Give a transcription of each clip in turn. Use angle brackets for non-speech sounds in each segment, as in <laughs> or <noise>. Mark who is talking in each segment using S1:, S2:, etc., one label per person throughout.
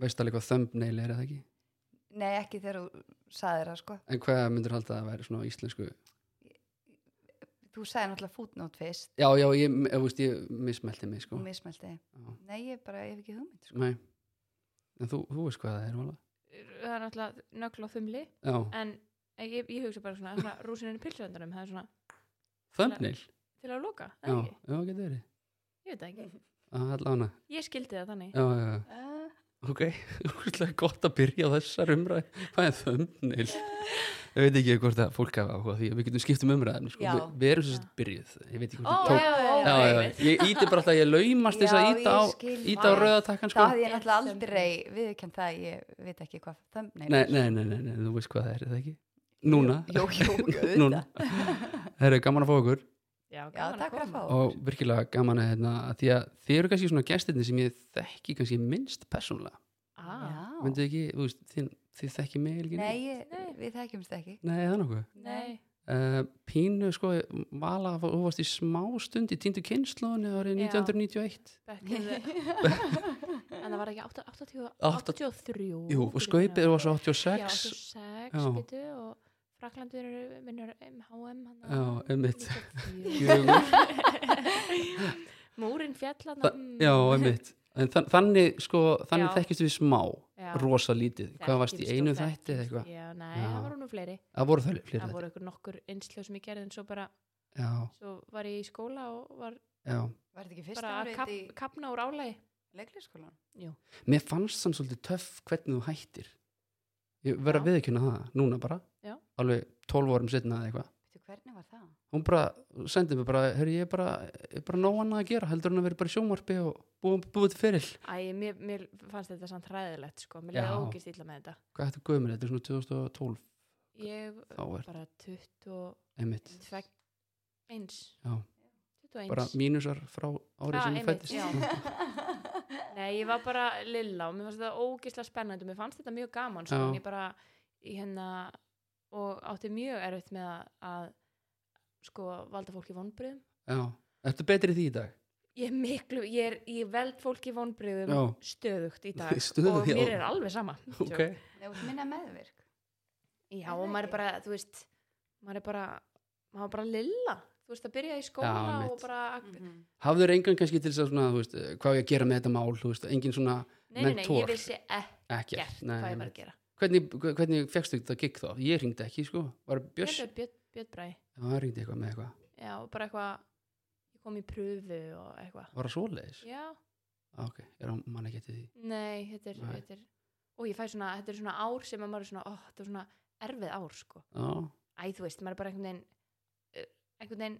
S1: veist alveg hvað thumbnail er eða ekki
S2: Nei, ekki þegar þú saðir það sko.
S1: en hvað myndur halda að væri svona á íslensku
S2: Þú sagði náttúrulega footnote fyrst
S1: já, já, ég, ég, veist, ég mismelti mig sko.
S2: og mismelti. Nei, ég bara, ég hef ekki hugmynd sko.
S1: Nei. en þú, þú veist hvað það er Vala.
S3: það er náttúrulega nögl og þumli
S1: já,
S3: en ég, ég hugsa bara svona, svona rúsinni pilsuðandarum, það er svona
S1: thumbnail
S3: til að loka,
S1: já,
S3: það er ekki,
S1: já, getur verið
S3: ég veit það ekki
S1: að hana,
S3: ég skildi það þannig
S1: já, já, já
S2: Uh,
S3: Ah.
S1: ok, <laughs> úrlega gott að byrja á þessar umræði, hvað er thumbnail ég veit ekki hvort að fólk hafa áhuga á því að við getum skipt um umræðin sko.
S2: Já.
S1: við, við erum svo sett byrjuð ég veit ekki
S3: Ó,
S1: hvort
S3: já,
S1: ég tók
S3: já, já,
S1: já, já,
S3: einmitt.
S1: ég íti bara alltaf að ég laumast þess
S2: Já,
S1: að íta á,
S2: ég skil.
S1: íta á
S3: Vá.
S1: rauðatakkan
S2: Það
S1: sko.
S2: hafði ég náttúrulega
S3: Thumbnail.
S2: aldrei viðkjönd það, að ég veit ekki hvað thumbnail
S1: nei,
S2: er.
S1: nei, nei, nei, nei, þú veist hvað það er, er það ekki núna,
S2: Jú,
S1: <laughs>
S2: jú, auðvitað.
S1: núna það eru gaman að fá okkur
S3: já,
S2: Já,
S3: gaman
S2: takk að fá.
S1: og virkilega gaman að hérna, að því að þið eru kannski svona gestirni sem ég þekki kannski minnst persónulega,
S3: ah,
S2: Já.
S1: myndið ekki, þú veist þið, þið þekki mig ekki
S2: Nei,
S1: neitt?
S2: ég,
S3: Nei.
S2: við þekkjumst ekki.
S1: nei, það er nokkuð
S3: nei,
S1: uh, pínu sko vala var- þú varst í smá stund í týndu kynnslóðinu árið
S3: Já.
S1: 1991
S3: back in <laughs> the- en það var ekki 8, 80,
S1: Átta-
S3: 83
S1: Jú, og skaupið var svo 86
S3: 86 já, 86
S1: Já.
S3: býtu og Fraklandur minnur MHM
S1: Já, einmitt. Gjöfur.
S3: <laughs> Múrin mm. fjall hann
S1: Þa- Já, einmitt En þann, þannig, sko, þannig
S3: Já.
S1: þekkist við smá
S3: Já.
S1: rosa lítið, hvað varst í
S3: Þekkist
S1: einu
S3: og
S1: þætti eða
S3: þekkist.
S1: eitthvað,
S3: Já, nei,
S1: Já.
S3: það voru nú fleiri
S1: það voru það fleiri
S3: Það
S1: þættir.
S3: voru ykkur nokkur innsljóð sem ég gerði en svo bara,
S1: já,
S3: svo var ég í skóla og var
S1: já,
S2: Var þetta ekki
S3: bara
S2: fyrsta
S3: að kap,
S2: árið í
S3: kapna úr álægi
S2: leiklisskólan?
S1: mér fannst þann svolítið töff hvernig þú hættir ég verð
S3: Já.
S1: að viðkynna það, núna bara
S3: Já.
S1: alveg 12 árum setna eða eitthvað
S2: Veitu, hvernig var það?
S1: hún bara sendi mig bara, herri, ég er bara, ég er bara nóg annað að gera, heldur hún að vera bara í sjónvarpi og búið, búið til feril
S3: Æ, mér, mér fannst þetta samt hræðilegt sko, mér
S1: Já.
S3: leiði ógist illa með þetta
S1: hvað er þetta gömur, þetta er svona 2012
S3: Ég
S1: þá er
S3: bara 22
S1: einmitt,
S3: eins
S1: Já.
S3: 21
S1: bara mínusar frá árið sem
S3: Já,
S1: hún
S3: einmitt,
S1: fættist
S3: já. Nei, ég var bara lilla og mér fannst þetta ógislega spennandi og mér fannst þetta mjög gaman sko,
S1: Já.
S3: en ég bara í hérna og átti mjög erfitt með að, að sko valda fólki vonbröðum
S1: <laughs> já, ertu betri í því í dag
S3: ég er miklu, ég er ég veld fólki vonbröðum
S1: Já.
S3: stöðugt
S1: <laughs>
S3: í dag
S1: Stöðugt,
S3: og
S1: já.
S3: mér er
S1: <laughs>
S3: alveg sama
S1: ok,
S2: Nei, þú ert minna meðvirk.
S3: já,
S2: Er það
S3: og maður er
S2: ekki?
S3: bara, þú veist maður er bara, maður er bara lilla þú veist að byrja í skóla
S1: Já, Mm.
S3: og
S1: einmitt.
S3: bara
S2: Mhm.
S1: hafður engan kannski til þess að svona, þú veist, eh, hvað á ég að gera með þetta mál, þú veist, engin svona
S3: nei, nei, nei,
S1: Mentor.
S3: ég vissi ekkert
S1: ekkert,
S3: hvað ég var
S1: nei.
S3: að gera
S1: hvernig, hvernig fegstu þetta gig þá, ég ringdi ekki sko, var
S3: Björn,
S1: Björs,
S3: Björn, Björn Bræði
S1: já, hann ringdi eitthvað með eitthvað
S3: Já, og bara eitthvað ég kom í pröfu og eitthvað
S1: var það svoleiðis,
S3: Já,
S1: ah, ok, er hann mann ekki eftir því
S3: nei, þetta er,
S1: Nei.
S3: Þetta er og ég fæ svona, þetta er svona ár sem að maður er svona, ó, þetta er svona erfið ár sko.
S1: já,
S3: Æ, þú veist, maður er bara einhvern veginn uh, einhvern veginn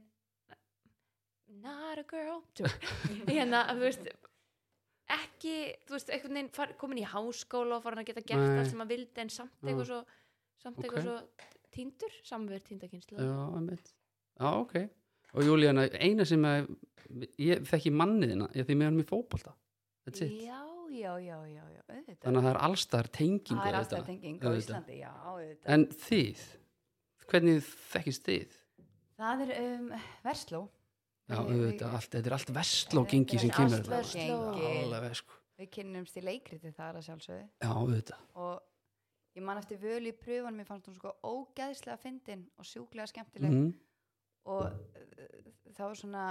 S3: not a girl Tjók.
S1: <laughs>
S3: hérna, þú veist ekki, þú veist, einhvern veginn far, komin í háskóla og farin að geta gert
S1: Nei.
S3: það sem maður vildi en samt
S1: Já.
S3: eitthvað svo samt
S1: Ok.
S3: eitthvað svo týndur, samverð týndakynslu
S1: já, einmitt já, ok, og Júlíana eina sem að, ég þekki manniðina ég því með hann í fótbolta that's it,
S2: Já, já, já, já, já, auðvitað.
S1: þannig að það er allstar tenging
S2: það
S1: á
S2: er alltaf
S1: þetta.
S2: tenging á
S1: auðvitað.
S2: Íslandi, já, auðvitað.
S1: en þið, hvernig þekkist þið
S2: Það er um, Versló.
S1: Já,
S2: Við-
S1: auðvitað, allt, þetta er allt vestlógengi
S2: Þetta er
S1: sem kemur
S2: allt
S1: þarna.
S3: Vestló.
S1: Alveg, sko.
S2: Við kynnumst í leikriti þar að sjálfsögðu
S1: Já, auðvitað.
S2: og ég man eftir völu í pröfunum, ég fannst hún sko ógæðslega fyndin og sjúklega skemmtileg
S1: Mm,
S2: og uh, þá var svona,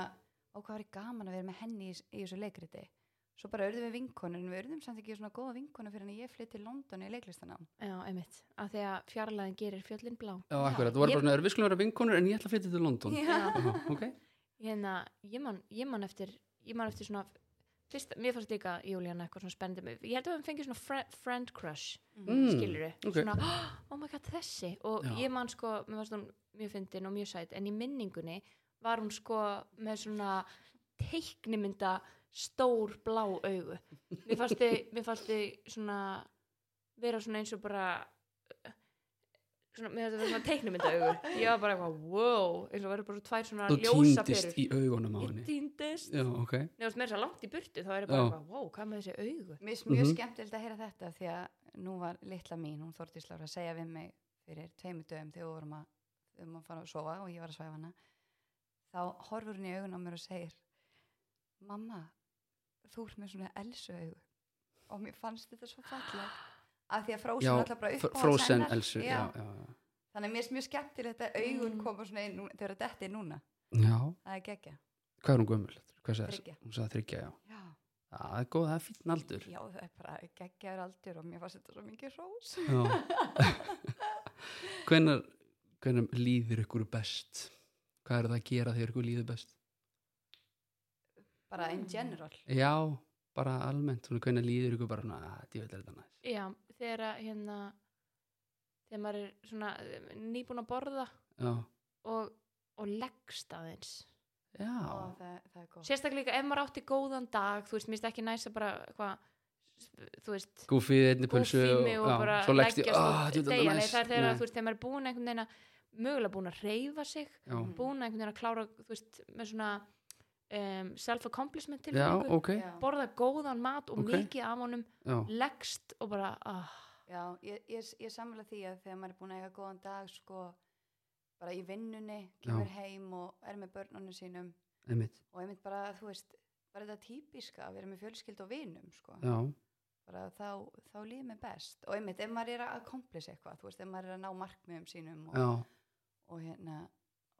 S2: ó hvað var ég gaman að vera með henni í, í þessu leikriti. Svo bara urðum við vinkonur, en við urðum samt ekki svona góða vinkonur fyrir en ég flytt til London í leiklistanám.
S3: Já, einmitt, af því að fjarlæðin gerir fjöllin blá
S1: já, akkurat. Þú var
S3: Ég-
S1: bara svona, við skulum vera vinkonur en ég ætla að flytja til London. Já.
S2: Já.
S1: <laughs> ok.
S3: hérna, ég man, ég man eftir ég man eftir svona fyrst, mér fannst líka Júlíana eitthvað svona spennandi ég held að við höfum fengið svona friend, friend crush
S1: Mm,
S3: skilur
S1: ok.
S3: svona, oh my god, þessi og
S1: Já.
S3: ég man sko, mér fannst hún mjög fyndin og mjög sæt, en í minningunni var hún sko með svona teiknimynda stór blá augu mér fannst þið, mér fannst þið svona vera svona eins og bara svona, mér fannst þið vera svona teiknimynda augu ég var bara eitthvað, wow eins og verið bara svona tvær svona
S1: Þú
S3: ljósa perur
S1: týndist í augunum á
S3: ég
S1: henni.
S3: týndist
S1: Já, ok.
S3: nefnast meira svo langt í burtu þá er ég
S1: Já.
S3: bara eitthvað, wow, hvað með þessi augu
S2: Mér finnst mjög
S1: Mhm.
S2: skemmtilegt að heyra þetta því að nú var litla mín, hún Þórdís Lára að segja við mig fyrir tveimur dögum þegar við vorum að, um að fara að sofa og ég var að svæfa hana þá horfur hún í augun á mér og segir Mamma, þú ert með svona elsu augu og mér fannst þetta svo fallegt af því að Frozen
S1: Já,
S2: er alltaf bara
S1: Fr-
S2: uppáhalds
S1: Frozen
S2: hennar.
S1: Elsu já, já,
S2: þannig að mér finnst mjög skemmtilegt að augun
S3: Mm.
S2: koma svona inn núna- þau eru að detti núna,
S1: já. já,
S2: það er geggja
S1: hvað er hún gömul? Hvað sagði
S2: Þriggja.
S1: Hún sagði þryggja, já
S2: já,
S1: Það er góð, það er fínn aldur
S2: já það er bara geggjaður aldur og mér fannst þetta svo mikið
S1: <laughs>
S2: rós
S1: Já Hvenar, hvenar líður ykkur best? Hvað er það að gera þegar ykkur líður best?
S2: bara in
S3: Mm.
S2: general
S1: Já, bara almennt svona, Hvenar líður ykkur bara svona að djöfull er þetta næs
S3: já, þegar að, hérna þegar maður er svona eh, nýbúin að borða
S1: Já,
S3: og, og leggst aðeins
S1: já
S2: og það, það er góð
S3: sérstaklega líka ef maður átti góðan dag þú veist, mér finnst ekki næsa bara hvað, þú veist
S1: Gúfið einni pulsu
S3: gúfí mig og
S1: já,
S3: bara
S1: svo leggst ég,
S3: leggjast
S1: að
S3: og
S1: djöfull er þetta
S3: deyja Nei,
S1: næs
S3: það er þegar
S1: Nei,
S3: að, þú veist, þegar maður er búin einhvern veginn að mögulega búin að reyfa sig
S1: Já,
S2: Mhm.
S3: búin einhvern veginn að klára þú veist, með svona um, self-accomplishment til
S1: já ok Já,
S2: já,
S3: borða góðan mat og
S1: Ok.
S3: mikið af honum leggst og bara ah,
S2: já, ég, ég, ég samla því að þegar maður er búin að eiga góðan dag sko, bara í vinnunni kemur heim og er með börnunum sínum
S1: einmitt
S2: og einmitt bara, þú veist bara þetta típiska að vera með fjölskyld og vinum sko.
S1: Já,
S2: bara þá, þá líður mér best og einmitt, ef maður er að komplisa eitthvað þú veist, ef maður er að ná markmiðum sínum og,
S1: já,
S2: og hérna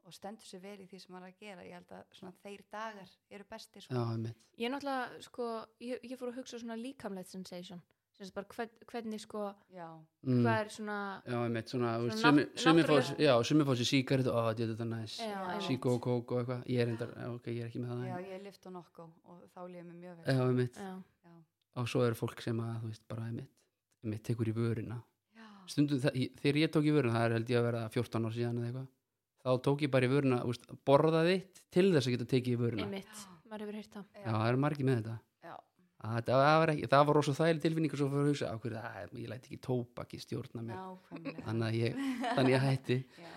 S2: og stendur sér vel í því sem maður er að gera ég held að svona þeir dagar eru bestir
S1: já,
S2: sko.
S1: einmitt
S3: ég náttúrulega sko, ég, ég fór að hugsa svona líkamlegt sensation sem sagt bara hvern, hvernig sko
S2: já,
S1: Mm.
S3: hvað er svona
S1: Já, einmitt, svona, þú veist,
S3: Svona
S1: sumi-
S3: nátt-
S1: sumi fá-
S3: náttúrulega-
S1: já, sumi fá sér síkarit og að þetta er næs
S3: já,
S2: Já.
S3: einmitt.
S1: síkó og kók og eitthvað ég er, endar, ok, ég er ekki með það
S2: já,
S1: en-
S2: ég lift og nokku og þá líður mér mjög vel
S1: já, einmitt,
S3: já,
S1: og svo eru fólk sem að þú veist, bara einmitt, einmitt tekur í vörina
S2: já,
S1: stundum, það, ég- þegar ég tók í vörina það er held ég að vera 14 ár síðan eða eitthvað þá tók ég bara í vörina, þú veist, borða þitt til þess að geta tekið í vörina
S3: einmitt, maður hefur heyrt það
S1: já, það eru margir með þetta
S2: Já.
S1: Að þetta, það var, ekki, það var rosa þægileg tilfinning og svo fyrir að hugsa, á hverju það, ég læti ekki tóbaki stjórna mér,
S2: nákvæmlega
S1: þannig að ég
S3: <laughs>
S1: þannig að ég hætti
S2: já,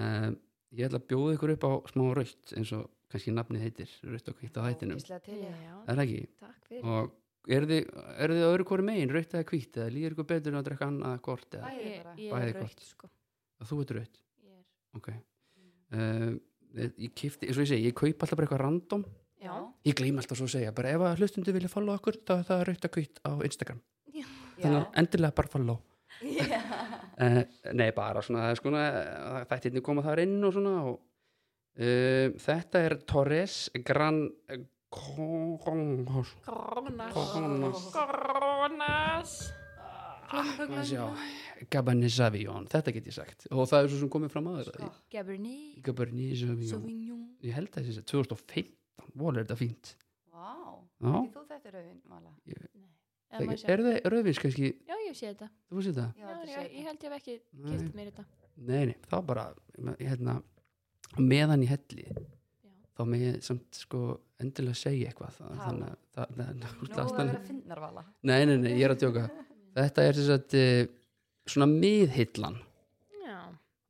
S1: um, ég ætla að bjóða ykkur upp á smá rautt eins og kannski nafnið heitir rautt og hvitt á hættinum,
S2: ógeðslega til
S3: já,
S2: ég
S1: er það ekki?
S3: takk fyrir
S1: og eru þið, eru þið á öðru hvori megin rautt eða hvitt eða líður ykkur betur en að drekka annað hvort eða
S2: Æ. Bæði
S3: ég,
S2: bara.
S3: ég
S1: Bæði
S3: er
S1: gott.
S3: rautt sko
S1: að þú ert rautt
S3: ég er,
S1: ok um, ég kifti, eins og ég segi, ég kaup alltaf bara eitthvað random
S3: já,
S1: ég gleym alltaf svo að segja, bara ef að hlustundu vilja follow okkur, þá er það er rautt að hvitt á Instagram þannig
S2: já,
S1: að endilega bara follow
S2: já.
S1: uh, nei, bara svona, það er svona eh, þættirni koma þar inn og svona og Um, þetta er Torres Gran Kongos
S3: koronas
S1: Koronas.
S3: koronas
S1: Að sjá, Cabernet Sauvignon, þetta get ég sagt og það er svo sem komið fram aður
S2: Sko.
S3: Gabriel
S1: Cabernet Sauvignon
S3: Sauvignon
S1: ég held að þessi 2015 vola er þetta fínt
S2: Vá,
S1: Já.
S2: ekki þú þetta rauðin, Vala?
S3: Eða má ég sjá?
S1: er það rauðvins kannski,
S3: Já, ég sé þetta.
S1: þú veist þetta
S2: Já,
S3: Já,
S2: þetta sé
S3: ég, ég
S2: þetta.
S3: held ég hef ekki
S1: nei,
S3: kilt mér þetta.
S1: nei, nei, þá bara hérna, meðan í helli þá með ég samt sko endilega segja eitthvað það,
S2: Tala.
S1: þannig að það, það, það,
S2: Nú að
S1: það,
S2: vera finnar, Vala.
S1: nei, nei, nei, ég er að djóka þetta er þess að eh, svona miðhillan
S3: Já,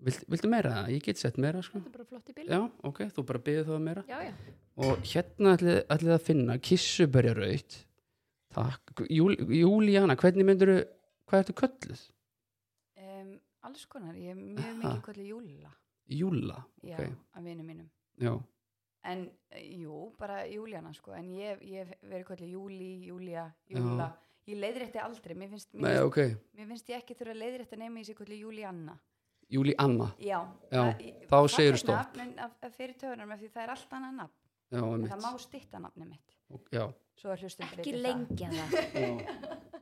S1: Vilt, viltu meira, ég get sett meira sko
S3: þetta er bara flott í bíl.
S1: já, ok, þú bara byggði það meira
S3: já. já.
S1: og hérna ætlið ætli að finna kissuberjaraut takk, Júl, Júlíana hvernig myndirðu, hvað ertu kölluð?
S2: Um, alls konar, ég er mjög
S1: Aha.
S2: mikið kvöldi júla,
S1: Júla,
S2: já,
S1: Ok.
S2: af vinum mínum.
S1: já,
S2: En, eh, jú, bara Júlíana, sko, en ég, ég hef verið kvöldi Júli, Júlia, Júla. Ég leiðrétti aldrei, mér finnst, mér,
S1: nei
S2: finnst,
S1: ok
S2: mér finnst ég ekki þurfa að leiðrétta nema ég sé kvöldi Júlíanna.
S1: Júlíanna,
S2: Já,
S1: Já,
S2: það- ég-
S1: þá
S2: fallegt
S1: segirðu stopp.
S2: nafn, en af- af Fyrir töðunum, af því það er allt annað nafn.
S1: já,
S2: En
S1: mitt
S2: það má stitta nafni mitt.
S1: já.
S2: Svo er hlustum
S3: Ekki lengja það.
S1: já,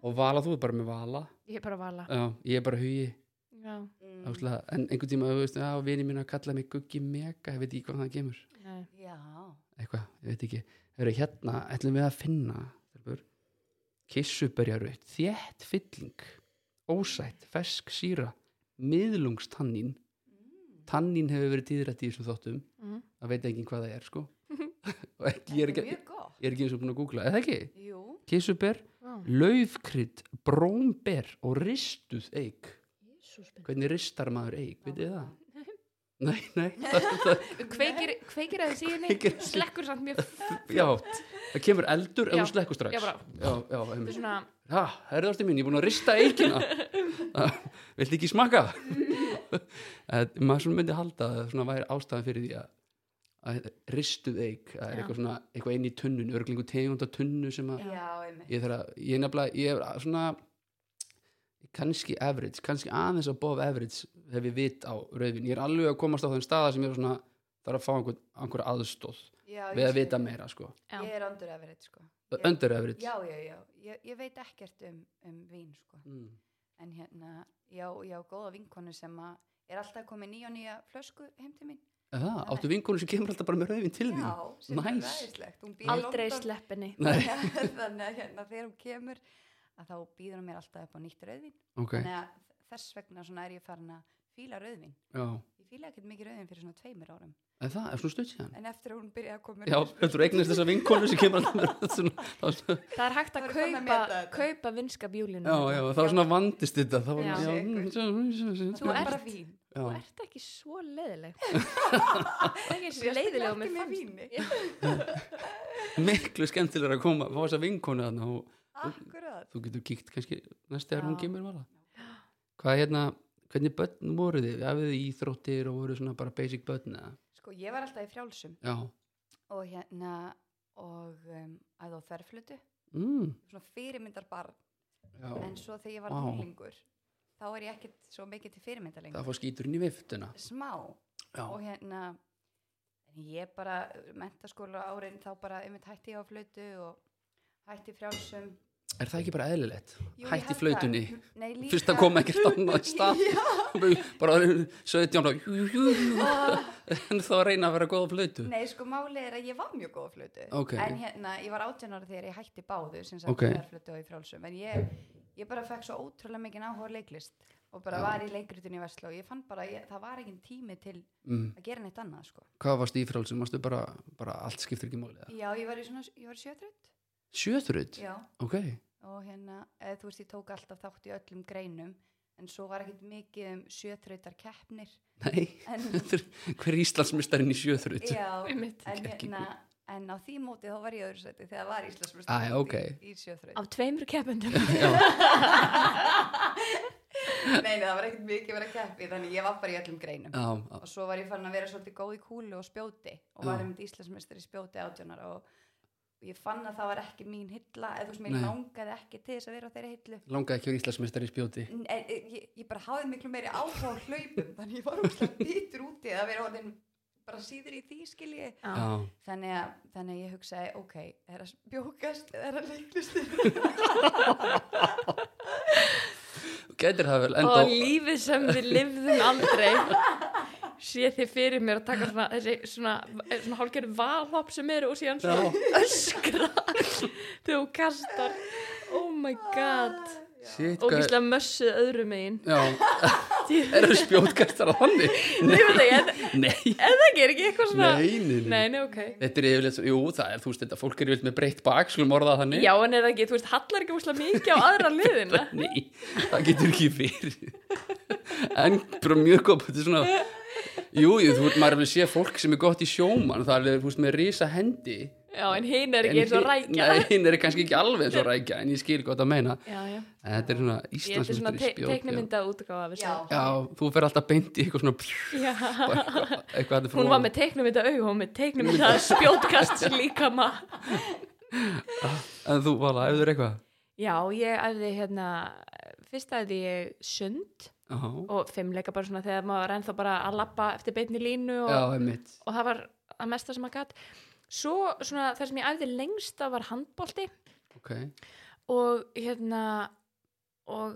S1: og Vala, þú er bara með Vala
S3: Ég er bara að vala.
S1: já, ég er bara hugi
S3: Já,
S2: Mm,
S1: mm. en einhvern tíma, þú veist, já, vini mín að kalla mig Guggi Mega, ég veit ekki hvað það kemur
S3: nei.
S2: já,
S1: eitthvað, ég veit ekki Heru, hérna, ætlum við að finna stelpur, kissuberjaraut þétt fylling ósætt, fersk síra miðlungstannin Mm. tannin hefur verið tíðrætt í þessum þóttum
S3: Mhm.
S1: það veit enginn hvað það er <laughs> sko og ekki, ég
S2: þetta
S1: er
S2: er
S1: ekki,
S2: mjög gott.
S1: ég er ekki eins og búin að googla eða ekki,
S2: Jú,
S1: kissuber
S3: Vá.
S1: laufkrydd, brómber og ristuð eik
S3: Jesús minn.
S1: hvernig ristar maður eik, veit þið það? Nei, nei, það, það,
S3: Kveikir, kveikir að þessi henni,
S1: Kveikir-
S3: slekkur samt mjög
S1: já, það kemur eldur ef
S3: Já,
S1: þú slekkur strax
S3: já, bara.
S1: já, já, einmitt.
S3: fyrir svona,
S1: Ha, herðu ástu mín, ég er búin að rista eikina Viltu ekki smakka? Eh, maður svona myndi halda að það svona væri ástæðan fyrir því að að ristuð eik það er
S3: Já.
S1: eitthvað, svona, eitthvað inn í tunnun örglingu tegunda tunnu sem að
S2: já, einmitt
S1: ég þarf að, ég er nefnilega ég er að- svona kannski average, kannski aðeins að bof average hef ég vit á rauðvin ég er alveg að komast á þeim staða sem ég er svona þarf að fá einhver, einhver aðstóð
S2: já,
S1: við
S2: ég
S1: að
S2: skil.
S1: vita meira sko,
S3: Já.
S2: ég er andur average sko Ég-
S1: under average
S2: já, já, já, ég, ég veit ekkert um, um vín sko
S1: Mm.
S2: en hérna, já, já, góða vinkonu sem að er alltaf komið nýja og nýja flösku heim til mín
S1: Það, áttu vinkonu sem kemur alltaf bara með rauðvin til því
S2: já, sem er
S1: Nice.
S2: ræðislegt Hún býr í
S3: aldrei
S2: London.
S3: sleppinni
S2: <laughs>
S1: Nei,
S2: þannig að hérna þegar hún kemur að þá býður hún mér alltaf upp á nýtt rauðvin
S1: ok,
S2: þannig að þess vegna svona er ég farin að fíla rauðvin
S1: já
S2: ég fíla ekkert mikið rauðvin fyrir svona tveimur árum
S1: En það er svona stutt síðan
S2: en eftir að hún byrjaði að koma
S1: Já, heldur eignast þessa vinkonu sem kemur alltaf með svona, þá, svona,
S3: það er hægt
S2: Það
S3: að
S2: er komið að
S3: kaupa,
S2: meta þetta.
S3: kaupa vinskap júlinu
S1: já, já, þá svona vandist þetta þá var
S3: Já.
S1: já, mm, svo- svo- svo-
S2: þú
S1: svo-
S2: er
S3: ert-
S2: bara vín
S3: þú
S1: já.
S3: ert ekki svo
S2: <laughs>
S3: leiðileg það er ekki svo leiðileg og
S2: Sérstaklega
S3: mér fannst
S2: ekki með víni.
S1: miklu skemmtilega að koma fá þessa vinkonu þarna og
S2: akkurat
S1: þú getur kíkt kannski næst þegar
S3: Já.
S1: hún kemur vala hvað hérna, hvernig börn voru þið hafið þið íþróttir og voru svona bara basic börn eða?
S2: sko ég var alltaf í frjálsum
S1: já,
S2: og hérna og um, að á þverflutu
S1: mm,
S2: svona fyrirmyndar barn
S1: já.
S2: en svo þegar ég var
S1: Vá.
S2: tólingur þá er ég ekkert svo mikið til fyrirmyndar lengur
S1: það fór skíturinn í viftuna
S2: smá
S1: já,
S2: og hérna en ég bara, mentaskóla árin þá bara einmitt hætti ég á flötu og hætti frjálsum
S1: er það ekki bara eðlilegt
S2: Jú, ég
S1: hætti
S2: held
S1: flautunni,
S2: það. Nei, líka-
S1: fyrst að koma ekkert annað
S2: <laughs>
S1: stað
S2: Já,
S1: bara 17 ára, jú, jú, jú. en þá að reyna að vera góð á flautu
S2: Ah. Nei, sko málið er að ég var mjög góð á flötu
S1: Ok.
S2: en hérna, ég var 18 ára þegar ég hætti báðu sem sagt
S1: Ok.
S2: okay. flötu og í frjálsum en ég, ég bara fekk svo ótrúlega mikið áhuga á leiklist og bara
S1: Já.
S2: var í leikritunni í Vestló og ég fann bara, að ég, það var ekki tími til
S1: mm.
S2: að gera neitt annað sko.
S1: hvað varst í frálsum, varstu bara, bara allt skiptir ekki máli eða?
S2: Já, ég var í svona, ég var í sjötrönd
S1: sjöþrut,
S2: Já,
S1: ok
S2: og hérna, eða, þú veist, ég tók alltaf þátt í öllum greinum en svo var ekkert mikið um sjöþrautar keppnir
S1: nei, <laughs>
S2: en,
S1: hver er Íslandsmestarinn í sjöþrut
S2: já, en,
S3: Einmitt.
S1: ekki-
S2: hérna, en á því móti þá var ég í öðru seti þegar var
S1: Ah,
S2: Íslandsmestari
S1: já, ok.
S2: í, í sjöþraut
S3: af tveimur keppendum
S2: nei, nei, það var ekkert mikið verið að keppi þannig ég var bara í öllum greinum
S1: já, já,
S2: og svo var ég farin að vera svolítið góð í kúlu og spjóti og var
S1: Já.
S2: einmitt Íslandsmestari í spjóti átjónar og ég fann að það var ekki mín hilla eða þú veist, mér
S1: Nei.
S2: langaði ekki til þess að vera á þeirri hillu
S1: langaði ekki að vera Íslandsmestari í spjóti
S2: En- en- en ég, ég bara hafði miklu meiri áhuga á hlaupum þannig ég var óslega býtur úti að vera orðin bara síður í því skilji
S1: já,
S2: þannig að, þannig að ég hugsaði ok, er að bjókast eða er að leiklist
S1: getur það vel
S3: og
S1: enda
S3: lífið sem við lifðum aldrei sé þið fyrir mér að taka svona, þessi svona, svona hálfgerð valhopp sem eru og síðan svona öskra þegar hún kastar oh my god
S2: Ah,
S1: shit,
S3: og
S1: hvað
S3: gíslega mössuð öðrum megin
S1: já,
S3: Ég-
S1: eru spjótkastar á þannig
S2: <laughs>
S3: Nei, ég veit ekki, en,
S1: nei,
S3: en það gerir ekki eitthvað svona
S1: nei, nei, nei.
S3: nei, nei, ok
S1: Þetta er yfirleitt, jú, það er, þú veist, þetta fólk er yfirleitt með breytt bak, skulum orða það þannig.
S3: já, en er það ekki, þú veist, hallar ekki úslega mikið á aðra liðina
S1: Nei, það getur ekki fyrir. <laughs> En bara mjög gott, þetta er svona, jú, jú, þú veist, maður er alveg sé fólk sem er gott í sjóman, það er alveg, þú veist, með risa hendi.
S3: já, en hinn er ekki eins og rækja
S1: Nei, hinn er kannski ekki alveg eins og rækja, en ég skil gott að meina.
S3: já, já,
S1: En þetta er svona
S3: ég er svona
S1: Íslandsmyndari
S3: te teiknimynda útgáfa við
S2: já,
S3: segjum.
S1: Já, þú fer alltaf beint í eitthvað svona, pjú,
S3: já,
S1: bara eitthvað, eitthvað að þetta
S3: <laughs> hún var með teiknumynda auð og með teiknumynda spjótkast líkama
S1: En þú, vala, ef þú er eitthvað.
S3: já, ég æfði hérna fyrst æfði ég sund
S1: Já,
S3: og fimmleika bara svona þegar maður var ennþá bara að lappa eftir beinni línu og,
S1: já, einmitt.
S3: og það var að mesta sem að gatt svo svona það sem ég æfði lengst af var handbolti
S1: Ok,
S3: og hérna og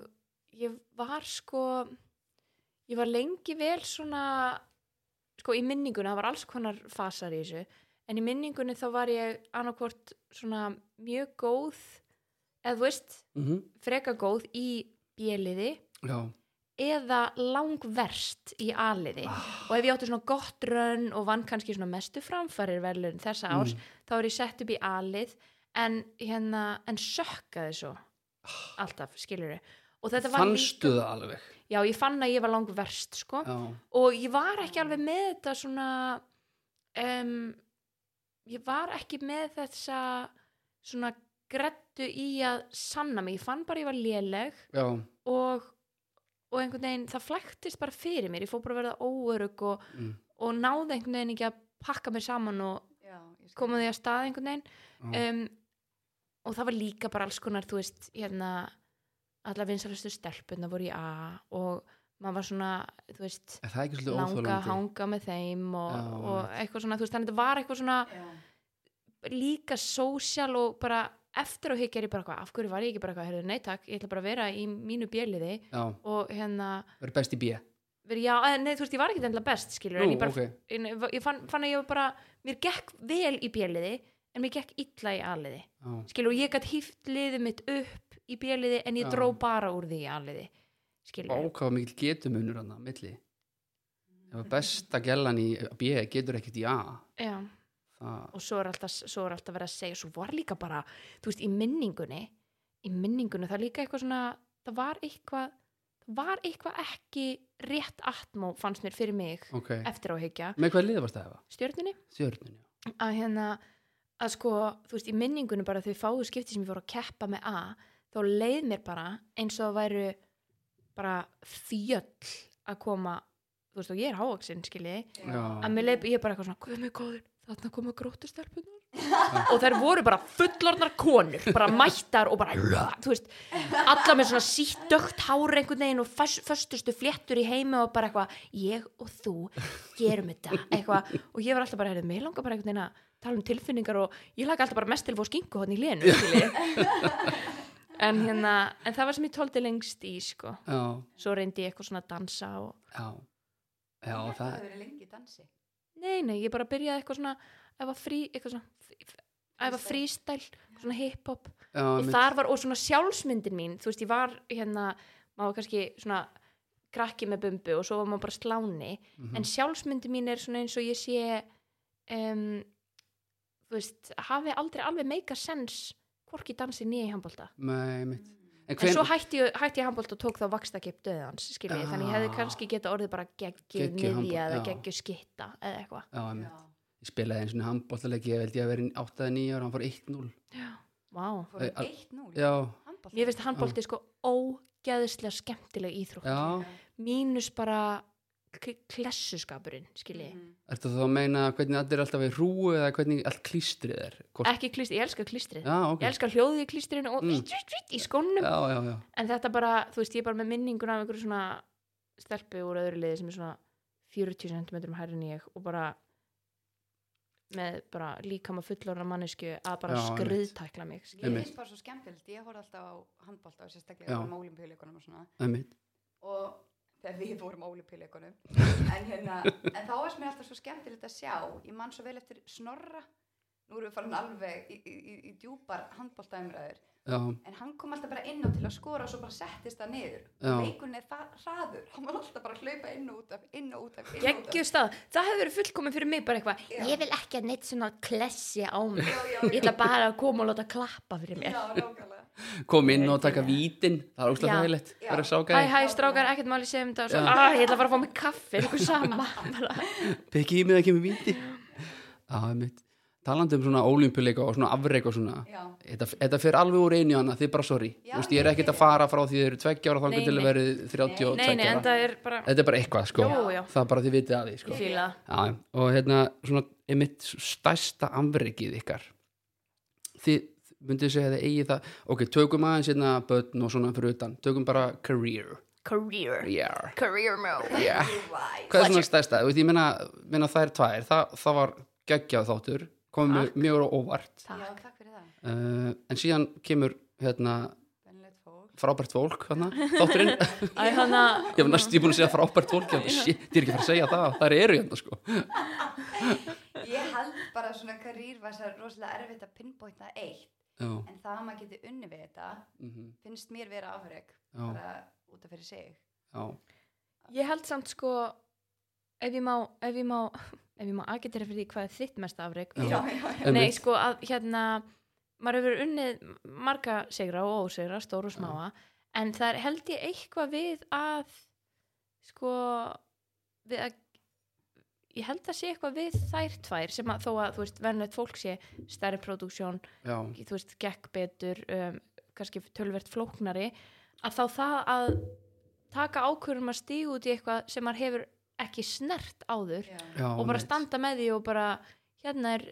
S3: ég var sko ég var lengi vel svona sko í minninguna, það var alls konar fasar í þessu, en í minningunni þá var ég annarkvort svona mjög góð, eða þú veist
S1: mhm,
S3: freka góð í bjeliði
S1: já,
S3: eða langverst í aliði og ef ég átti svona gott rönn og vann kannski svona mestu framfærir velun þessa
S1: Mm.
S3: árs, þá er ég sett upp í alið en hérna en sökkaði svo alltaf, skilur og þetta var
S1: fannstu það alveg.
S3: líka, já ég fann að ég var langverst sko,
S1: Já,
S3: og ég var ekki alveg með þetta svona um, ég var ekki með þessa svona grettu í að sanna mig, ég fann bara að ég var léleg
S1: já,
S3: og, og einhvern veginn það flæktist bara fyrir mér, ég fór bara að verða óörug og,
S1: mm,
S3: og náði einhvern veginn ekki að pakka mér saman og
S2: Já, ég skil.
S3: koma því að stað einhvern veginn
S1: Já.
S3: um, og það var líka bara alls konar þú veist, hérna alla vinsalustu stelpunna voru í A og maður var svona, þú veist
S1: Er það ekki svolítið
S3: langa að
S1: óþólandi?
S3: hanga með þeim og,
S1: Já,
S3: og eitthvað svona, þú veist, þannig að þetta var eitthvað svona
S2: Já.
S3: líka sósjál og bara eftir á hygg er ég bara eitthvað, af hverju var ég ekki bara eitthvað, heyrðu, nei takk, ég ætla bara að vera í mínu bjöliði
S1: Já,
S3: og hérna
S1: verður best í bíja.
S3: verið, já, eh, nei, þú veist, ég var ekki endilega best, skilur
S1: Nú,
S3: en ég bara,
S1: ok.
S3: ég, ég fann, fann að ég var bara mér gekk vel í bjöliði en mér gekk illa í aliði,
S1: Já,
S3: skilur og ég gætt hýft liðið mitt upp í bjöliði en ég
S1: Já.
S3: dró bara úr því í aliði skilur,
S1: bákaða mikil getumunur hann að milli. Ef besta gellan í B getur ekkert í A,
S3: já
S1: það,
S3: og svo er alltaf, svo er alltaf verið að segja svo var líka bara, þú veist, í minningunni í minningunni, það er líka eitthvað svona það var eitthvað það var eitthvað ekki rétt atmó fannst mér fyrir mig
S1: ok.
S3: eftir á higgja
S1: Með hvað liða varst það hefa?
S3: stjörnunni,
S1: Stjörnun, já.
S3: að hérna að sko, þú veist, í minningunni bara þau fáu skipti sem ég fór að keppa með A þá leið mér bara eins og það væru bara fjöll að koma, þú veist, og ég er hávaksinn skiljiði, að
S1: Já,
S3: mér leið, ég er bara eitthvað svona guð mig góður, þarna koma grótustelpunar og þær voru bara fullornar konur bara mættar og bara þú veist, alla með svona sítt dögt hár einhvern veginn og fös- föstustu fléttur í heimi og bara eitthvað ég og þú gerum þetta eitthvað, og ég var alltaf bara, heyrðu, mig langar bara einhvern veginn að tala um tilfinningar og ég laga alltaf bara mest til að fóða skingu hodn í lénu en hérna, en það var sem ég tóldi lengst í, sko,
S1: já,
S3: svo reyndi ég eitthvað svona að dansa og
S1: já. Já,
S2: Ég held að
S1: það,
S2: Það hefur verið lengi í dansi.
S3: Nei, nei, ég bara byrjaði eitthvað svona æfa frí, eitthvað svona f- f- æfa freestyle, svona hip-hop
S1: já,
S3: og
S1: mitt-
S3: þar var, og svona sjálfsmyndin mín þú veist, ég var hérna maður var kannski svona krakki með bumbu og svo var maður bara sláni
S1: mhm.
S3: en sjálfsmyndin mín er svona eins og ég sé um, þú veist, hafi aldrei alveg meika sens hvorki dansi nýja í handbólta
S1: Nei, mitt. En
S3: en
S1: hven,
S3: svo hætti ég, hætti ég handbólt og tók þá vakstakip döðans, skiljið,
S1: Ah.
S3: þannig ég hefði kannski geta orðið bara geggjuð
S1: Geggjuð
S3: miðja eða
S1: handbolta, já.
S3: geggjuð skitta eða eitthvað
S1: já, mitt.
S2: Já.
S1: Ég spilaði eins og handbóltalegi, ég veldi að vera 8-9 ára, hann fór 1-0.
S3: Vá.
S2: Fórum
S1: Al-
S2: 1-0.
S1: Já,
S2: Handbolti.
S3: Mér finnst handbólti sko ógeðislega skemmtileg íþrótt.
S1: já.
S3: Mínus bara k- klessuskapurinn, skilji.
S2: Mhm.
S1: Ertu þá að meina hvernig allir er alltaf í hrúu eða hvernig allt klístrið er? Hvort...
S3: Ekki klistri, ég elska klistrið.
S1: Mm. Já, ok.
S3: Ég elska hljóðið í klistrinu og
S1: Mm.
S3: í skónum.
S1: Já, já, já.
S3: En þetta bara, þú veist, ég er bara með minninguna af einhverju svona stelpu úr öðru liði sem er svona 40 cm hærri en ég og bara með bara líkama fullorna mannesku að bara
S1: Já, einmitt.
S3: skriðtækla mig, skilji.
S2: Mér
S1: Einmitt.
S2: finnst bara svo skemmtilegt, ég horfði alltaf á handbólta og
S1: Já.
S2: sérstaklega um ólimpíuleikunum og svona
S1: Einmitt.
S2: og þegar við vorum á
S1: <laughs>
S2: ólimpíuleikunum en, hérna, en þá varst mér alltaf svo skemmtilegt að sjá ég man svo vel eftir snorra nú erum við farin alveg í, í, í, í djúpar handbóltaumræður
S1: Já,
S2: en hann kom alltaf bara inn á til að skora og svo bara settist það niður
S1: Já.
S2: leikunni er það hraður, hann var alltaf bara að hlaupa inn og út af, inn og út af, inn og út af
S3: geggjum stað, það hefur verið fullkomið fyrir mig bara eitthvað,
S2: Já.
S3: ég vil ekki að neitt svona klessi á mig,
S2: Já, já,
S3: ég ætla bara að koma og láta klappa fyrir mér
S2: já, nákvæmlega
S1: kom inn og taka vítin, það er óslega
S3: Já.
S1: þægilegt.
S2: Já.
S1: Það er
S3: hæ
S1: sákæði.
S3: hæ strákar, ekkert máli segja um þetta og svo,
S1: Já.
S3: ah, ég ætla bara að fá mig kaffi eitthvað <laughs> sama, bara,
S1: Pekki í mig það kemur víti. Já, einmitt. Talandi um svona ólimpíuleika og svona afreik og svona.
S2: Já.
S1: Þetta, þetta fer alveg úr einu annað, þið er bara sorry.
S2: Já,
S1: Þú veist, ég er
S2: ég
S1: ekkert að
S2: skil.
S1: fara frá því þið eru tveggja ára
S3: Nei,
S1: þangar til að
S3: nei.
S1: verið 32
S3: nei, nei, en
S1: ára.
S3: það er bara
S1: Þetta er bara eitthvað, sko.
S3: Jú, já.
S1: Það er bara þið vitið að því, sko.
S3: ég fíla,
S1: Já, og hérna, svona, einmitt stærsta afreikið ykkar. Þið myndið segja að þið eigið það, ok, tökum aðeins hérna börn og svona fyrir utan, tökum bara career.
S3: career
S1: Yeah.
S3: career mode,
S1: Yeah.
S2: Right.
S1: Hvað er svona stærsta? Þú veist, ég meina, meina þær tvær, það, það var geggjað þáttur, komið mjög, mjög á óvart.
S2: Já,
S3: takk,
S2: takk fyrir það,
S1: Uh, en síðan kemur, hérna,
S2: bennilegt fólk
S1: frábært fólk, hérna, þátturinn.
S3: <laughs> æ hann að
S1: ég hef næst, ég er búin að segja frábært fólk, hérna, shit, ég er ekki að fara að segja það, þær eru hérna, sko.
S2: Ég held bara að svona karýr var sér rosalega erfitt að pinpointa eitt
S1: Já,
S2: en það að maður geti unni við þetta
S1: mhm,
S2: finnst mér vera afreg
S1: Já.
S2: bara út af fyrir sig
S1: já,
S3: ég held samt sko ef ég má, ef ég má ef ég má aðgæta fyrir því hvað er þitt mest afreg
S1: Já.
S2: já, já.
S3: Nei,
S1: einmitt,
S3: sko, að hérna maður hefur unnið marga sigra og ósigra, stóru og smáa en það er held ég eitthvað við að sko við að ég held að sé eitthvað við þær tvær sem að þó að, þú veist, vennlegt fólk sé stærri pródúksjón,
S1: já,
S3: þú veist, gekk betur um, kannski tölvert um flóknari að þá það að taka ákvörðum að stíga út í eitthvað sem maður hefur ekki snert áður
S2: já,
S1: já,
S3: og bara
S1: mitt.
S3: standa með því og bara hérna er,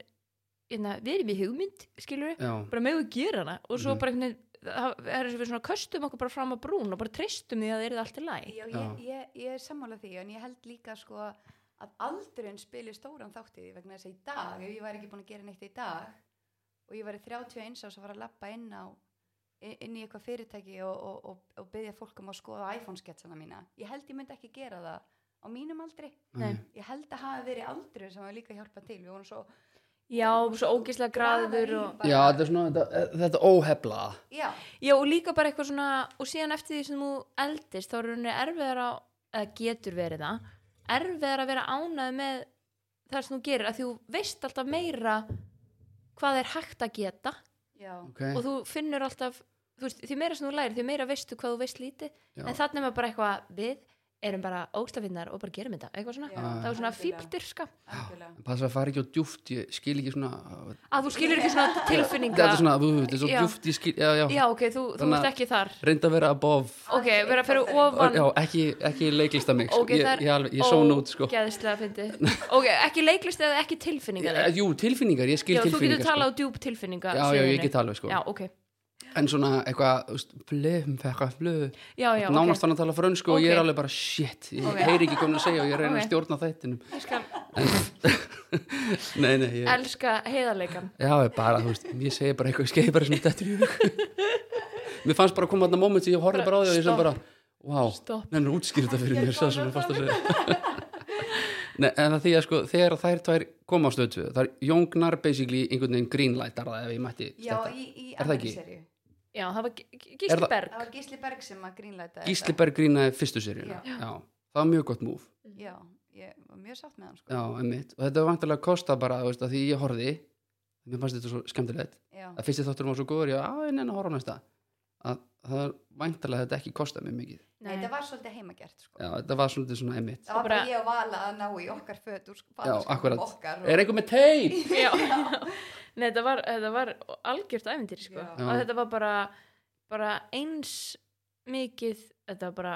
S3: hérna, við erum í hugmynd skilur við,
S1: já,
S3: bara megum við gera hana og svo
S1: Mhm.
S3: bara einhvern veginn það það er eins og við svona köstum okkur bara fram á brún og bara treystum því að það er allt í læg
S2: já,
S1: Já.
S2: ég, ég, ég er sammála því en ég held líka sko að aldurinn spili stóran þátt í því vegna þess að í dag, ef ég væri ekki búin að gera neitt í dag og ég væri 31 ás að fara að lappa inn á i- inn í eitthvað fyrirtæki og, og, og, og byggja fólk um að skoða iPhone-sketsana mína ég held ég myndi ekki gera það á mínum aldri,
S1: nei,
S2: ég held að hafa verið aldurinn sem var líka hjálpað til, við vorum svo
S3: já, svo ógislega graður
S2: Graðar í
S3: og,
S2: bara-
S1: já, þetta er svona þetta, þetta óhefla
S2: já,
S3: já, og líka bara eitthvað svona og síðan eftir því sem þú eldist þá er rauninni erfiðar að, eða getur verið það erfiðar að vera ánæð með það sem þú gerir, að þú veist alltaf meira hvað er hægt að geta
S2: já,
S1: okay.
S3: og þú finnur alltaf þú veist, því meira sem þú lærir, því meira veistu hvað þú veist lítið
S1: Já.
S3: en þannig er bara eitthvað við erum bara ógstafinnar og bara gerum þetta eitthvað svona,
S2: Já,
S1: Ah.
S3: það er svona sko.
S2: algjörlega.
S3: fíbldyrska
S2: algjörlega
S1: passa að fara ekki á djúft ég skil ekki svona
S3: að þú skilur ekki svona tilfinninga
S1: þetta er svona, þú veit, þetta er svo
S3: Já.
S1: djúft ég skil, já, já,
S3: já ok, þú, þú
S1: Þannig
S3: ert
S1: að-
S3: ekki þar
S1: reynda að vera above
S3: ok, vera að fyrir ofan
S1: já, ekki, ekki leiklista mig
S3: ok,
S1: ég,
S3: það
S1: ég, alveg- ég són út,
S3: er
S1: sko
S3: ógeðslega
S1: <laughs>
S3: fyndið ok, ekki leiklist eða ekki tilfinninga
S1: Eh,
S3: þig
S1: jú, tilfinningar, ég skil
S3: já, þú
S1: tilfinningar
S3: getur
S1: sko.
S3: talað á djúb tilfinninga
S1: já, já, ég
S3: sviðinu.
S1: get talað, sko
S3: já, ok,
S1: en svona eitthvað, þú veist, blöðum eitthvað, blöðum,
S3: já, já,
S1: nánast
S3: ok
S1: hann að tala frönsku og ég er
S3: Ok.
S1: alveg bara, shit, ég
S3: Ok.
S1: heyri ekki komin að segja og ég reyna
S3: Ok.
S1: að stjórna þættinum
S3: ég skal
S1: nei, nei, ég,
S3: elska heiðarleikan
S1: já, ég bara, þú veist, ég segi bara eitthvað, ég skei bara sem þetta er í hug mér fannst bara að koma þarna moment sem ég horfði bara á því og ég sem
S3: Stopp.
S1: bara, wow,
S3: stopp,
S1: Nei, nú útskýrðu þetta fyrir
S2: Ég
S1: mér,
S2: kom
S1: það sem
S2: með
S1: þú fast að segja. Nei, en það því að sko, þegar þær tvær koma á stöðtöðu, þar jóngnar basically einhvern veginn greenlightar það ef ég mætti
S2: já,
S1: þetta.
S2: í, í
S1: Er það ekki?
S2: annari serju
S3: já, það var G- G-
S1: Er það-
S3: Gísli Berg
S2: það var Gísli Berg sem að grínlæta
S1: Gísli Berg grínaði fyrstu seríuna, já. það var mjög gott múf,
S2: já, ég var mjög sátt með hann sko
S1: já, emmitt, og þetta var vantilega að kosta bara, þú veist, að því ég horfði, mér fannst þetta svo skemmtilegt,
S2: já,
S1: að fyrsti þátturum var svo góður, já, á, en en að horfa á næsta, að það var vantilega þetta ekki kosta mér mikið,
S2: nei, þetta var svolítið heimagert sko
S1: já, þetta var svolítið svona emmitt.
S2: það var bara
S3: bara-
S2: ég að vala að ná í okkar föt úr
S1: Já, akkurat.
S2: fataskápnum okkar og,
S1: Er einhver með teip?
S3: já, Nei, þetta var, þetta var algjört æfintýri sko.
S2: Já.
S1: Já.
S3: og þetta var bara, bara eins mikið þetta var bara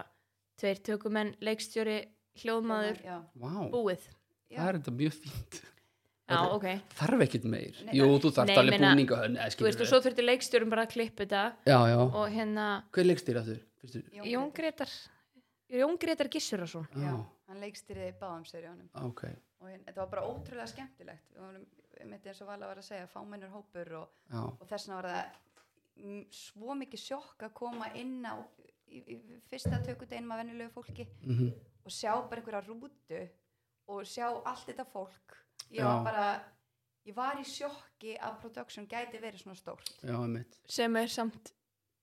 S3: tveir tökumenn leikstjóri, hljóðmaður
S2: já,
S1: Vá,
S3: búið
S2: já,
S1: það er þetta mjög fínt.
S3: Já,
S1: Þetta-
S3: ok,
S1: þarf ekkert meir
S2: Nei,
S1: Jú, þú þarft
S3: Nei,
S1: alveg
S3: meina-
S1: búninga hönn eða
S3: þú
S1: skilur
S3: veist og
S1: við.
S3: svo þurfti leikstjórum bara að klippa þetta
S1: Já, já,
S3: og hérna
S1: hver leikstýr aftur? Fyrstu?
S3: Jón
S2: Grétar.
S3: Gretar Jón Gretar Gissurason
S2: já,
S1: Já,
S2: hann leikstýriði báðum serjónum
S1: ok
S2: og hérna- þetta var bara ótrúlega skemmtilegt við vorum, mitt eins og Vala var að segja fámennur hópur og,
S1: Já,
S2: og þess vegna var það mm, svo mikið sjokk að koma inn á í, í, í fyrsta tökudeginum að venjulegu fólki
S1: mhm,
S2: og sjá bara einhverja rútu og sjá allt þetta fólk ég
S1: Já.
S2: var bara ég var í sjokki að production gæti verið svona stórt
S1: já, einmitt
S3: sem er samt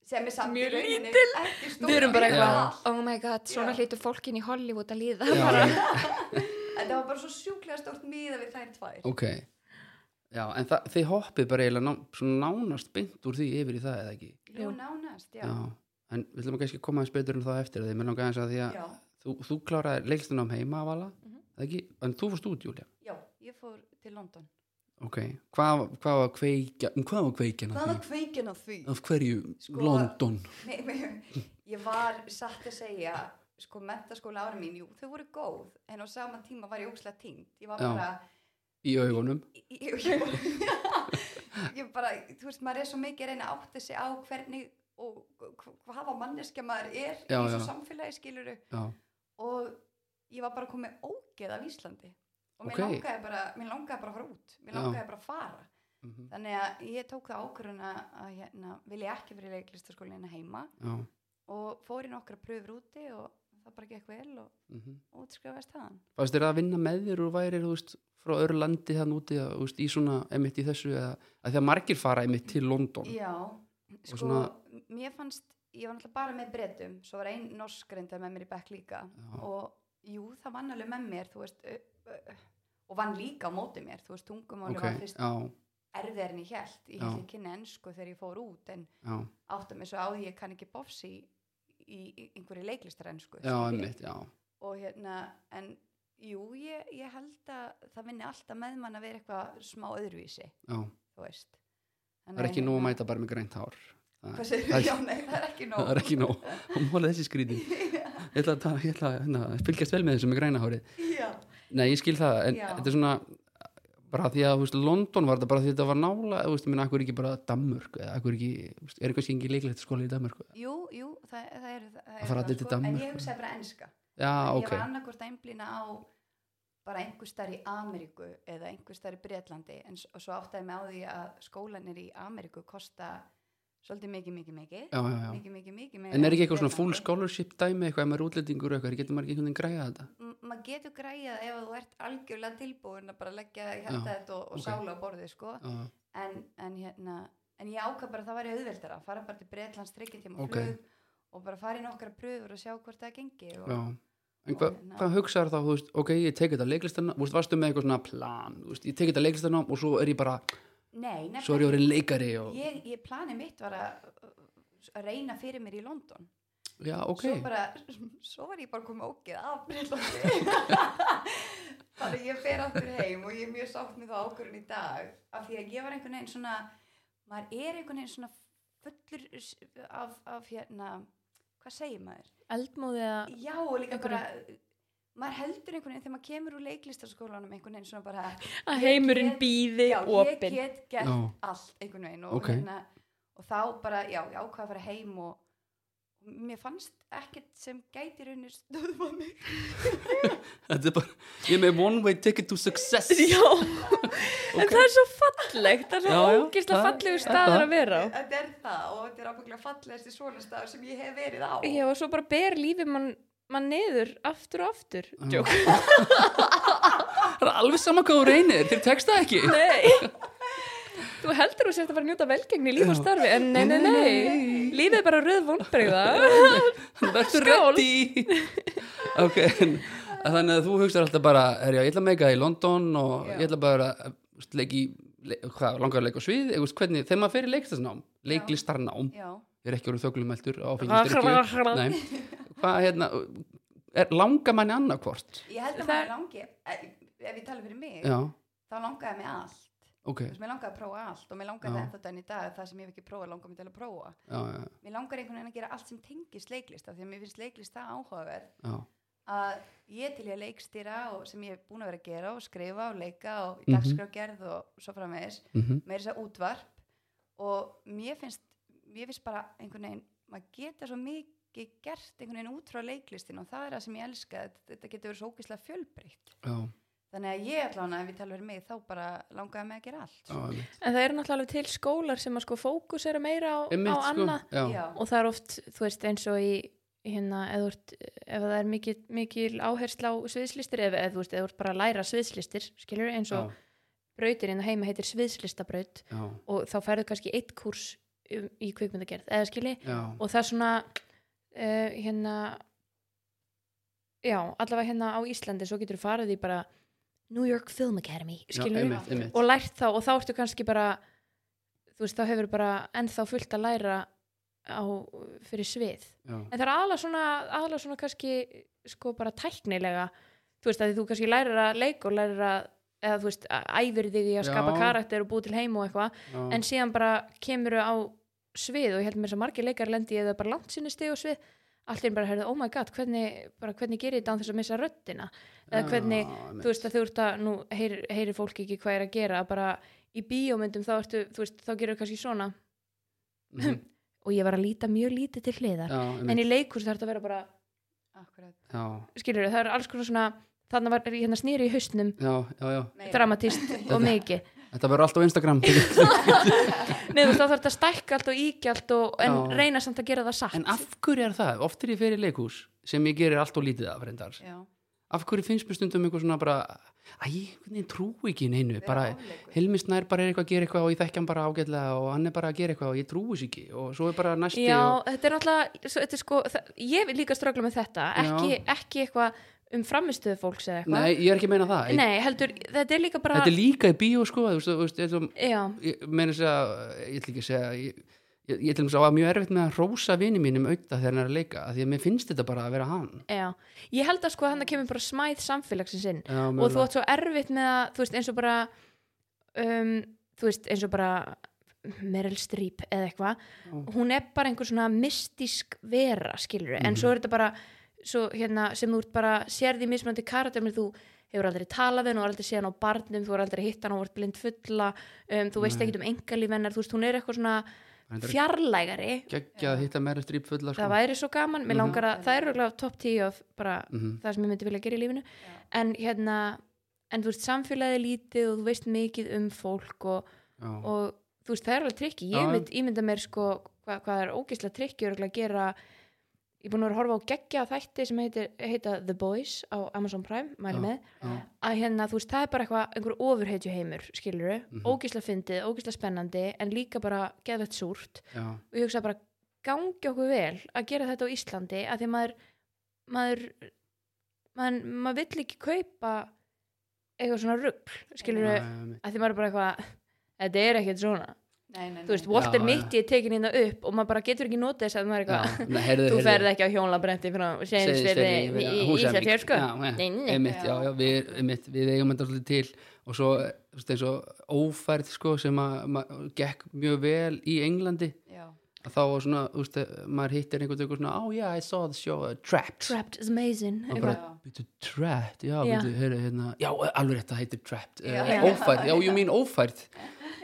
S2: sem er samt
S3: Mjög
S2: í rauninni ekki stórt
S3: Við erum bara
S1: Já.
S3: eitthvað, oh my god, svona
S2: Já.
S3: hlutur fólkin í Hollywood að líða
S1: Já,
S3: bara.
S1: já,
S2: þetta var bara svo sjúklega stórt miða við þær tvær
S1: ok Já, en það, þið hoppið bara eiginlega ná, svona nánast beint úr því yfir í það eða ekki
S2: jú nánast, já,
S1: En við ætlum að kannski koma aðeins betur en það á eftir því, mér langar aðeins að því
S2: já.
S1: að
S2: já.
S1: þú, þú kláraði leikstuna um heima að vala,
S3: Mhm.
S1: eða ekki, en þú fórst út, Júlia
S2: ég fór til London
S1: Ok, hvað, hvað var kveikja, um hvað var kveikjan að
S2: hvað
S1: því?
S2: var kveikin á því?
S1: Af hverju
S2: Sko-
S1: London?
S2: Nei, nei, ég var satt að segja sko mentaskóla ára mín, jú, þau voru góð en á sama tíma var ég ókslega tínd ég var
S1: Já.
S2: bara
S1: Í augunum?
S2: ég, ég, ég, <laughs> ég bara, þú veist, maður er svo mikið að reyna að átta sig á hvernig og hv- hvaða manneskja maður er
S1: Já,
S2: í þessu
S1: já.
S2: samfélagi skiluru
S1: Já,
S2: og ég var bara komið ógeð af Íslandi og mér,
S1: Ok.
S2: langaði bara, mér langaði bara að fara út mér
S1: Já.
S2: langaði bara að fara
S1: mhm,
S2: þannig að ég tók það ákvörðun að að, hérna, vilja ekki verið leiklistaskólinna heima
S1: já,
S2: og fór í nokkra pröfur úti og það bara gekk vel og
S1: mhm
S2: útskrifaðist þaðan
S1: Fannst þér það að vinna með þér og værir þú veist, frá öðru landi þann úti að, þú veist, í svona emitt í þessu eða að því að margir fara emitt til London
S2: Já, sko,
S1: svona-
S2: mér fannst, ég var náttúrulega bara með breytum, svo var ein norsk reyndar með mér í bekk líka
S1: Já.
S2: og jú, það vann alveg með mér, þú veist, ö, ö, og vann líka á móti mér, þú veist, tungumáli
S1: ok,
S2: var fyrst
S1: já,
S2: erfiðar en ég held,
S1: Já.
S2: ég held ekki kynna ensku þegar ég fór út, en
S1: já,
S2: átta mig svo á því ég kann ekki bofsi í, í, í einhverju leiklistar ensku.
S1: já, emitt, já
S2: Og hérna, en jú, ég, ég held að það vinni alltaf með mann að vera eitthvað smá öðruvísi,
S1: já,
S2: þú veist. hérna-
S1: það er ekki nóg að mæta bara með grænt hár
S2: Hvað segir
S1: <laughs> Það er-
S2: Já, nei, það er ekki nóg. <laughs>
S1: það er ekki nóg, hún mólið þessi skrýtin ég ætla að, ta- ég ætla að hérna, fylgjast vel með þessum með græna hárið
S2: já,
S1: Nei, ég skil það, en
S2: Já.
S1: þetta er svona bara því að, þú veist, London var þetta bara því að þetta var nála, þú veist, ég minna, akkur ekki bara Danmörk, eða akkur ekki, þú veist, er kannski engin leiklegt skóli í Danmörk,
S2: jú, jú það, það er það,
S1: Það fara
S2: það,
S1: allir til
S2: en
S1: Danmerkur.
S2: ég hugsaði bara enska
S1: já,
S2: ég
S1: ok
S2: var annarkvort að einblýna á bara einhver starf í Ameríku eða einhver starf í Bretlandi en, s- og svo áttaði mig á því að skólanir í Ameríku kosta svolítið mikið, mikið, mikið
S1: já, já, já,
S2: mikið, mikið, mikið meira
S1: en er
S2: í
S1: ekki eitthvað svona full
S2: Bretlandi.
S1: scholarship dæmi, eitthvað, ef maður er útlendingur og eitthvað, getur maður ekki einhvern veginn græða þetta,
S2: M- maður getur græjað ef þú ert algjörlega tilbúin að bara leggja hjarta
S1: Já,
S2: þetta og, og
S1: ok.
S2: sála á borðið sko
S1: já,
S2: en, en hérna en ég ákvað bara að það væri auðveldara að fara bara til Bretlands tryggja tíma
S1: Ok.
S2: flug og bara fara í nokkra pröfur og sjá hvort það gengi og,
S1: já en hvað,
S2: Og-
S1: hvað hugsaður þá, þú veist, ok, ég teki þetta leiklistarnám, þú veist, varstu með eitthvað svona plan, þú veist, ég teki þetta leiklistarnám og svo er ég bara,
S2: nei, nefnilega
S1: svo er ég orðin leikari og,
S2: ég, ég planið mitt var að, að reyna fyrir mér í London
S1: já, ok,
S2: svo bara, svo var ég bara komið ógeð af Breitlandi <laughs> þannig að ég fer aftur heim og ég er mjög sátt með það ákvörðun í dag af því að ég var einhvern veginn svona maður er einhvern veginn svona fullur s- af, af hérna hvað segir maður?
S3: eldmóði að
S2: Já og líka
S3: Einhverju-
S2: bara maður heldur einhvern veginn þegar maður kemur úr leiklistaskólanum einhvern veginn svona bara
S3: að heimurinn býði
S2: já, ég
S3: opinn
S2: get gert
S1: Já.
S2: allt einhvern veginn og,
S1: Ok.
S2: hérna, og þá bara, já, ég ákvað að fara heim og og mér fannst ekkert sem gæti raunir stöðum að mig
S1: þetta er bara, ég er með one way ticket to success,
S3: já,
S1: <laughs>
S3: en það er svo fallegt það er svo
S1: Já, já,
S3: ógislega
S1: það-
S3: fallegu
S1: það-
S3: staðar að vera á
S2: þetta er það og þetta er ábygglega fallegasti svona staður sem ég hef verið á
S3: já, og svo bara ber lífið mann mann niður aftur og aftur Jók.
S1: það er alveg sama hvað þú reynir, þér tekst það
S2: <laughs>
S1: ekki.
S3: nei <laughs> þú heldur þú sért að fara að njóta velgengni í líf og
S1: Já.
S3: starfi en nei, nei, nei, lífið er bara röð vonbreyða
S1: Verður
S3: Skál.
S1: ready <laughs> Ok, en, að þannig að þú hugsar alltaf bara er, já, Ég ætla að meika í London og
S2: Já.
S1: ég ætla bara að þú veist, leik í, le, hvað, langar að leika á svið eða, þú veist, hvernig, þegar maður fer í leiklistarnám leiklistarnám,
S2: já,
S1: ég er ekki orðið þöglumæltur
S3: <laughs> Hrrrrrrrrr.
S1: áfengisdrykju Hvað, hérna er, langar manni annarkvort?
S2: ég held að
S3: Það-
S2: maður langi ef ef ég tala fyrir mig,
S1: Já,
S2: þá langaði mig allt
S1: ok
S2: Þú
S1: já,
S2: veist, mér langaði að prófa allt og mér langaði
S1: Já.
S2: þetta dæn í dag það sem ég hef ekki prófað langaði mig til að prófa
S1: já,
S2: mér langar einhvern veginn að gera allt sem tengist leiklist af því að mér finnst leiklist það áhugaverð
S1: já,
S2: að ég til ég að leikstýra og sem ég er búin að vera að gera og skrifa og leika og
S1: Mhm.
S2: dagskrágerð og svo framvegis
S1: mhm,
S2: meira þess að útvarp og mér finnst, mér finnst bara einhvern veginn, maður geta svo mikið gert einhvern veginn út frá leiklistin og það er það sem ég elska, þetta- þetta getur verið svo ókislega fjölbreytt,
S1: já,
S2: þannig að ég allan ef ég tala verið mig þá bara langaði mig að gera allt
S1: já einmitt.
S3: en það eru náttúrulega alveg til skólar sem að sko fókusera meira á, á
S1: Einmitt, sko,
S3: annað
S1: já, já,
S2: Já.
S3: og það er oft, þú veist, eins og í hérna, ef, þú ert, ef það er mikil, mikil áhersla á sviðslistir ef, ef þú veist, ef þú ert bara að læra sviðslistir skilur eins og
S1: já,
S3: brautir inn á heima heitir sviðslistabraut
S1: já,
S3: og þá færðu kannski eitt kurs um, í kvikmyndagerð, eða skilji
S1: já.
S3: og það er svona uh, hérna já, allavega hérna á Íslandi svo getur þú farið í bara New York Film Academy, skilur
S1: einmitt, einmitt.
S3: og lært þá og þá ertu kannski bara þú veist, þá hefur bara ennþá fullt að læra á, fyrir svið
S1: já.
S3: en það er aðalega svona, aðalega svona kannski sko bara tæknilega þú veist að því þú kannski lærir að leik og lærir að eða þú veist, að æfir þig í að
S1: Já.
S3: skapa karakter og búi til heim og eitthvað
S1: já.
S3: en síðan bara kemur á svið og ég held mér þess að margir leikar lendi eða bara langt sinni stig og svið allir bara herðu, oh my god, hvernig, bara, hvernig gerir ég þetta án þess að missa röddina eða
S1: Já,
S3: hvernig,
S1: einmitt.
S3: þú veist að þú ert að nú heyrir, heyrir fólk ekki hvað er að gera bara í bíómyndum þá ertu, þú veist, þá gerur kannski svona
S1: Mhm,
S3: og ég var að líta mjög lítið til hliðar
S1: já,
S3: en
S1: einmitt,
S3: í leikhús þarf þetta að vera bara
S2: Akkurat.
S1: já,
S3: skilur það er alls konar svona þannig var ég hérna snýri í hausnum
S1: já, já, já
S2: Meira.
S3: dramatist <laughs> og mikið
S1: Þetta verður allt á Instagram
S3: Nei, þú veist, þá þarf þetta að stækka allt og íkja allt og, en
S1: Já.
S3: reyna samt að gera það satt
S1: <laughs> En af hverju er það? Oft er ég fyrir leikhús sem ég gerir allt og lítið af reyndar
S2: Já,
S1: Af hverju finnst mér stundum eitthvað svona bara Æ, hvernig trú ekki neinu
S2: Vera
S1: bara,
S2: ofleikur.
S1: Hilmi Snær bara er eitthvað að gera eitthvað og ég þekki hann bara ágætlega og hann er bara að gera eitthvað og ég trúi sér ekki og svo er bara næsti
S3: Já,
S1: og,
S3: þetta er náttúrulega svo, þetta er sko, það, ég vil líka ströggla með þetta ekki, ekki eitthvað um framistöðu fólks eða eitthvað
S1: Nei, ég er ekki að meina það ég,
S3: Nei, heldur, þetta er líka bara
S1: Þetta er líka í bíó sko þú veist, þú veist, þú veist,
S3: Já,
S1: ég meina þess að ég ætla ekki að segja ég, ég, ég til þess að var mjög erfitt með að rósa vini mínum auðvitað þegar hann er að leika af því að mér finnst þetta bara að vera hann
S3: já Ég held að sko hann að kemur bara smæð samfélagsins inn
S1: Já,
S3: og þú
S1: mögulega.
S3: átt svo erfitt með að þú veist eins og bara um, þú veist eins og bara Meryl Streep
S1: Mhm.
S3: eða eitthvað hún er bara einhver svona mystísk vera skilur en svo er þetta bara svo, hérna, sem þú ert bara sérði mismöndi karakter menn þú hefur aldrei talað við hann og aldrei séð hann á barnum þú er aldrei hitt hann og vart blind fulla um, þú veist
S1: Nei.
S3: ekkert um engalíf hennar þú veist, hún er eitthvað svona
S1: Reyndar er
S3: fjarlægari
S1: geggjað að hitta meira stríp fulla sko.
S3: það væri svo gaman, mér
S1: Mhm.
S3: langar að það er röglega top 10 af bara
S1: Mhm.
S3: það sem ég myndi vilja gera í lífinu
S2: Já.
S3: en hérna, en þú veist samfélagið er lítið og þú veist mikið um fólk og,
S1: Já.
S3: og þú veist það er alveg trikki,
S1: Já,
S3: ég
S1: já.
S3: mynd, ímynda mér sko hvað, hvað er ógeðslega trikki að gera ég er búin að vera að horfa á geggja þætti sem heitir, heita The Boys á Amazon Prime, mæli
S1: Já.
S3: með
S1: Já.
S3: að hérna, þú veist, það er bara eitthvað, einhver ofurheitju heimur, skilur við,
S1: Mhm.
S3: ógísla fyndið, ógísla spennandi, en líka bara geðvett súrt,
S1: Já.
S3: og ég hugsa bara gangi okkur vel að gera þetta á Íslandi að því maður maður, maður, maður vill ekki kaupa eitthvað svona rugl, skilur
S1: Já,
S3: við
S1: já, já,
S3: að því maður er bara eitthvað þetta er ekkert svona,
S2: Nei, nei, nei.
S3: þú veist,
S1: what-
S3: Walter
S1: Já, já.
S3: Mitty er tekin hérna upp og maður bara getur ekki notið þess að maður er eitthvað
S1: Já, nei, heyrðu,
S3: þú
S1: heyrðu.
S3: ferð ekki á hjónlabretti frá
S1: Seyðisfirði,
S3: Seyðisfirði í
S1: Húsavík.
S3: Ísafjörð sko
S1: Já, já,
S3: Nei, nei.
S1: einmitt, já,
S2: Já.
S1: já, við, einmitt, við eigum þetta alltaf til og svo þú veist, eins og ófærð sko, sem að maður gekk mjög vel í Englandi
S2: Já.
S1: að þá var svona, þú veist, maður hittir einhvern veginn svona, oh yeah, I saw the show uh, Trapped,
S3: Trapped is amazing
S1: og
S3: eitthvað.
S1: bara,
S2: eitthvað.
S1: byrju, Trapped já,
S3: Já.
S1: byrju, heyrðu, hérna, já, alveg rétt, það heitir Trapped,
S2: Já.
S1: uh, ófærð, já, ég mín ófærð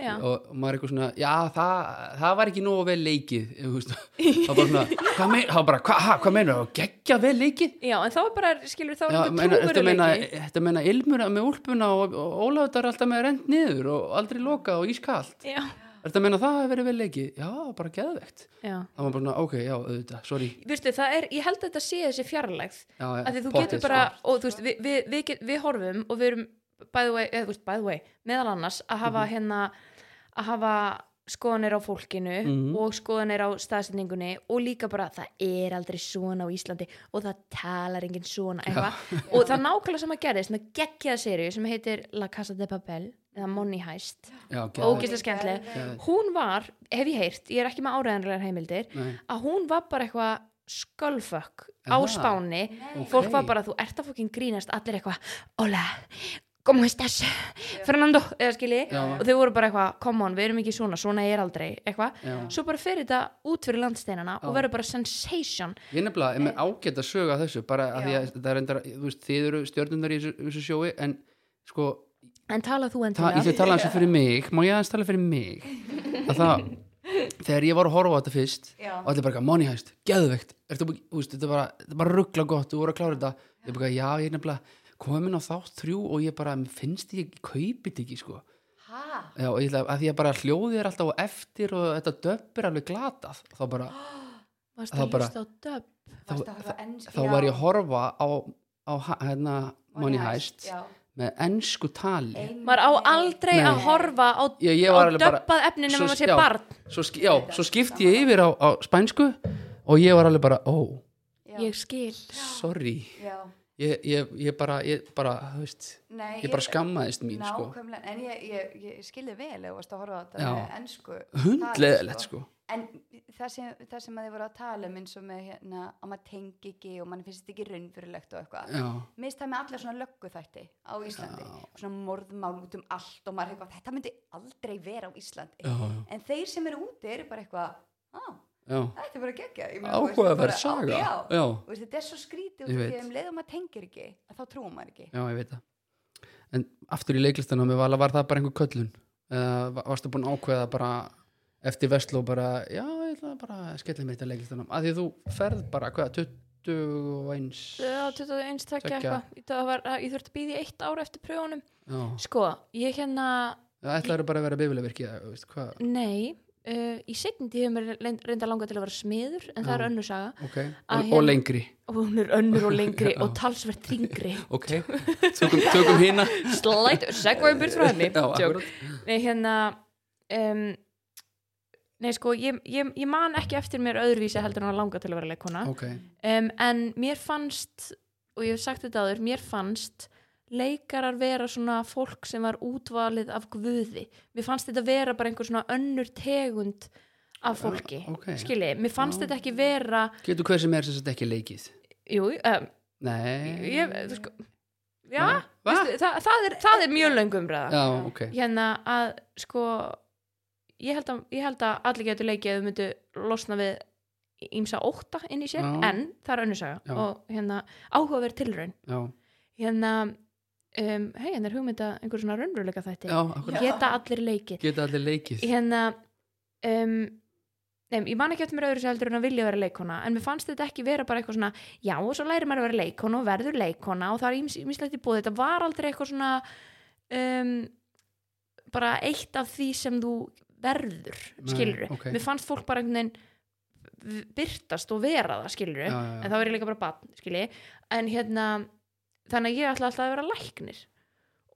S3: Já.
S1: og og maður er eitthvað svona, já, það, það var ekki nógu vel leikið, þú veist það var bara svona, hvað meina, það var bara, hva, ha, hvað meina, geggja vel leikið
S3: Já, en þá er bara, skilur, þá er
S1: Já, meina,
S3: einhver
S1: þetta meina,
S3: trúveruleiki
S1: þetta meina ilmur með úlpuna og, og Ólafur er alltaf með rent niður og aldrei lokað og ískalt
S3: Já,
S1: þetta meina það hefur verið vel leiki já, bara geðvegt
S3: já
S1: það var bara svona, ok, já, auðvitað, sorry
S3: Vistu, það er, ég held að þetta sé þessi fjarlægð
S1: já, já,
S3: af því þú
S1: pottið,
S3: getur bara,
S1: sko.
S3: og þú veist, við, við, við, get, við horfum og við erum, by the way, eða, þú veist, by the way meðal annars að
S1: Mhm.
S3: hafa hérna að hafa skoðanir á fólkinu
S1: Mhm.
S3: og skoðanir á staðsendingunni og líka bara það er aldrei svona á Íslandi og það talar enginn svona eitthvað og það er nákvæmlega sama gerðist með geggjaða serið sem heitir La Casa de Papel eða Money Heist
S1: já,
S3: ógeðslega
S1: geðvegt,
S3: skemmtileg.
S1: geðvegt.
S3: hún var, hef ég heyrt, ég er ekki með áræðanlegar heimildir
S1: Nei,
S3: að hún var bara eitthvað skölfökk á
S1: Aha.
S3: spáni
S2: Nei.
S3: fólk
S1: Ok.
S3: var bara, þú ert að fókin grínast allir eitthvað, Óla komu stess, Fernando eða skilji,
S1: Já.
S3: og þau voru bara eitthvað come on, við erum ekki svona, svona er aldrei eitthvað,
S1: já.
S3: svo bara fer þetta út fyrir landsteinana og
S1: Já.
S3: verður bara sensation
S1: ég nefnilega er með ágætt að söga þessu bara að því að það er endara, þú veist, þið eru stjörnundar í þessu, þessu sjói en sko,
S3: en tala þú
S1: ta, ég
S3: endilega
S1: þau tala eins og fyrir mig má ég aðeins tala fyrir mig að það, þegar ég var að horfa á þetta fyrst
S2: Já.
S1: og allir bara, eitthvað, Money Heist, geðveikt ertu, bú- þú veist, þetta er bara, þetta er bara ruggla gott þú voru að klára þetta, ég bara, já, ég er nefnilega komin á þátt þrjú og ég bara mér finnst ég ekki, kaupið þetta ekki, sko
S2: Hæ?
S1: já, og ég ætla, að því að bara hljóðið er alltaf á eftir og þetta döpp er alveg glatað og þá bara,
S3: varst
S1: þá
S3: að
S1: bara-
S3: hlusta á döp
S1: þá,
S2: Varstu að horfa á enns-
S1: þá
S2: Já.
S1: var ég að horfa á, á ha- hérna, Money Heist
S2: Já.
S1: með ennsku tali
S2: Einmitt.
S3: maður á aldrei
S1: Nei.
S3: að horfa á,
S1: Ég- ég
S3: á
S1: var alveg bara-
S3: döbbað efni
S1: Svo-
S3: nema maður sé
S1: já.
S3: barn
S1: svo, sk- já, svo skipti ég yfir á, á spænsku og ég var alveg bara, ó,
S2: Já.
S3: ég skil
S1: sorry
S2: Já.
S1: ég, ég, ég bara, ég bara, þú veist
S2: Nei,
S1: ég bara skammaðist mín, sko
S2: Nákvæmlega, en ég, ég, ég skilði vel ef þú varst að horfa á þetta
S1: Já.
S2: með ennsku
S1: hundleðilegt sko
S2: En það sem, það sem að þið voru að tala um eins og með hérna að maður tengi ekki og mann finnst þetta ekki raunverulegt og eitthvað
S1: já,
S2: Mér finnst það með alla svona löggu þætti á Íslandi svona morðmál út um allt og maður eitthvað, þetta myndi aldrei vera á Íslandi
S1: já,
S2: en þeir sem eru úti eru bara eitthvað "Ah, á,
S1: já,
S2: þetta er bara geggja
S1: áhugaverð saga
S2: Já,
S1: já,
S2: Þú veist, þetta er svo skrítið
S1: Ég
S2: út af því
S1: veit.
S2: að um leið og maður tengir ekki að þá trúum maður ekki
S1: já, ég veit það en aftur í leiklistan á mig var, var það bara einhver köllun eða va- varstu búin að ákveða bara eftir vestló bara, já, ég ætla bara að skella mér þetta leiklistan á að því að þú ferð bara, hvað, 21
S3: Já, 21 tvekja
S1: Tveggja.
S3: eitthvað Í dag var- ég þurfti að býði eitt ár eftir pröfunum
S1: já,
S3: sko, ég hérna
S1: það ætlaður bara að vera bifileverki eða, veist, hvað,
S3: Nei, uh, í setjum tíu hefur mér reynda langa til að vera smiður en það
S1: Já.
S3: er önnur saga
S1: ok,
S3: Að
S1: og,
S3: hérna-
S1: og lengri
S3: og hún er önnur og
S1: <laughs>
S3: lengri
S1: Já.
S3: og talsvert ringri
S1: ok, tökum, tökum hina
S3: Slæt, segvaðum byrð frá
S1: <laughs>
S3: henni
S1: já,
S3: Joke.
S1: akkurat,
S3: Nei, hérna um, Nei, sko, ég, ég, ég man ekki eftir mér öðruvísi heldur en að langa til að vera leikona
S1: <laughs> ok
S3: um, en mér fannst og ég hef sagt þetta áður, mér fannst leikarar vera svona fólk sem var útvalið af guði mér fannst þetta vera bara einhver svona önnur tegund af fólki
S1: Ah, ok.
S3: skilji, mér fannst
S1: Já.
S3: þetta ekki vera
S1: getur hver sem er sem sagt ekki leikið
S3: jú, um,
S1: nei,
S3: ég, þú sko já,
S1: Nei. Va?
S3: veistu, það, það, er, það er mjög löngum ræða,
S1: já, ok
S3: hérna að sko ég held að, ég held að allir getur leikið að þau myndu losna við ímsa ótta inn í sér
S1: Já.
S3: en það er önnursaga
S1: Já.
S3: og hérna áhugaverð tilraun
S1: já,
S3: hérna, um, hei, hérna er hugmynda einhver svona raunveruleika þætti
S1: já, akkurat
S3: geta allir leikið
S1: geta allir leikið
S3: hérna um, nefn, ég man ekki eftir mér öðru sér heldur en að vilja vera leikona en mér fannst þetta ekki vera bara eitthvað svona já og svo læri maður að vera leikona og verður leikona og það er ýmis- ýmislegt í búið þetta var aldrei eitthvað svona um, bara eitt af því sem þú verður
S1: Nei,
S3: skilur
S1: ok.
S3: mér fannst fólk bara einhvern veginn byrtast og vera það skilur
S1: Já, já, já.
S3: en þá er ég líka bara batn skilji en hérna þannig að ég ætla alltaf að vera læknir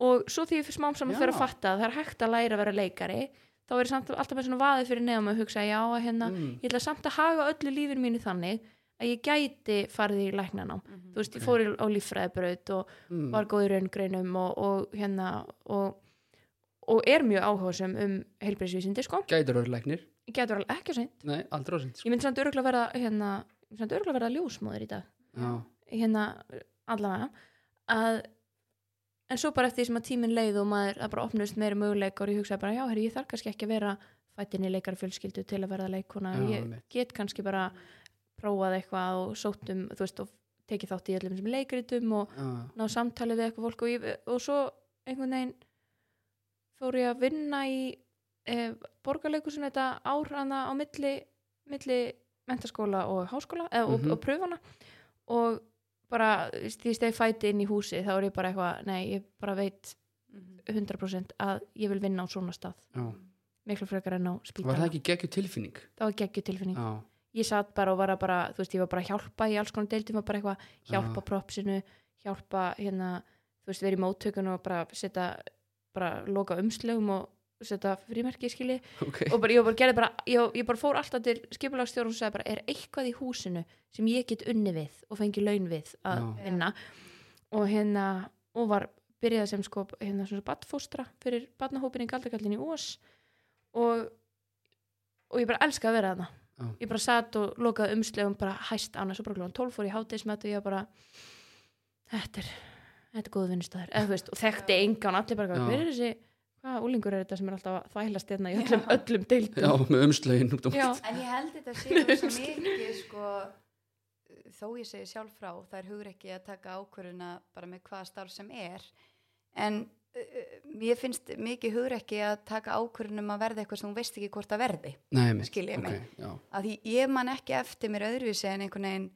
S3: og svo því ég fyrir smám saman
S1: Já.
S3: fyrir að fatta að það er hægt að læra að vera leikari þá er ég samt alltaf með svona vaðið fyrir nefnum að hugsa já að hérna
S1: Mm.
S3: ég ætla samt að haga öllu lífin mínu þannig að ég gæti farið í læknanám
S2: Mhm,
S3: þú veist ég fór í- á líffræðibraut og
S1: Mm.
S3: var góð í raungreinum og, og hérna og, og er mjög áhásum um heilbreyðsvísindi sko
S1: gætur orður læknir
S3: ég getur alveg ekki að segja
S1: nei, aldrei ásýnt sko.
S3: ég myndi samt örgulega verða hérna ég myndi samt örgulega verða ljósmóður í dag
S1: já,
S3: hérna allavega að en svo bara eftir því sem að tíminn leið og maður að bara opnust meira möguleikar og ég hugsaði bara já, herri, ég þarf kannski ekki að vera fættinni leikar fjölskyldu til að verða leikona
S1: Já,
S3: ég
S1: einmitt.
S3: get kannski bara prófað eitthvað og sótt um, þú veist, og tekið þátt í öllum sem leikritum og
S1: já,
S3: ná samtalið við eitthvað fólk og, ég, og svo einhvern veginn fór ég að vinna í e, borgarleikusinu þetta árana á milli, milli mentaskóla og háskóla e, og,
S1: Mhm.
S3: og pröfana og bara þú veist, því stegi fæti inn í húsi þá er ég bara eitthvað, nei, ég bara veit
S2: mhm.
S3: 100% að ég vil vinna á svona stað
S1: já.
S3: miklu frekar en á spítala
S1: var það ekki geggju tilfinning
S3: það var geggju tilfinning
S1: já,
S3: ég satt bara og var að bara, þú veist, ég var bara að hjálpa í alls konar deildum, var bara eitthvað hjálpa propsinu, hjálpa hérna, þú veist, verið í móttökun og bara setja, bara loka umslögum og setja frímerki skili
S1: ok
S3: og bara, ég bara gerði bara, ég, ég bara fór alltaf til skipulagsstjórum og sagði bara, er eitthvað í húsinu sem ég get unni við og fengi laun við að
S1: Já.
S3: vinna og hérna, og var byrjaði sem sko, hérna svona badfóstra fyrir badnahópin í galdakallin í Ós og, og ég bara elska að vera þarna
S1: Já.
S3: ég bara satt og lokaði umslegum bara hæst annars og bara klúan 12 fór í hátismætt og ég var bara þetta er, þetta er góð vinnustæður eða þú veist, og þekkti engan allir bara
S1: Já.
S3: hver er þessi, hvað úlingur er þetta sem er alltaf að þvælast hérna í
S2: Já.
S3: öllum, öllum
S1: já,
S3: deildum
S1: með umslögin um út á
S3: Já.
S2: En ég held þetta <laughs> sé rosa mikið sko, þó ég segi sjálf frá það er hugur ekki að taka ákvöruna bara með hvaða starf sem er en uh, ég finnst mikið hugur ekki að taka ákvörunum að verða eitthvað sem hún veist ekki hvort það verði
S1: nei, mitt
S2: Skil ég
S1: okay,
S2: mig.
S1: já, <laughs>
S2: að því ég man ekki eftir mér öðruvísi en einhvern veginn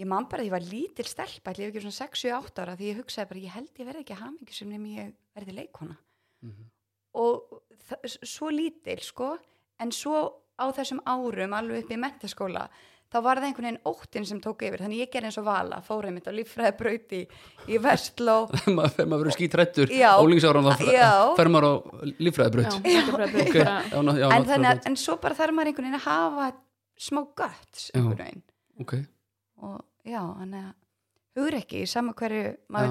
S2: ég man bara að ég var lítil stelpa ætli ég ekki svona 6-7-8 ára því ég hugsaði bara ég held ég verði ekki hamingi sem nefn ég verði leikona
S1: Mhm.
S2: og þa- s- svo lítil sko en svo á þessum árum alveg upp í mentaskóla þá var það einhvern veginn óttin sem tók yfir þannig ég gerði eins og vala, fór einmitt á líffræðabrauti í Vestló
S1: maður fer maður verið skítrættur
S2: Já.
S1: ólingsáran þá fer-
S2: Já.
S1: fer maður á lífræðabraut
S3: Já, þetta er bara-
S1: <laughs> ok,
S3: bara-
S1: já, ná- <laughs> já,
S2: en,
S1: ná-
S2: þannig, að- en svo bara þarf maður einhvern veginn að hafa smá gött
S1: Já.
S2: einhvern veginn
S1: ok,
S2: og já, hann er hugur ekki í sama hverju maður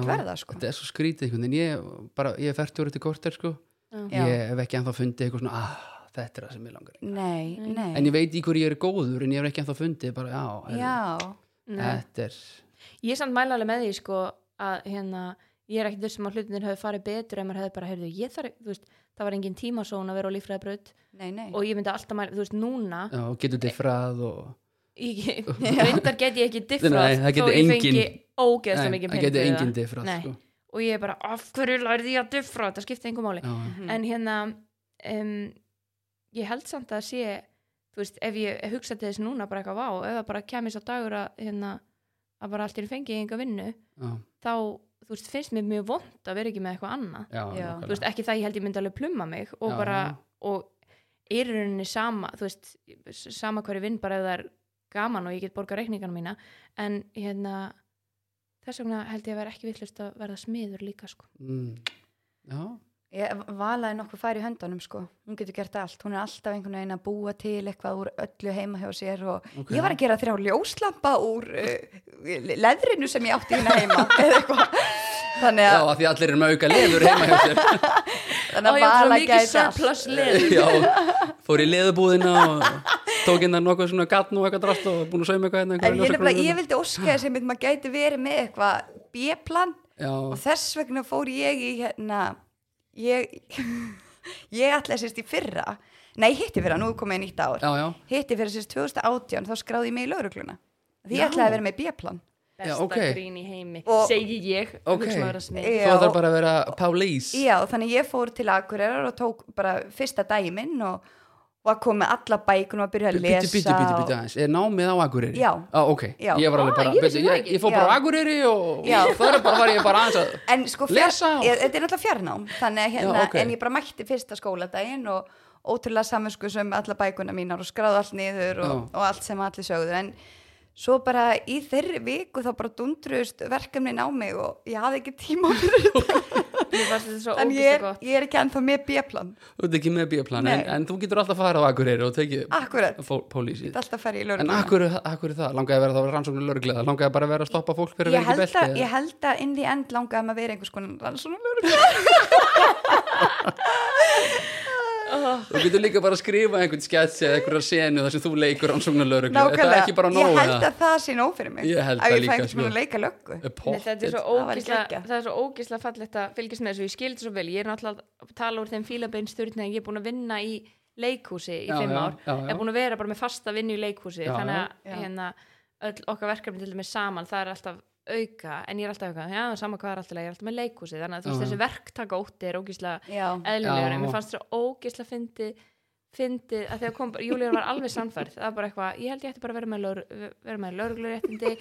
S1: Já,
S2: vil verða sko.
S1: þetta er svo skrítið einhvern veginn ég, bara, ég er fært úr þetta korter sko
S3: Já.
S2: Já.
S1: ég hef ekki ennþá fundið eitthvað svona ah, þetta er það sem ég langar í."
S2: Nei, nei
S1: en ég veit í hverju ég er góður en ég hef ekki ennþá fundið bara, já, herri,
S2: Já,
S3: Nei.
S1: þetta er
S3: ég er samt mæla alveg með því sko að hérna ég er ekkert þessum að hlutinir hefði farið betur ef maður hefði bara, heyrðu, ég þarf, þú veist það var engin tímasón að vera á líffræðabraut
S2: nei, nei
S3: og ég myndi alltaf mæla, þú veist, núna
S1: já, getur diffrað og <laughs>
S3: ég, reyndar get ég ekki
S1: Nei,
S3: diffrað
S1: það
S3: þó
S1: geti
S3: ég fengi
S1: enginn-
S3: ógeðslega
S1: Nei,
S3: mikið
S1: það
S3: pening
S1: getur
S3: fyrir
S1: enginn diffrað
S3: Nei.
S1: sko.
S3: og ég er bara, af hverju lærði ég að diffra þetta skipti engum máli,
S1: já,
S3: en hérna um, ég held samt að sé þú veist, ef ég hugsa til þess núna bara eitthvað vá, ef það bara kemur sá dagur að hérna, að bara allt í einu fengi ég enga vinnu,
S1: já,
S3: þá þú veist, finnst mér mjög vond að vera ekki með eitthvað annað
S1: já,
S2: Já.
S1: nákvæmlega.
S3: þú veist, ekki það ég held ég myndi alveg plumma mig og
S1: Já.
S3: bara, og er í rauninni sama, þú veist, sama hverju vinn bara ef það er gaman og ég get borgað reikningana mína, en hérna þess vegna held ég að vera ekki villust að verða smiður líka, sko
S1: mm. já,
S2: Ég valaði nokkuð fær í höndunum sko Hún getur gert allt, hún er alltaf einhvern veginn að búa til eitthvað úr öllu heima hjá sér og
S1: Ok.
S2: ég var að gera þrjá ljóslampa úr uh, leðrinu sem ég átti hérna heima <laughs> eða eitthvað Þannig
S1: já,
S2: að,
S1: af því að allir eru með auka leður heima hjá sér
S3: Ó,
S2: þannig
S3: ég
S2: að
S3: var svo
S2: vala
S3: mikið
S2: gæti allt
S3: surplus leður
S1: já, fór í leðubúðina og tók inn að nokkuð svona gatt og eitthvað drast og búin að sauma eitthvað hérna
S2: En
S1: einhverja
S2: ég, nefnilega,
S1: ljósakrúnur.
S2: ég vildi óska þess að maður gæti verið með eitthvað B-plan og
S1: já,
S2: þess <laughs> vegna fór ég í hérna ég ég ætla að sérst í fyrra nei hitti fyrir að nú er komið nýtt ár
S1: já, já,
S2: hitti fyrir sérst 2018 þá skráði ég mig í laurugluna því
S1: Já.
S2: ég ætlaði að vera með B-plan
S3: besta
S1: ok.
S3: grín í heimi
S2: Og-
S3: segi ég
S1: Ok.
S3: okay.
S1: þá
S2: Já.
S1: þarf bara að vera Pálís
S2: já þannig ég fór til Akureyrar og tók bara fyrsta dæminn og, og að koma með alla bækunum að byrja að
S1: Bíti,
S2: lesa
S1: bíti, bíti, bíti aðeins, er námið á Akureyri?
S2: Já.
S1: ah, ok,
S2: Já.
S1: ég var alveg
S3: Ah,
S1: bara,
S3: ég
S1: veistu,
S3: vissi það
S1: ég,
S3: ekki.
S1: ég fór bara á
S2: Já.
S1: Akureyri og
S2: Já.
S1: það bara var ég bara aðeins að
S2: <laughs> en sko fjar,
S1: Lesa á-
S2: ég, þetta er náttúrulega fjarnám þannig að hérna,
S1: Já, ok.
S2: en ég bara mætti fyrsta skóladaginn og ótrúlega saminsku sem alla bækuna mínar og skráði allt niður og, og allt sem allir sögðu en svo bara í þeirri viku þá bara dundruðust verkefnin á mig og ég hafði ekki tíma fyrir
S1: <laughs>
S2: þetta
S3: mér fannst þetta svo
S2: en ég
S3: ógæsta
S2: er,
S3: gott
S2: ég er ekki ennþá með B-plan
S1: þú ert ekki með bíoplan, en,
S2: Nei. Ah.
S1: en þú getur alltaf að fara á Akureyri og tekið
S2: akkurat,
S1: fó- pólísið
S2: þetta er alltaf að ferja í
S1: En
S2: lögum
S1: akkur, akkur það, langaði að vera þá rannsóknir lörglega, langaði bara að vera að stoppa fólk fyrir
S2: ég
S1: að vera
S2: held,
S1: ekki
S2: að,
S1: belti
S2: ég held að inn í end langaði maður að vera einhvers konar rannsóknar lögum
S1: Þú getur líka bara að skrifa einhvern sketsi eða einhverja senu þar sem þú leikur rannsóknir lörglega Þetta er ekki bara
S2: nákvæmlega,
S1: nóg
S2: ég held að það sé nóg fyrir mig
S1: Ég held
S2: að
S1: það
S2: ég
S1: líka,
S2: fæ einhvers
S1: sko.
S2: konar leika löggu
S3: Nei, þetta er svo
S2: Það væri
S3: ógísla
S2: geggjað.
S3: það er svo ógísla fallegt að fylgjast með þessu ég skil þetta svo vel, ég er náttúrulega að tala úr þeim fílabeinstörn ég er búin að vinna í leikhúsi í
S1: Já,
S3: fimm
S1: já,
S3: ár,
S1: já, já.
S3: ég er búin að vera bara með fasta vinnu í leikhúsi,
S1: Já,
S3: þannig að
S2: já. Já.
S3: hérna, öll okkar verkefni til dæmis saman það er alltaf auka, en ég er alltaf auka já, sama hvað er alltaf, leik, ég er alltaf með leikhúsi þannig að þú veist
S1: Já, já.
S3: þessi verktakótti er ógísla
S2: Já.
S3: eðlilegur,
S1: Já.
S3: en mér fannst það ógisla fyndið fyndið að þegar kom bara, Júlíur var alveg sannfærð, það var bara eitthvað, ég held ég ætti bara að vera með, lör, vera með lögregluréttindi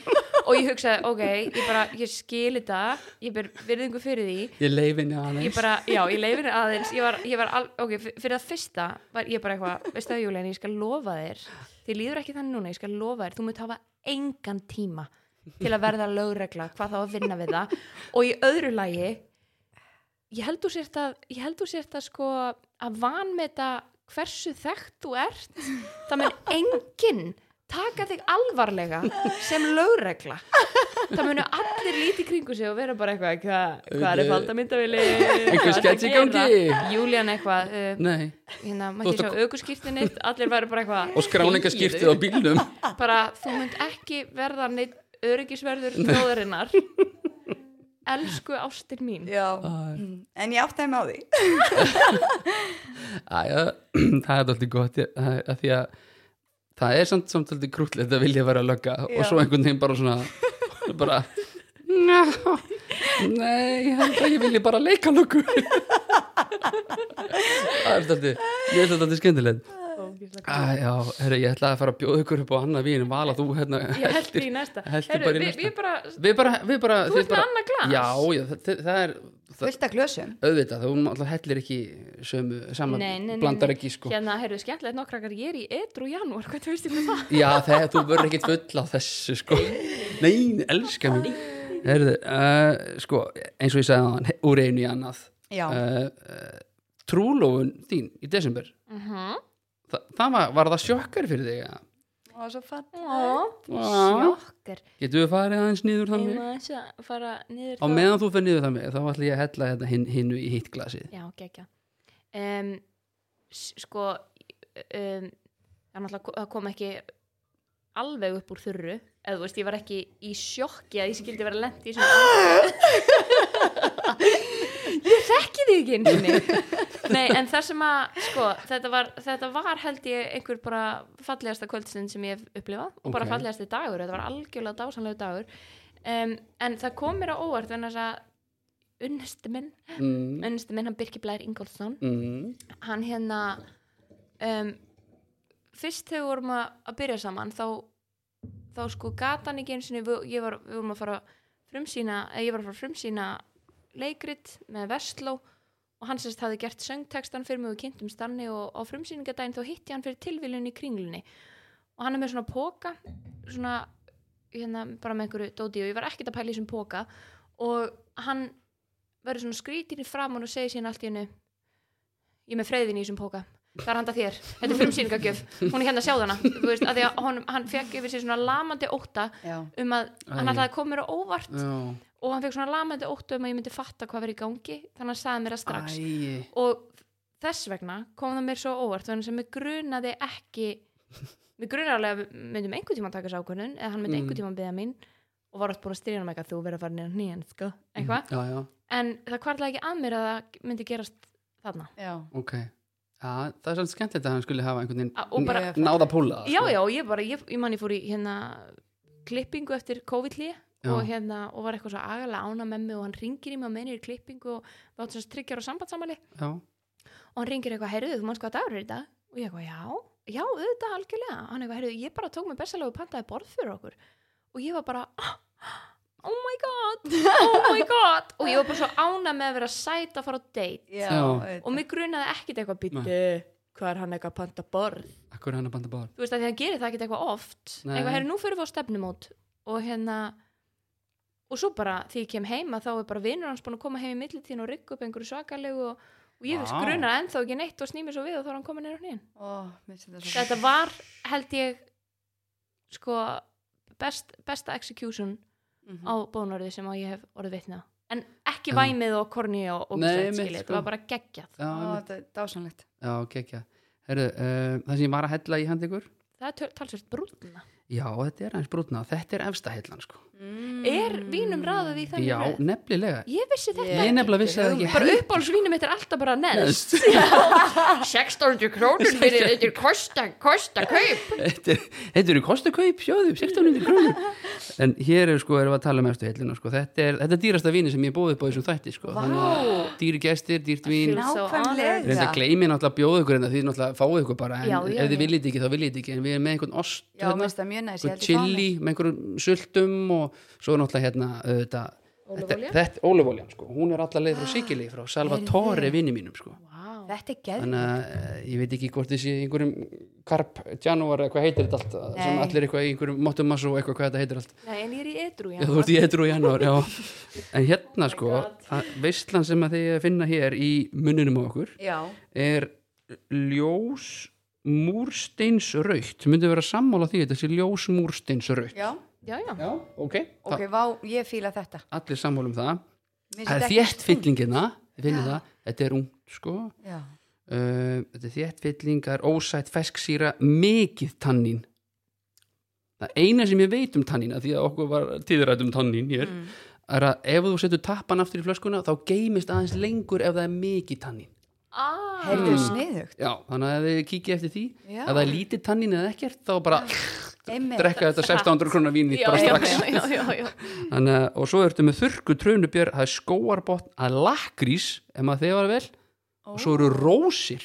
S3: og ég hugsaði, ok, ég bara, ég skil þetta, ég ber virðingu fyrir því
S1: Ég leifinni
S3: ég
S1: aðeins
S3: bara, já, ég leifir aðeins ég var, ég var al, ok, f- fyrir það fyrsta var ég bara eitthvað, veistu það Júlíur, ég skal lofa þér þið líður ekki þannig núna, ég skal lofa þér þú munt hafa engan tíma til að verða lögregla, hvað þá að vinna við það og í öðru lagi ég held þú sért að ég held þú sért að sko að vanmeta hversu þekkt þú ert það mun enginn taka þig alvarlega sem lögregla það munu allir líti kringu sig og vera bara eitthvað hvað, hvað er faldamindavili
S1: Einhver sketch í gangi.
S3: Júlían eitthvað uh,
S1: Nei,
S3: hérna,
S1: Þú
S3: maður
S1: ert
S3: ekki
S1: að-
S3: sjá aukurskýrtinni allir væri bara eitthvað
S1: og skráningaskiptið á bílnum
S3: bara þú munt ekki verða neitt öryggisverður
S1: <laughs>
S3: þjóðarinnar elsku ástin mín
S2: Já, Mm. en ég átti þeim á því
S1: <laughs> Æja, <clears throat> það er alltaf gott ég- það er- að því að það er samt samt alltaf krútlegt að vilja vera að lögga og
S2: Já.
S1: svo einhvern veginn bara
S3: <laughs>
S1: svona bara Nei, ég held að ég vilji bara leika löggu <laughs> Það er alltaf ég held alltaf skemmtilegt Æja, herri, ég ætlaði að fara að bjóða ykkur upp á annað vín vala þú hérna
S3: ég held því í næsta
S1: heldur
S3: Heru,
S1: bara í
S3: við,
S1: næsta.
S3: við bara,
S1: Við bara, við bara
S3: Þú
S1: þið
S3: ert með
S1: bara-
S3: annað glas.
S1: Já, já, það, það er það,
S2: Vilt að glösum?
S1: auðvitað, þú náttúrulega hellir ekki sömu, saman,
S3: nei, nei, nei,
S1: blandar
S3: nei.
S1: ekki sko
S3: hérna, heyrðu, skemmtilegt nokkrakar, ég er í edru janúar, hvað þú veist ég með það?
S1: Já, þegar þú verður ekkit full á þessu sko Nei, elska mig Herðu, uh, sko, eins og ég sagði á hann úr einu í annað
S2: Já,
S1: uh, uh, Trúlófun þín í desember
S3: Uh -huh.
S1: Þa, það var, var það sjokkar fyrir þig eða?
S2: og svo fatt
S3: Sjokkar
S1: Getum við farið aðeins niður
S3: Ég
S1: þannig?
S3: má þess að fara niður
S1: Á
S3: þá.
S1: meðan þú fyrir niður þannig, þá ætla ég að hella hérna hin, hinnu í hitt glasið
S3: Já, gekkja um, Sko um, Það náttúrulega ko- það kom ekki alveg upp úr þurru eða þú veist, ég var ekki í sjokki að ég skildi vera lent í svona Ég þekki þig ekki einu sinni Nei, en það sem að, sko, þetta var, þetta var held ég einhver bara fallegasta kvöldstund sem ég hef upplifað og bara
S1: Ok.
S3: fallegasti dagur, þetta var algjörlega dásanlegu dagur um, en það kom mér á óvart en þess að unnusti minn
S1: mm,
S3: unnustu minn, hann Birki Blær Ingolfsson
S1: mm,
S3: hann hérna um, fyrst þegar við vorum að, að byrja saman þá, þá sko gata hann ekki eins og við var- við vorum að fara að frumsýna, eða ég var að fara að frumsýna leikrit með Vestló og hann sérst hafði gert söngtekstan fyrir mig og kynntum stanni og á frumsýningadaginn þá hitti ég hann fyrir tilviljun í kringlunni og hann er með svona póka svona hérna bara með einhverju dóti og ég var ekkert að pæla í þessum póka og hann verður svona skrítin í framann og segir síðan allt í hennu ég er með freyðin í þessum póka það er handa þér, þetta er frumsýningagjöf hún er hérna að sjá þarna þú veist, að því að honum, hann fekk yfir sér svona lamandi óta
S2: Já,
S3: um að hann
S1: Æ.
S3: ætlaði að koma mér á óvart
S1: já
S3: og hann fekk svona lamandi óta um að ég myndi fatta hvað verið í gangi þannig að hann sagði mér það strax
S1: Æi.
S3: og þess vegna kom það mér svo óvart þannig sem mér grunaði ekki mér grunaði alveg að við myndum einhvern tíma taka þessu ákvörðun eða hann myndi
S1: Mm.
S3: einhvern tíma beða mín og var oft búin að styrja hann með eitthvað þú verður að fara nýjan nýjan sko,
S1: Mm.
S3: eitthvað
S1: Já, já,
S3: en það kvartlaði ekki að mér að það myndi gerast þarna
S2: já
S1: ok Já, það er svolítið skemmtilegt að hann skulle hafa einhvern
S3: Að- og bara-
S1: veginn náða púla
S3: já, já, ég bara, ég, ég man ég fór í hérna klippingu eftir COVID-lí
S1: Já.
S3: og hérna, og var eitthvað svo agalega ána með mig og hann ringir í mig og meinir í klippingu og við áttum svo tryggjar og sambandsamali
S1: já.
S3: og hann ringir eitthvað, heyrðu, þú manns hvað dagur er í dag og ég eitthvað, já, já, auðvitað algjörlega hann eitthvað, heyrðu, ég bara tók mig bestalega og pantaði borð fyrir okkur og ég var bara <gasps> "Ah, oh my god, oh my god og ég var bara svo ána með að vera sæt að fara á date
S2: Já,
S1: Já.
S2: auðvitað.
S3: og mig grunaði ekkit eitthvað býttu, hvað er hann eitthvað að panta borð
S1: Akkur er hann að banda bár
S3: þú veist að því hann gerir það ekkit eitthvað oft
S1: Nei.
S3: eitthvað, heyrðu, nú fyrir við á stefnumót og hérna og svo bara því ég kem heima þá er bara vinnur hans búin að koma heim í millitíðin og rigga upp einhverju svakalegu og, og ég veist
S1: Vá.
S3: grunar ennþá ekki neitt og snými svo við og þá er hann komin neyra hnýðin
S2: Ó, mér finnst þetta svo-
S3: þetta var held ég sko best, besta execution
S2: Mhm.
S3: á
S1: Mm.
S3: bónorði sem að ég hef orðið vitna en ekki
S1: Já.
S3: væmið og korni og, og
S1: Nei, mitt,
S3: ógeðslegt, skilið,
S1: sko.
S3: þetta var bara geggjað
S1: Já,
S2: Ó,
S1: einmitt.
S2: þetta er dásanlegt
S1: já kekja Heru, uh, Það sem ég var að hella í hand ykkur
S3: það er töl- talsvert brúna
S1: Já, þetta er aðeins brútna Þetta er efsta hellan sko
S2: mm.
S3: er vínum raðað í þannig
S1: Já,
S3: röð?
S1: nefnilega
S3: ég vissi þetta
S1: Ég nefnilega vissi það ekki
S3: bara uppáhaldsvínum mitt er alltaf bara neðst
S1: Neðst.
S3: 600 Ah, krónur fyrir þetta er kosta, kosta, kaup
S1: Þetta er- þetta eru kostukaup, sjóðu, 1600 krónum En hér er sko, erum við að tala um efstu hellina sko. þetta, er, þetta er dýrasta víni sem ég búið upp á þessum þætti sko. Þannig að dýri gestir, dýrt vín
S3: feel so
S2: Nákvæmlega.
S3: honored.
S1: Reynda að gleymi náttúrulega að bjóða ykkur en það því náttúrulega fáið ykkur bara en
S3: Já, já,
S1: ef þið
S3: já.
S1: viljið ekki þá viljið ekki en við erum með einhvern ost
S2: Já, mér finnst það mjög
S1: einhvern
S2: næs, ég held ég fá
S1: hérna. chili með einhverjum sultum og svo er náttúrulega hérna þetta,
S3: Ólífuolía?
S1: þetta ólífóljan sko, hún er allar leið frá Sigili frá Salvatore vini mínum sko
S3: wow.
S2: Þetta er geðvikt
S1: þannig að eh, ég veit ekki hvort þessi einhverjum karp, janúar eða hvað heitir þetta allt eh,
S2: Nei.
S1: sem allir eitthvað í einhverjum mottumass og eitthvað hvað þetta heitir allt
S3: Nei, en ég er í edru
S1: Já, þú ert í edru í janúar,
S2: <laughs>
S1: já. En hérna sko, oh veistlan sem að þið eigi að finna hér í munninum á okkur
S2: Já,
S1: er ljós múrsteinsraukt myndi vera sammála því þetta sé ljós múrsteinsraukt
S2: já,
S3: já, já.
S1: já, ok,
S2: ok, vá, ég fíla þetta
S1: Þa, allir sammála um það það
S2: Mér finnst
S1: er
S2: þetta
S1: þétt fyllingina þið finnið
S2: Já.
S1: það, þetta er ungt sko uh,
S2: ekki- Já,
S1: Eh, þetta er þétt fylling, það er ósætt fesksýra, mikið tannín það eina sem ég veit um tannín að því að okkur var tíðrætt um tannín hér
S3: Mm.
S1: er að ef þú setur tappan aftur í flöskuna þá geymist aðeins lengur ef það er mikið tannín
S3: Ah.
S2: heyrðu sniðugt
S1: Já, þannig að þið kikið eftir því
S2: Já.
S1: ef Mm. það er lítið tannin eða ekkert þá bara
S2: Einmitt.
S1: drekka þetta 1600 krónar vín þitt
S3: já,
S1: bara
S3: já,
S1: strax
S3: já, já, já, já.
S1: Þannig, að- og svo ertu með þurrku trönubjör það er skóarbotn að lakrís ef maður þegar var vel og svo eru rósir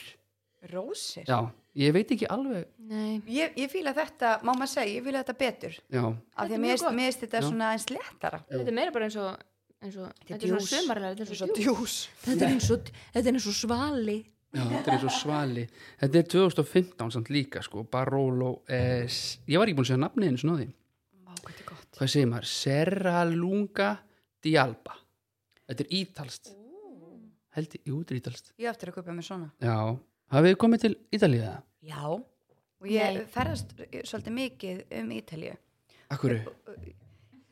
S2: Rósir
S1: já, ég veit ekki alveg
S3: Nei,
S2: Ég, ég fíla þetta, má maður segja, ég fíla þetta betur
S1: já,
S2: af því
S3: Þetta er
S2: að mér
S3: mjög
S2: finnst-
S3: gott.
S2: mér finnst þetta
S1: Já.
S2: svona eins léttara
S3: þetta er meira bara eins og eins og, þetta er
S2: djús.
S3: svona sumarlega, þetta er svo djús
S2: djús
S3: þetta er eins og, þetta er eins og svali
S1: já, þetta er svo svali þetta er 2015 samt líka sko, Barolo eh, s- ég var ekki búin að segja nafnið eins og náði
S2: Vá, hvað þetta er gott
S1: hvað segir maður, Serralunga di Alba þetta er ítalst held, jú, þetta er ítalst
S2: Ég á eftir að kaupa mér svona
S1: já, hafið þið komið til Ítalíða?
S2: Já Og ég
S3: Nei.
S2: ferðast eh, svolítið mikið um Ítalíu
S1: Akkurru?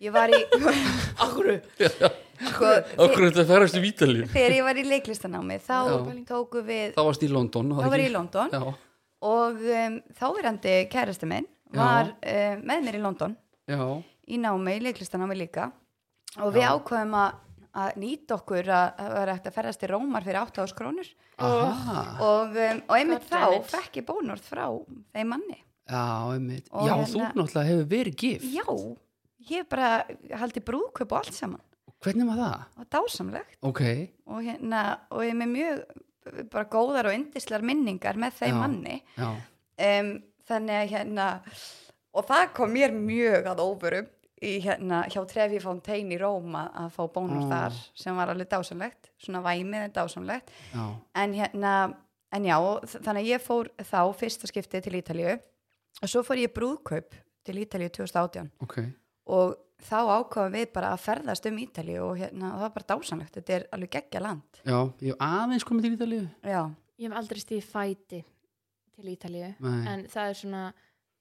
S2: Ég var <laughs> í Akkur
S1: Akkurru þetta ferast um Ítalíu?
S2: Þegar ég var í leiklistanámi þá
S1: Já.
S2: tóku við
S1: Þá varst í London
S2: Þá var ég í London
S1: Já,
S2: og um, þáverandi kærasti minn
S1: Já.
S2: var um, með mér í London
S1: já,
S2: í námi, í leiklistanámi líka og við ákveðum að, að nýta okkur að það var eftir að ferðast til Rómar fyrir 8.000 krónur
S1: aha
S2: og, um, og einmitt
S3: God damn it.
S2: þá fekk ég bónorð frá þeim manni
S1: Já, einmitt
S2: Og
S1: Já,
S2: hérna-
S1: þú náttúrulega hefur verið gift
S2: Já, ég bara haldi brúðkaup og allt saman
S1: Hvernig var það?
S2: og dásamlegt
S1: Ok,
S2: og, hérna, og ég er með mjög bara góðar og yndislar minningar með þeim
S1: Já.
S2: manni
S1: já
S2: um, þannig að hérna og það kom mér mjög að óvörum í hérna hjá Trevi Fontaine í Róma að fá bónus
S1: Ó.
S2: þar sem var alveg dásamlegt, svona væmið en dásamlegt
S1: Já,
S2: en hérna, en já þ- þannig að ég fór þá fyrsta skiptið til Ítalíu og svo fór ég í brúðkaup til Ítalíu 2018
S1: ok
S2: og þá ákvaðum við bara að ferðast um Ítalíu og hérna, og það var bara dásamlegt þetta er alveg geggja land
S1: Já, ég hef aðeins komið til Ítalíu
S2: já,
S3: ég hef aldrei stíð fæti til Ítalíu
S1: Nei.
S2: Eh,
S3: en það er svona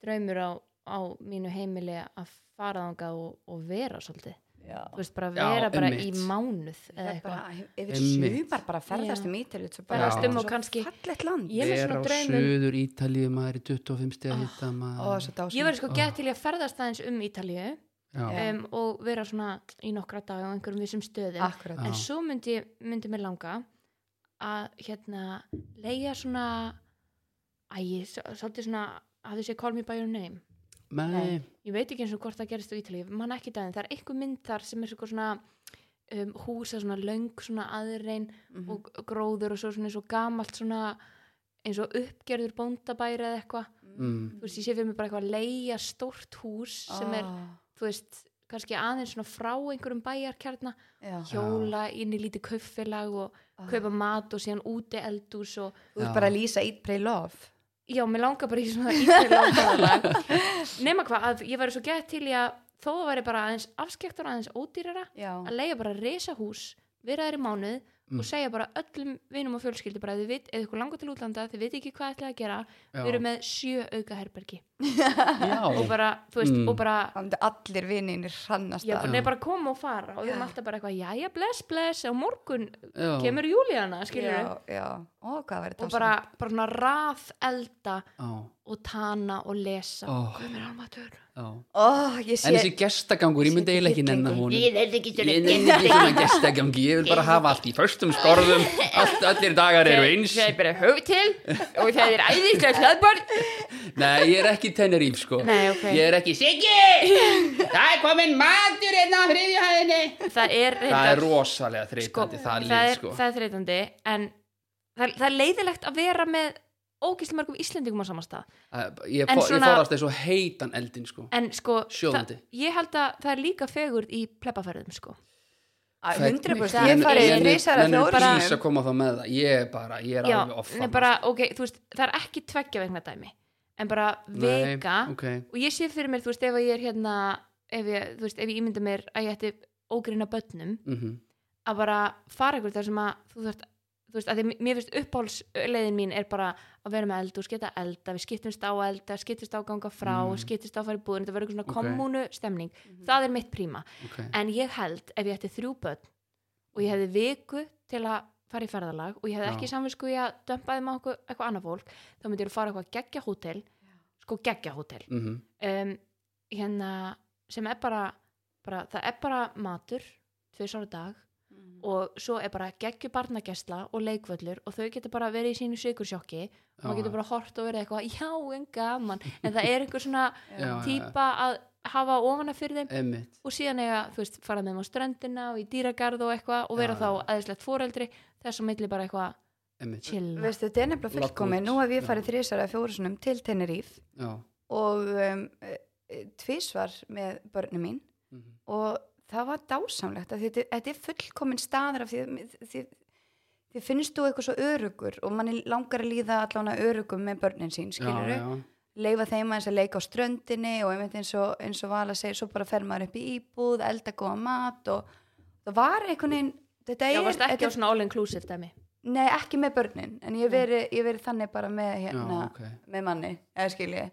S3: draumur á, á mínu heimili að fara þangað og, og vera svolítið
S2: já
S3: þú veist bara
S1: Já,
S3: vera bara
S1: einmitt.
S3: í mánuð eða
S2: Það er
S3: eitthvað
S2: bara, yfir
S1: Einmitt.
S2: sumar bara ferðast
S3: Já.
S2: um Ítalíu þetta er
S1: Ferðast
S2: bara
S1: um
S3: og kannski-
S2: fallet land
S3: Ég er með
S1: Er
S3: svona Ah,
S1: á
S3: draum um-
S1: suður Ítalíu, maður í 25 stið að hitta
S2: Ó, það
S1: maður
S2: er svo dásamlegt.
S3: ég verði sko gett til í að ferðast aðeins um Ítalíu
S1: Já,
S2: Já.
S3: um, og vera
S2: Ah.
S3: svona í nokkra dag á einhverjum vissum stöðum
S2: Akkurat.
S1: Já.
S3: en svo myndi, myndi mér langa að hérna leiða svona æ, ég s- svolítið svona hafði sé Call Me By Your Name
S1: Nei,
S2: Nei.
S3: ég veit ekki eins og hvort það gerist á Ítalíu mann ekki daginn, það er einhver mynd þar sem er svo eitthvað svona um, húsa svona löng svona aðrein
S2: mm
S3: og gróður og svo svona eins og gamalt svona eins og uppgerður bóndabæri eða eitthvað
S1: Mm.
S3: þú veist, ég sé fyrir mig bara eitthvað að leigja stórt hús
S2: Ah.
S3: sem er, þú veist, kannski aðeins svona frá einhverjum bæjarkjarna
S2: já,
S3: hjóla inn í lítið kaufélag og
S2: Ah.
S3: kaupa mat og síðan úti eldús og
S2: þú ert
S1: Já.
S2: bara að lýsa Eat, Pray, Love
S3: <laughs> já, mér langar bara í
S2: <laughs>
S3: svona ítalíu nema hvað, að ég væri svo gett til í að þó að væri bara aðeins afskektur aðeins ódýrara
S2: já,
S3: að leiga bara resa hús vera þær í mánuð
S1: Mm.
S3: og segja bara öllum vinum og fjölskyldu bara þið veit, eða ykkur langar til útlanda, þið veit ekki hvað ætlaði að gera við erum með sjö auka herbergi og
S1: já,
S3: bara, þú veist,
S1: Mm.
S3: og bara
S2: þá myndi allir vininir hrannast
S3: Já,
S2: að.
S3: bara,
S1: Já.
S3: nei, bara koma og fara og við erum alltaf bara eitthvað, jæja, bless, bless og morgun
S1: já.
S3: kemur Júlíana, skilur
S2: já, já, ó, hvað verið
S3: og bara, bara svona rað elda
S1: Já,
S3: og tana og lesa
S1: Ó.
S3: Guð minn almáttugur.
S1: já.
S2: ó, ég sé
S1: En þessi gestagangur, ég myndi
S2: Sé-
S1: eiginlega ekki nenni hún
S3: Ég er ekki svona-
S1: Ég nenni ekki svona gestagangi, ég vil bara hafa allt í förstum
S3: <laughs>
S1: skorðum allt, Allir dagar eru eins
S3: það er bara hög til og það er æðislega hlaðbord
S1: Nei, ég er ekki Teneríf sko
S3: <laughs> Nei, ok.
S1: Ég er ekki Siggi Það er komin matur hérna á þriðjuhæðinni
S3: það er, sko,
S1: Það er rosalega þreytandi það
S3: það
S1: lið
S3: er,
S1: sko
S3: það er þreytandi en það, er- það er leiðilegt að vera með ógislega mörgum Íslendingum á samastað
S1: Það- Ég,
S3: En
S1: fó, ég
S3: svona-
S1: fórast þessu heitan eldin sko
S3: en sko, það,
S1: Sjóðandi.
S3: ég held að það er líka fegurð í plebaferðum sko
S2: Að 100%
S3: Hvernig-
S2: ég farið
S3: Nenni-
S2: þrísar að
S1: Nennir
S2: fjóra
S1: plís að koma þá með það Ég er bara, ég er alveg offa
S3: nei, bara, ok, þú veist, það er ekki tveggja vegna dæmi en bara vika
S1: ok,
S3: og ég sé fyrir mér, þú veist, ef að ég er hérna ef ég, þú veist, ef ég ímynda mér að ég ætti ógreina börnum
S1: mm
S3: að bara fara ykkur þar sem að þú þarft þú veist, að því mér finnst uppáhalsleiðin mín er bara að vera með eld og sketa elda við skiptumst á að elda, skiptumst á að ganga frá
S1: Mm.
S3: skiptumst á að fara í búðin, þetta verður eitthvað svona
S1: Ok.
S3: kommunu stemning, það er mitt príma
S1: ok
S3: en ég held ef ég ætti þrjú börn og ég hefði viku til að fara í ferðalag og ég hefði
S1: Já.
S3: ekki samvisku í að dömpa þeim á okkur, eitthvað annað fólk þá myndi ég að fara á eitthvað geggja hótel sko geggja hótel
S1: mm
S3: um, hérna, sem er bara, bara það er bara matur tvisar á dag
S1: Mhm.
S3: og svo er bara geggju barnagestla og leikvöllur og þau getur bara verið í sínu sykursjokki og maður getur bara hort og verið eitthvað já en gaman en það er einhver svona
S1: <laughs> Já, já, já.
S3: típa að hafa ofana fyrir þeim
S1: Emmitt
S3: og síðan eiga, þú veist, fara með þeim á ströndina og í dýragarð og eitthvað og vera
S1: Já,
S3: þá
S1: já.
S3: aðeinslegt foreldri þess að milli bara eitthvað
S1: Emmitt
S3: chilla
S2: veistu, þetta er nefnilega
S1: Labba
S2: fullkomi
S1: út.
S2: nú hef ég
S1: Já.
S2: farið þrísar að fjóra sunum til Teneríf
S1: Já
S2: og um, tvísvar með börnum mín
S1: mhm.
S2: og það var dásamlegt að þetta, þetta er fullkomin staður af því, því, því, því finnst þú eitthvað svo örugur og manni langar að líða allan að örugum með börnin sín, skilur
S1: Já, já,
S2: leifa þeim aðeins að leika á ströndinni og einmitt eins og, eins og Vala segir svo bara fer maður upp í íbúð, elda góða mat og það var einhvern veginn þetta
S3: Já,
S2: er,
S3: varst ekki
S2: þetta
S3: á svona all inclusive
S1: <laughs>
S3: dæmi
S2: nei ekki með börnin en ég veri, ég veri þannig bara með hérna,
S1: já, ok
S2: með manni, eða skilji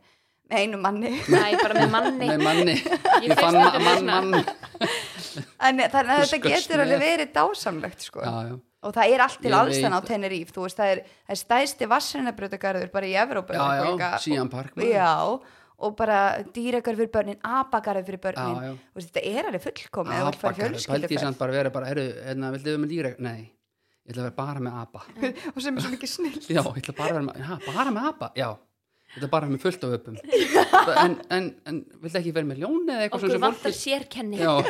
S2: með einu
S1: <laughs>
S2: manni <laughs>
S3: Nei, bara með manni
S1: Nei,
S3: <laughs>
S1: manni Ég
S3: fyrst
S1: fann
S3: þetta
S1: ma-
S3: með
S1: mann, mann
S2: en þannig að þetta
S1: Þú skaust
S2: getur alveg
S1: með.
S2: verið dásamlegt sko.
S1: Já, já
S2: og það er allt til
S1: Ég
S2: alls
S1: veit.
S2: þannig á Teneríf þú veist, það er, það er stæðsti vassrinabrautagarður bara í Evrópa
S1: Já,
S2: eða
S1: já,
S2: eitthvað líka.
S1: Sian
S2: Og-
S1: Park, maður.
S2: já, og bara dýragarður fyrir börnin, abagarður fyrir börnin
S1: Já, já.
S2: Þú veist, þetta er alveg fullkomið ef þú vilt fara í
S1: Abbagarður, pældi ég
S2: fjölskylduferð.
S1: samt bara vera bara, eru, hérna, viltu við með dýra? Nei, ég ætla að vera bara með apa.
S2: og sem er svo mikið snill
S1: Já, ég ætla bara að vera með, ha, bara með apa? Já, ég ætla bara að vera með fullt af öpum. Það- En, en, en, viltu ekki vera með ljón eða eitthvað
S3: okkur
S1: sem
S3: vantar sérkenni
S1: Já,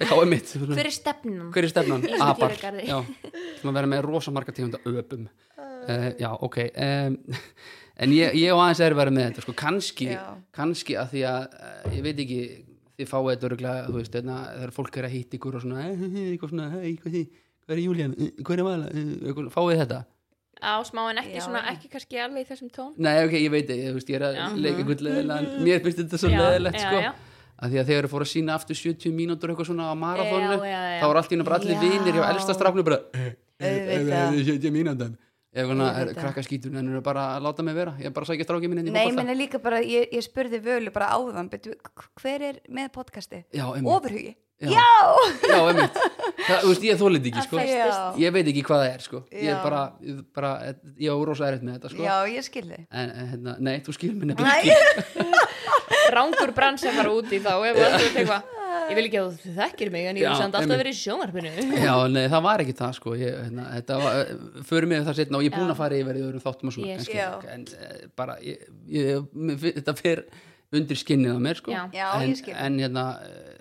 S1: já, einmitt.
S3: hver er stefnum
S1: Hver er stefnan?
S3: Í þessum
S1: Apar.
S3: dýragarði.
S1: Já, sem að vera með rosa marga tegunda öpum. Uh, já, ok. Um, <laughs> en ég, ég og aðeins er verið með þetta, sko, kannski,
S2: Já.
S1: kannski að því að, uh, ég veit ekki, þið fáið þetta öruglega, þú veist, þeirna, þegar fólk er að hitta ykkur og svona, eh, eitthvað svona, hey, hvað, er- hvað er Júlían, Eh, hvað er Vala, Eh, eitthvað, fáið þetta?
S3: á smá en ekki
S2: Já,
S3: svona,
S2: já.
S3: ekki kannski alveg í þessum tón
S1: Nei, ok, ég veit ekki, þú veist, ég er að
S3: Já.
S1: leika einhvern leðilegan, mér finnst þetta svo
S3: Já,
S1: leðilegt,
S3: já,
S1: sko.
S3: já.
S1: Af því að þegar þú fór að sína aftur 70 mínútur eitthvað svona á marathónu,
S3: Já, já, já.
S1: þá voru allt í náttúrulega bara allir
S2: Já.
S1: vinir hjá elsta strafnu bara, eh, eh, eh,
S2: Auðvitað.
S1: eh, 70 mínútur. Ef hana er
S2: Auðvitað.
S1: krakkaskítur, en eru bara að láta mig vera, ég er bara að sækja strákið minn inn í
S2: Nei,
S1: fótbolta.
S2: minni líka bara, ég, ég spurði völu bara áðan, betur, hver er með podcasti?
S1: Já, einmitt,
S2: Ofurhugi?
S1: Já.
S2: Já!
S1: já, einmitt. Það, þú veist, ég þólið ekki, sko.
S3: festist.
S2: Já.
S1: Ég veit ekki hvað það er, sko. Ég er
S2: Já.
S1: bara, ég- bara, ég á rosa erfitt með þetta, sko.
S2: Já, ég skilði.
S1: En, en, hérna, nei, þú skilur minni
S2: Nei.
S1: ekki.
S3: rángur brann sem var úti þá ef þú ert eitthvað
S2: maður
S4: Ég vil ekki að þú þekkir mig en ég
S1: Já,
S4: vil samt alltaf
S1: einmitt.
S4: verið í sjónvarpinu
S1: <laughs> Já, nei, það var ekki það sko ég, hérna, þetta var, förum við það setna og ég er búin að fara yfir í öðrum þáttum og svona
S3: Ég
S1: kannski,
S2: skil.
S1: en eh, bara, ég, ég, mér fin- þetta fer undir skinnið á mér sko
S3: Já.
S2: Já,
S1: en,
S2: ég skil.
S1: en hérna, eh,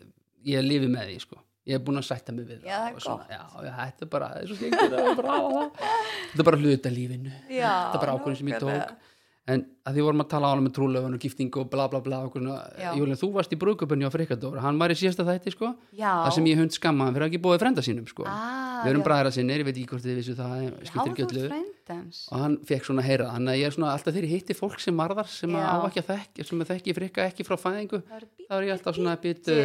S1: ég lifi með því sko ég er búin að sætta mig við
S2: Já, það er
S1: og svona, já, já, þetta er bara, þetta er svo gengur það er bara að hafa það. þetta er bara hluta lífinu
S2: Já,
S1: þetta er bara ákvörðin sem ég
S2: nákvæmlega.
S1: tók en að því vorum að tala á hann með trúlöfun og giftingu og bla bla bla og
S2: Já.
S1: svona, Júlín, þú varst í brúðköpunni á Frikadóra, hann var í síðasta þætti sko
S2: Já.
S1: það sem ég hund skammaðan fyrir að ekki bóði frenda sínum sko.
S2: Ah,
S1: við erum
S2: já.
S1: bræðra sinni, ég veit ekki hvort þið vissu það en
S2: Já,
S1: skiptir
S2: þú
S1: ekki
S2: ert
S1: öllu
S2: frendans.
S1: og hann fekk svona að heyra það. þannig að ég er svona alltaf þegar ég hitti fólk sem marðar sem að
S2: Já.
S1: á ekki að þekki, sem að þekki frikka ekki frá fæðingu
S3: Það er
S1: þá er ég alltaf svona að byttu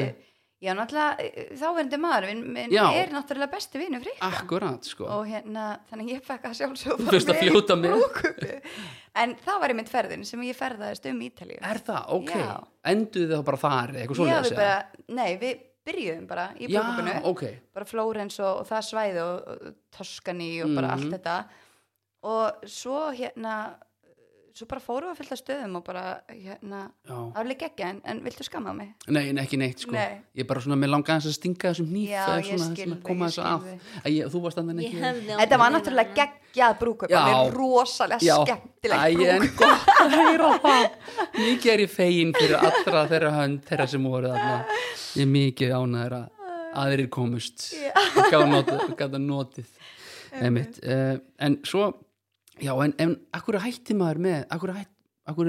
S2: Já, náttúrulega, þáverandi maður minn, minn
S1: Já.
S2: er náttúrulega besti vinur frí
S1: akkurat sko
S2: og hérna, þannig að ég fekk að sjálfsögum
S1: Þú fyrst að fljóta með.
S2: En það var einmitt ferðin sem ég ferðaðist um Ítalíu
S1: er það, ok,
S2: Já.
S1: enduðu þið þá bara þar eitthvað
S2: Já, við
S1: svoleiðis
S2: bara, nei, við byrjuðum bara í
S1: já,
S2: brúkupinu
S1: ok,
S2: bara Flórens og, og það svæði og, og Toskani og
S1: Mhm.
S2: bara allt þetta og svo hérna svo bara fórum við að fylta stöðum og bara hérna,
S1: já
S2: það var líka ekki en, en viltu skamma mig?
S1: nei, nei, ekki neitt sko
S2: Nei.
S1: ég bara svona, mér langaði þess að stinga þessum hníf
S2: Já,
S1: eða
S2: ég
S1: svona,
S2: skil
S1: svona,
S2: þig,
S1: koma
S2: ég
S1: þess
S2: skil
S1: að
S2: þig.
S1: að ég, þú varst þannig ekki
S2: Þetta var náttúrulega geggjað brúkup
S1: Já.
S2: alveg rosalega
S1: Já,
S2: skemmtilegt
S1: æ, en gott að heyra það mikið er ég fegin fyrir allra þeirra hönd þeirra sem voru þarna ég er mikið ánæður að aðrir komust og gaf notið, gaf notið. Einmitt. Uh, en svo já, en, en akkur hætti maður með akkur hætti Akkur,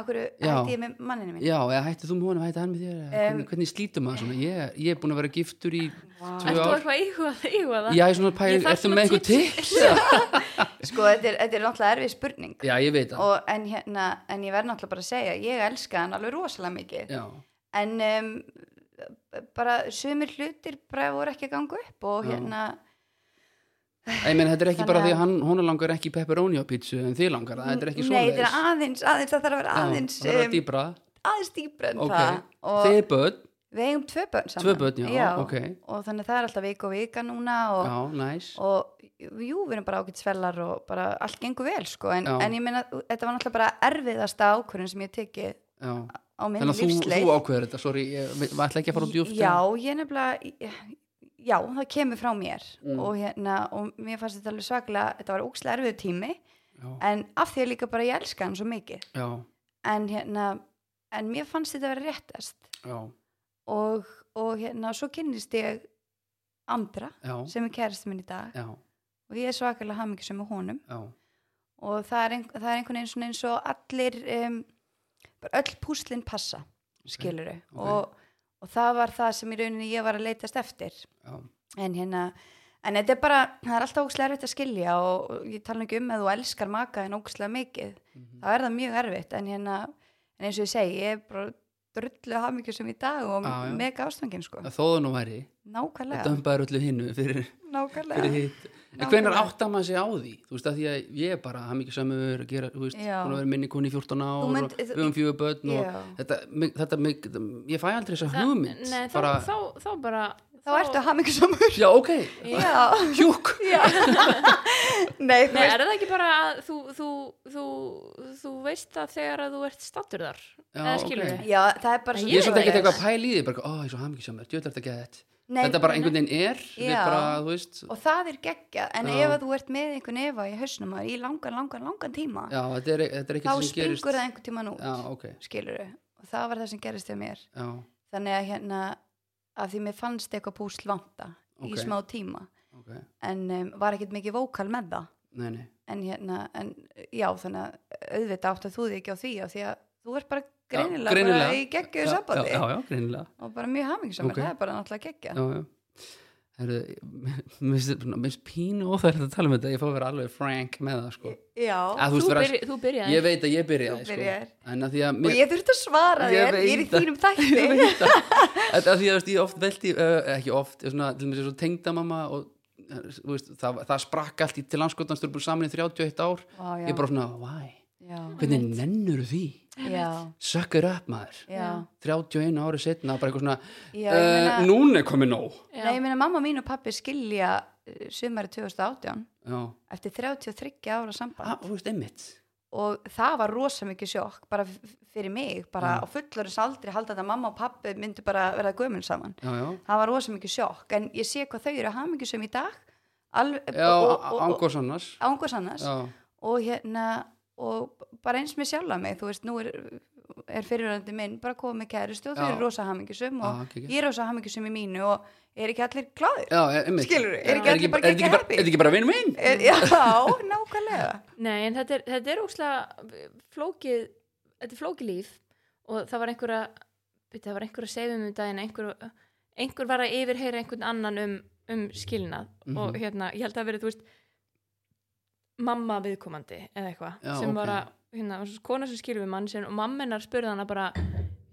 S2: Akkur
S1: Já.
S2: hætti ég með manninu minn
S1: já, eða hætti þú með honum, hætti hann með þér eða
S2: Em.
S1: hvernig, hvernig slítum maður svona, ég, ég er búin að vera giftur í
S3: Ert
S1: tvö
S3: þú
S1: ár
S3: eitthvað að íhuga það- íhuga það?
S1: Já, ég er svona
S3: Ég
S1: pæri,
S3: þarf
S1: ertu
S3: svona
S1: með eitthvað
S3: tips.
S1: tips? Já.
S2: Sko, þetta er, þetta er náttúrulega erfið spurning
S1: já, ég veit það
S2: og, en, hérna, en ég verð náttúrulega bara að segja ég elska hann alveg rosalega mikið
S1: Já,
S2: en um, bara sumir hlutir bara voru ekki að ganga upp og
S1: Já.
S2: hérna
S1: ég meina þetta er ekki bara
S2: Þannig
S1: því
S2: að-
S1: að hann, hún langar ekki pepperoni á pítsu en þið langar það, þetta er ekki
S2: Nei, þetta
S1: svoleiðis.
S2: er aðeins, aðeins, það þarf að vera aðeins
S1: Já, það er
S2: um,
S1: að dýbra,
S2: aðeins dýbra en
S1: ok
S2: það og
S1: Þið er börn,
S2: við eigum tvö börn saman
S1: tvö börn, já, ok
S2: og þannig að það er alltaf vik og vika núna og,
S1: Já, næs
S2: og jú, við erum bara ágætt svellar og bara allt gengur vel sko, en,
S1: Já.
S2: en ég meina, þetta var náttúrulega bara erfiðasta ákvörðin sem ég teki
S1: já.
S2: á minn
S1: Þannig að þú,
S2: lífsleið
S1: þú ákveður þetta, sorry ég veit- var ætla ekki að fara á djúft
S2: Já, ég nefnilega já, það kemur frá mér
S1: Mm.
S2: og hérna, og mér fannst þetta alveg svaklega þetta var úkslega erfiðu tími
S1: já,
S2: en af því að líka bara ég elska hann svo mikið
S1: já,
S2: en hérna, en mér fannst þetta vera réttast
S1: já,
S2: og, og hérna, svo kynnist ég Andra,
S1: já,
S2: sem er kærist minn í dag
S1: já,
S2: og ég er svakalega hamingisum með honum
S1: já.
S2: og það er, ein, það er einhvern veginn svona eins og allir um, bara öll púslinn passa skiluru
S1: ok.
S2: og, og það var það sem í rauninni ég var að leitast eftir
S1: já.
S2: en hérna en þetta er bara, það er alltaf ógslag erfitt að skilja og, og ég tala nú ekki um að þú elskar maka en ógslag mikið,
S1: Mhm.
S2: þá er það mjög erfitt en hérna, en eins og ég segi ég er bara drullu hamingjur sem í dag og
S1: Já, já.
S2: mega ástangin sko
S1: Að Þóðan og væri,
S2: nákvæmlega,
S1: þetta umbaður öllu hinnu fyrir, fyrir
S2: nákvæmlega
S1: hitt En
S2: Nákvæmlega.
S1: hvenær áttar maður sig á því? Þú veist að því að ég er bara haf mikið samur að gera, þú veist,
S2: Já.
S1: hún að vera minni koni í 14 ár
S2: Þú mynd-
S1: og við um fjögur börn og
S2: Já.
S1: þetta, mig- þetta, þetta, ég fæ aldrei þess að
S3: Þa-
S1: hugmynd
S3: Nei, þá,
S1: bara,
S3: þá, þá bara
S2: þá ertu hamingjur
S1: Já, ok,
S2: já,
S1: hjúk
S2: já <laughs> nei, þú
S3: Nei,
S2: veist
S3: er það ekki bara að þú, þú, þú, þú veist það þegar að þú ert stattur þar?
S1: Já,
S3: Eða skilur
S1: ok.
S3: við?
S2: Já, það er bara
S3: En
S2: svo
S1: Ég er svolítið
S2: svoleiðis.
S1: ekkert eitthvað að pæla í því, bara, ó, ég er svo hamingisamur, djöðlega þetta geðið þetta.
S2: Nei,
S1: Þetta bara einhvern veginn er, við
S2: Já.
S1: bara, þú veist,
S2: Og það er geggja, en
S1: Já.
S2: ef að þú ert með einhvern efa í hausnum að í langan, langan, langan tíma
S1: já, þetta er, þetta er
S2: þá
S1: ekkert sem
S2: springur
S1: gerist.
S2: það einhvern tíman út
S1: Já, ok,
S2: skilur þau, og það var það sem gerist þegar mér
S1: já,
S2: þannig að hérna af því mér fannst eitthvað púsl vanta
S1: Ok.
S2: í smá tíma,
S1: ok,
S2: en um, var ekkert mikið vókal með það,
S1: nei, nei.
S2: en hérna en, já, þannig að auðvitað átt að þú þig ekki á því, af því að þú ert bara greinilega,
S1: greinilega.
S2: bara í geggju
S1: Já,
S2: sambandi
S1: Já, já, já, greinilega,
S2: og bara mjög hamingisamur,
S1: Ok.
S2: það er bara náttúrulega geggja
S1: já, já. Herru, <laughs> mér finnst- mér finnst pínu óþægilegt að tala um þetta, ég fá að vera alveg frank með það, sko.
S2: Já,
S1: Að,
S3: Þú,
S1: veist, vera-
S3: byrja, þú byrjaði.
S1: Ég veit að ég byrjaði,
S2: Þú
S1: sko.
S2: byrjaðir.
S1: En að því að <laughs>
S2: og
S1: mér-
S2: ég þurfti að svara
S1: Ég
S2: þér, ég er í
S1: veit það.
S2: þínum þætti
S1: Ég veit það. Þetta er því að þú veist, ég oft veldi, uh, ekki oft, ég svona, til mér svo tengdamamma og uh, þú veist, það, það sprakk allt í til landskotansturbur saman í 31 ár.
S2: Vá, já.
S1: <laughs> Ég bara svona, why?
S2: já,
S1: Hvernig nennur því?
S2: já,
S1: Suck it up maður.
S2: já.
S1: 31 ári setna, bara eitthvað svona,
S2: Já, ég
S1: uh,
S2: meina-
S1: núna er komið nóg.
S3: Já.
S2: Nei, ég meina mamma mín og pappi skilja uh, sumari 2018
S1: Já,
S2: eftir 33 ára samband
S1: ah, þú veist, einmitt.
S2: og það var rosa mikið sjokk bara f- f- fyrir mig, bara
S1: Mm.
S2: á fullorins aldri halda þetta að mamma og pappi myndu bara verða gömul saman
S1: já, já,
S2: það var rosa mikið sjokk, en ég sé hvað þau eru hamingjusum í dag alveg,
S1: já
S2: og- og- og-
S1: ángos annars
S2: ángos annars
S1: já, Ah,
S2: og hérna og bara eins með sjálfa mig, þú veist, nú er, er fyrirrandi minn bara komið með kæristu og þau
S1: Já.
S2: eru rosa hamingjusum og
S1: já, ekki,
S2: ég er rosa hamingjusum í mínu og er ekki allir gláðir
S1: já, einmitt
S2: Skilurðu, er ekki
S1: Er
S2: allir bara
S1: er
S2: geggjað
S1: bara-
S2: happy?
S1: er ekki bara vinur minn
S2: er, já, nákvæmlega
S3: Nei, en þetta er, þetta er ókslega eh, flókið, þetta er flókið líf og það var einhver að, byrja, það var einhver að segja um um daginn, einhver, einhver var að yfirheyra einhvern annan um, um skilnað og
S1: Mhm.
S3: hérna, ég held að verið, þú veist, mamma viðkomandi eða eitthvað
S1: Já,
S3: sem var
S1: ok.
S3: að, hérna, var svo kona sem skilur við mann sinn og mamma hennar spurði hana bara,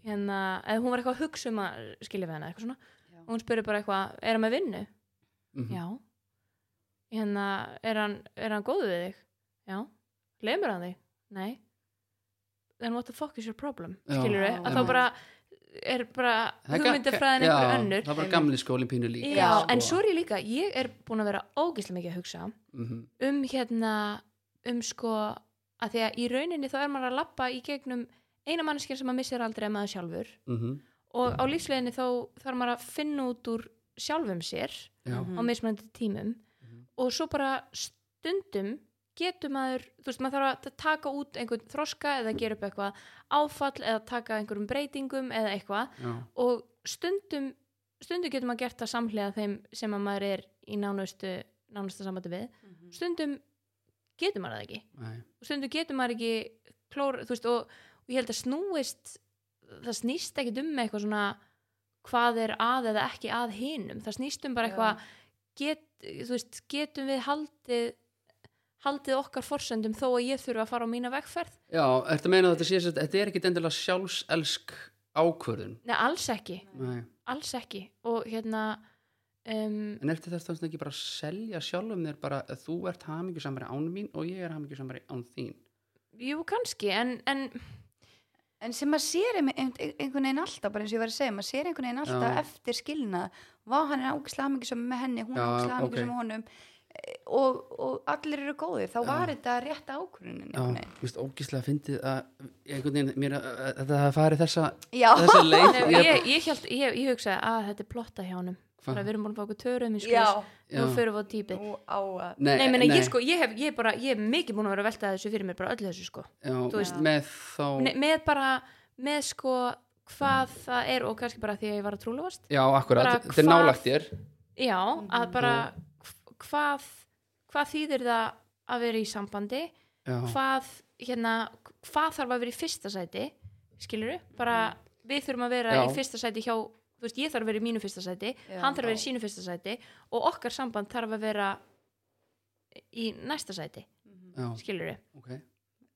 S3: hérna, eða hún var eitthvað að hugsa um að skilja við hana eitthvað svona
S2: Já.
S3: og hún spurði bara eitthvað, er hann með vinnu?
S1: Mhm.
S3: Já Hérna, er hann, er hann góðu við þig? Já Lemur hann þig? Nei Then what the fuck is your problem?
S1: Já.
S3: Skilur
S2: Já.
S3: að þá bara er bara
S1: Það er ga-
S3: hugmyndafræðin
S1: já,
S3: einhver önnur
S1: það var gamli skólin pínu líka
S3: Já,
S2: sko.
S3: en svo er ég líka, ég er búin að vera ógeðslega mikið að hugsa
S1: Mhm.
S3: um hérna, um sko að því að í rauninni þá er maður að lappa í gegnum eina manneskir sem maður missir aldrei að maður sjálfur
S1: Mhm.
S3: og á lífsleginni þá þarf maður að finna út úr sjálfum sér
S1: já,
S2: Mhm.
S3: á mismunandi tímum
S1: Mhm.
S3: og svo bara stundum getur maður, þú veist, maður þarf að taka út einhvern þroska eða gera upp eitthvað áfall eða taka einhverjum breytingum eða eitthvað
S1: já,
S3: og stundum stundum getur maður gert það samhlega þeim sem að maður er í nánustu nánustu sambandi við, stundum getur maður það ekki
S1: nei,
S3: og stundum getur maður ekki klór, þú veist, og, og ég held að snúist það snýst ekki um eitthvað svona hvað er að eða ekki að hinum það snýst um bara
S2: Já.
S3: eitthvað get, þú veist, getum við haldið haldið okkar forsendum þó að ég þurfa að fara á mína vegferð
S1: já, ertu að meina að þetta sé að þetta er ekkit endilega sjálfselsk ákvörðun
S3: Nei, alls ekki,
S1: nei.
S3: alls ekki og hérna um,
S1: en eftir þess þannig ekki bara að selja sjálfum þér bara að þú ert hamingjusamari án mín og ég er hamingjusamari án þín
S3: jú, kannski en, en
S2: <laughs> en sem maður sér einmi- ein- ein- einhvern veginn alltaf bara eins og ég var að segja, maður sér einhvern veginn
S1: Já.
S2: alltaf eftir skilnað, hvað hann er ágislega hamingjusum með henni, hún er
S1: Já,
S2: ágislega
S1: ok.
S2: hamingjusum með honum eh, og, og allir eru góðir, þá
S1: Já.
S2: var þetta rétt ákvörunin
S1: já, þú veist, ógislega fyndið að einhvern veginn, mér að, að þetta hafi farið þessa
S2: já,
S1: þessa leið
S3: ég, ég, ég, held, ég, ég hugsaði að þetta er plotta hjá honum
S1: Hva?
S3: bara við erum búin að fá okkur törum í
S2: já,
S3: skurs nú
S1: Já.
S3: förum við á típið
S2: nú á að
S1: nei,
S3: Nei, meni, ég sko, ég hef, ég bara, ég hef mikið búin að vera að velta þessu fyrir mér bara öllu þessu sko.
S1: já,
S3: þú veist.
S1: með þá
S3: Nei, með bara, með sko hvað það er og kannski bara því að ég var að trúlofast.
S1: já, akkurat,
S3: bara
S1: þetta er
S3: hvað-
S1: nálægt þér
S3: Já, að bara hv- hvað, hvað þýðir það að vera í sambandi,
S1: já,
S3: hvað, hérna, hvað þarf að vera í fyrsta sæti, skilurðu, bara við þurfum að vera
S1: Já.
S3: í fyrsta sæti hjá, þú veist, ég þarf að vera í mínu fyrsta sæti,
S2: Já.
S3: hann þarf að vera í sínu fyrsta sæti og okkar samband þarf að vera í næsta sæti,
S1: já,
S3: skilurðu.
S1: ok já,
S2: Mhm.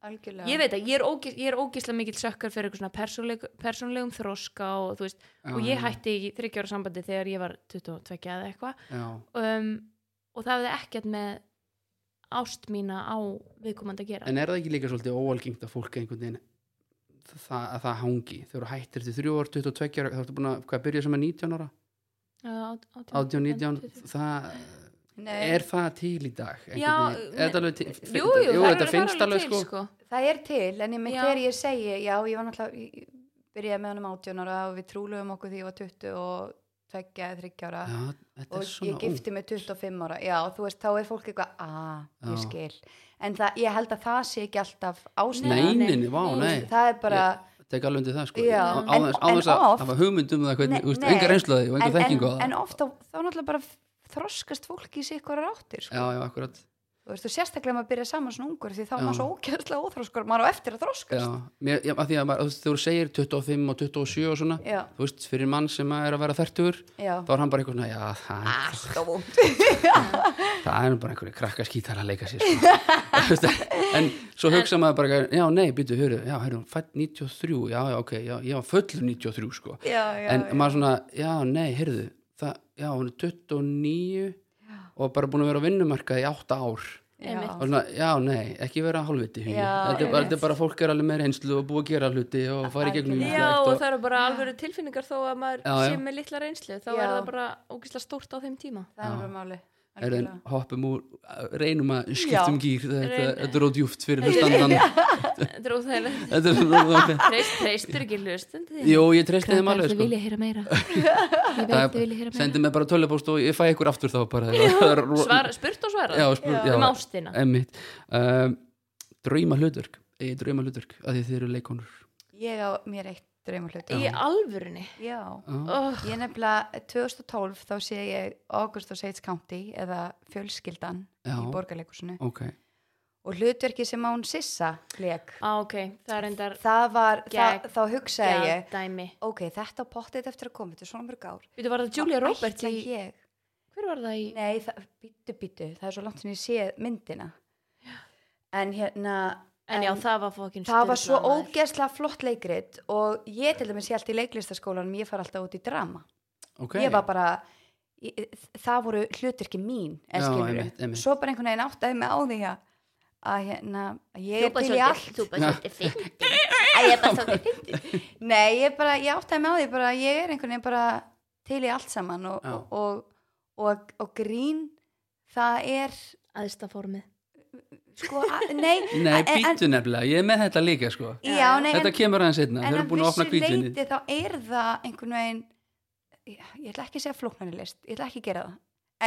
S2: algjörlega
S3: ég veit að ég er, ógis, ég er ógislega mikill sökkar fyrir eitthvað svona persónleg, persónlegum þroska og þú veist, og ég
S1: já,
S3: hætti í 30 ára sambandi þegar ég var 22 eða eitthvað
S1: já,
S3: um, og það hefði ekkert með ást mína á viðkomandi að gera
S1: en er það ekki líka svolítið óalgengt að fólk einhvern veginn það, að það hangi, þegar þú hættir til 3 ára, 22 ára, þá ertu búin að hvað byrja sem er 19 ára,
S3: Uh, át- átján-
S1: 18,
S3: 22.
S1: 19 það,
S2: Nei,
S1: er það til í dag einhvern
S3: Eh, Já,
S1: veginn? er þetta alveg til,
S3: Jú, jú, það
S1: þetta
S3: er- það er
S1: finnst alveg
S3: til,
S1: sko,
S2: það er til, en ég með
S3: Já.
S2: þegar ég segi já, ég var náttúrulega, ég- ég byrjaði með honum 18 ára og við trúluðum okkur því ég var 20 og 2 eða 30 ára
S1: já, þetta er
S2: og
S1: svona
S2: ég gifti mig 25 ára já, þú veist, þá er fólk eitthvað að, ég
S1: Já.
S2: skil en það, ég held að það sé ekki alltaf ástæðan
S1: neyninni, vá, nei
S2: það er bara
S1: tek alveg undir það sko
S2: Já.
S1: Á-
S2: En-
S1: áðeins áðeins
S2: en
S1: að
S2: oft-
S1: hafa hugmynd um það hvernig,
S2: Nei,
S1: úst,
S2: nei.
S1: enga reynslaði og enga
S2: en, en,
S1: þekkingu á það
S2: en ofta, þá náttúrulega bara þroskast fólk í sig ykkur ráttir
S1: já,
S2: sko.
S1: já, akkurat
S2: þú veist, og sérstaklega maður byrja saman svona ungur því þá er
S1: Já.
S2: maður svo ókjæðslega óþroskur maður á eftir að
S1: já,
S2: þroskast
S1: mér, já, að því að maður, þú veist, þegar þú segir 25 og 27 og svona
S2: já,
S1: þú veist, fyrir mann sem er að vera þertur
S2: já,
S1: þá er hann bara eitthvað svona, já, það,
S2: alltaf vond
S1: það er nú bara einhverju krakkaskítar að leika sér sko. <laughs> Þú veist, en svo hugsa maður bara já, nei, býtu, hörru, já, hörru, fætt 93 já, já, ok, já, ég var fullur 93 sko.
S2: já, já,
S1: en
S2: já.
S1: maður svona, já, nei, heyrðu það, já, hún er 29 og bara búin að vera á vinnumarkaði í 8 ár
S2: Já.
S1: og svona, já, nei, ekki vera hálfviti hugi.
S2: Já,
S1: þetta, er bara-
S2: einmitt.
S1: þetta er bara fólk er alveg með reynslu og búið að gera hluti og fara í gegnum
S2: Algjörlega.
S3: Já,
S1: ýmislegt
S3: og það eru bara alveg tilfinningar þó að maður
S1: Já, já.
S3: sé með litla reynslu, þá
S2: Já.
S3: er það bara ógislega stórt á þeim tíma
S2: það
S1: Já.
S2: er bara máli
S1: er en
S2: algjörlega.
S1: hoppum úr, uh, reynum að skiptum
S3: Já,
S1: gýr, þetta,
S3: reynum.
S1: þetta er ódjúft
S2: <laughs>
S1: fyrir hlustandan
S3: Þetta er óþægilegt.
S1: þetta er ódjúft
S3: Treist, treistur ekki hlustundi.
S1: Jú, ég treysti þeim alveg
S3: Þið
S1: sko.
S3: vilja heyra
S1: <laughs>
S3: meira. Ég veit
S1: Það-
S3: þið vilja heyra meira.
S1: Sendi mér bara tölvupóst og ég fæ ykkur aftur þá bara <laughs> Það er ro-
S3: Svar, spurt og svarað.
S1: Já, spur,
S2: Já.
S1: já,
S3: Um ástina.
S1: emmitt um, Drauma hlutverk Egið drauma hlutverk, að því þið eru leikonur
S2: Ég á mér eitt draumur
S3: Í alvörunni.
S2: Já.
S1: ah,
S3: Oh,
S2: Ég nefnilega 2012 þá sé ég August og Seitz County eða fjölskyldan
S1: Já,
S2: í borgarleikusinu
S1: ok
S2: og hlutverki sem án Sissa leik.
S3: á, ok, það er endar
S2: Það var, það,
S3: Gegn-
S2: þá hugsaði ég,
S3: dæmi.
S2: ok, þetta á pottið eftir að koma, þetta er svona mörg ár.
S3: Við þú var það Julia
S2: Þá
S3: Roberts
S2: ætla
S3: í,
S2: Ég,
S3: hver var það í?
S2: Nei, það, býtu, býtu, það er svo langt sem ég sé myndina. En hérna,
S3: En já, það var fókin
S2: það var svo ógeðslega flott leikrit og ég til dæmis ég allt í leiklistaskólanum, ég far alltaf út í drama.
S1: okay.
S2: Ég var bara, ég, það voru hluturki mín,
S1: Já,
S2: en
S1: einmitt,
S2: skilur.
S1: einmitt.
S2: Svo bara einhvern veginn áttaði mig á því að, að hérna, að ég er
S3: Þú bara
S2: til í allt.
S3: svolítið, þú bara
S1: Já.
S3: svolítið fyndi. Æ, ég bara svolítið fyndi.
S2: Nei, ég bara, ég áttaði mig á því bara, að ég er einhvern veginn bara til í allt saman og,
S1: Já.
S2: og, og, og, og grín, það er
S3: Aðsta formið.
S2: sko, að- nei,
S1: Nei,
S2: en- en-
S1: býtu nefnilega, ég er með þetta líka sko
S3: Já,
S2: já, nei,
S1: Þetta kemur aðeins einna,
S2: en
S1: þeir eru búin að opna
S2: vissu
S1: kvítvinni
S2: leyti þá er það einhvern veginn ég, ég ætla ekki að segja flóknari list, ég ætla ekki að gera það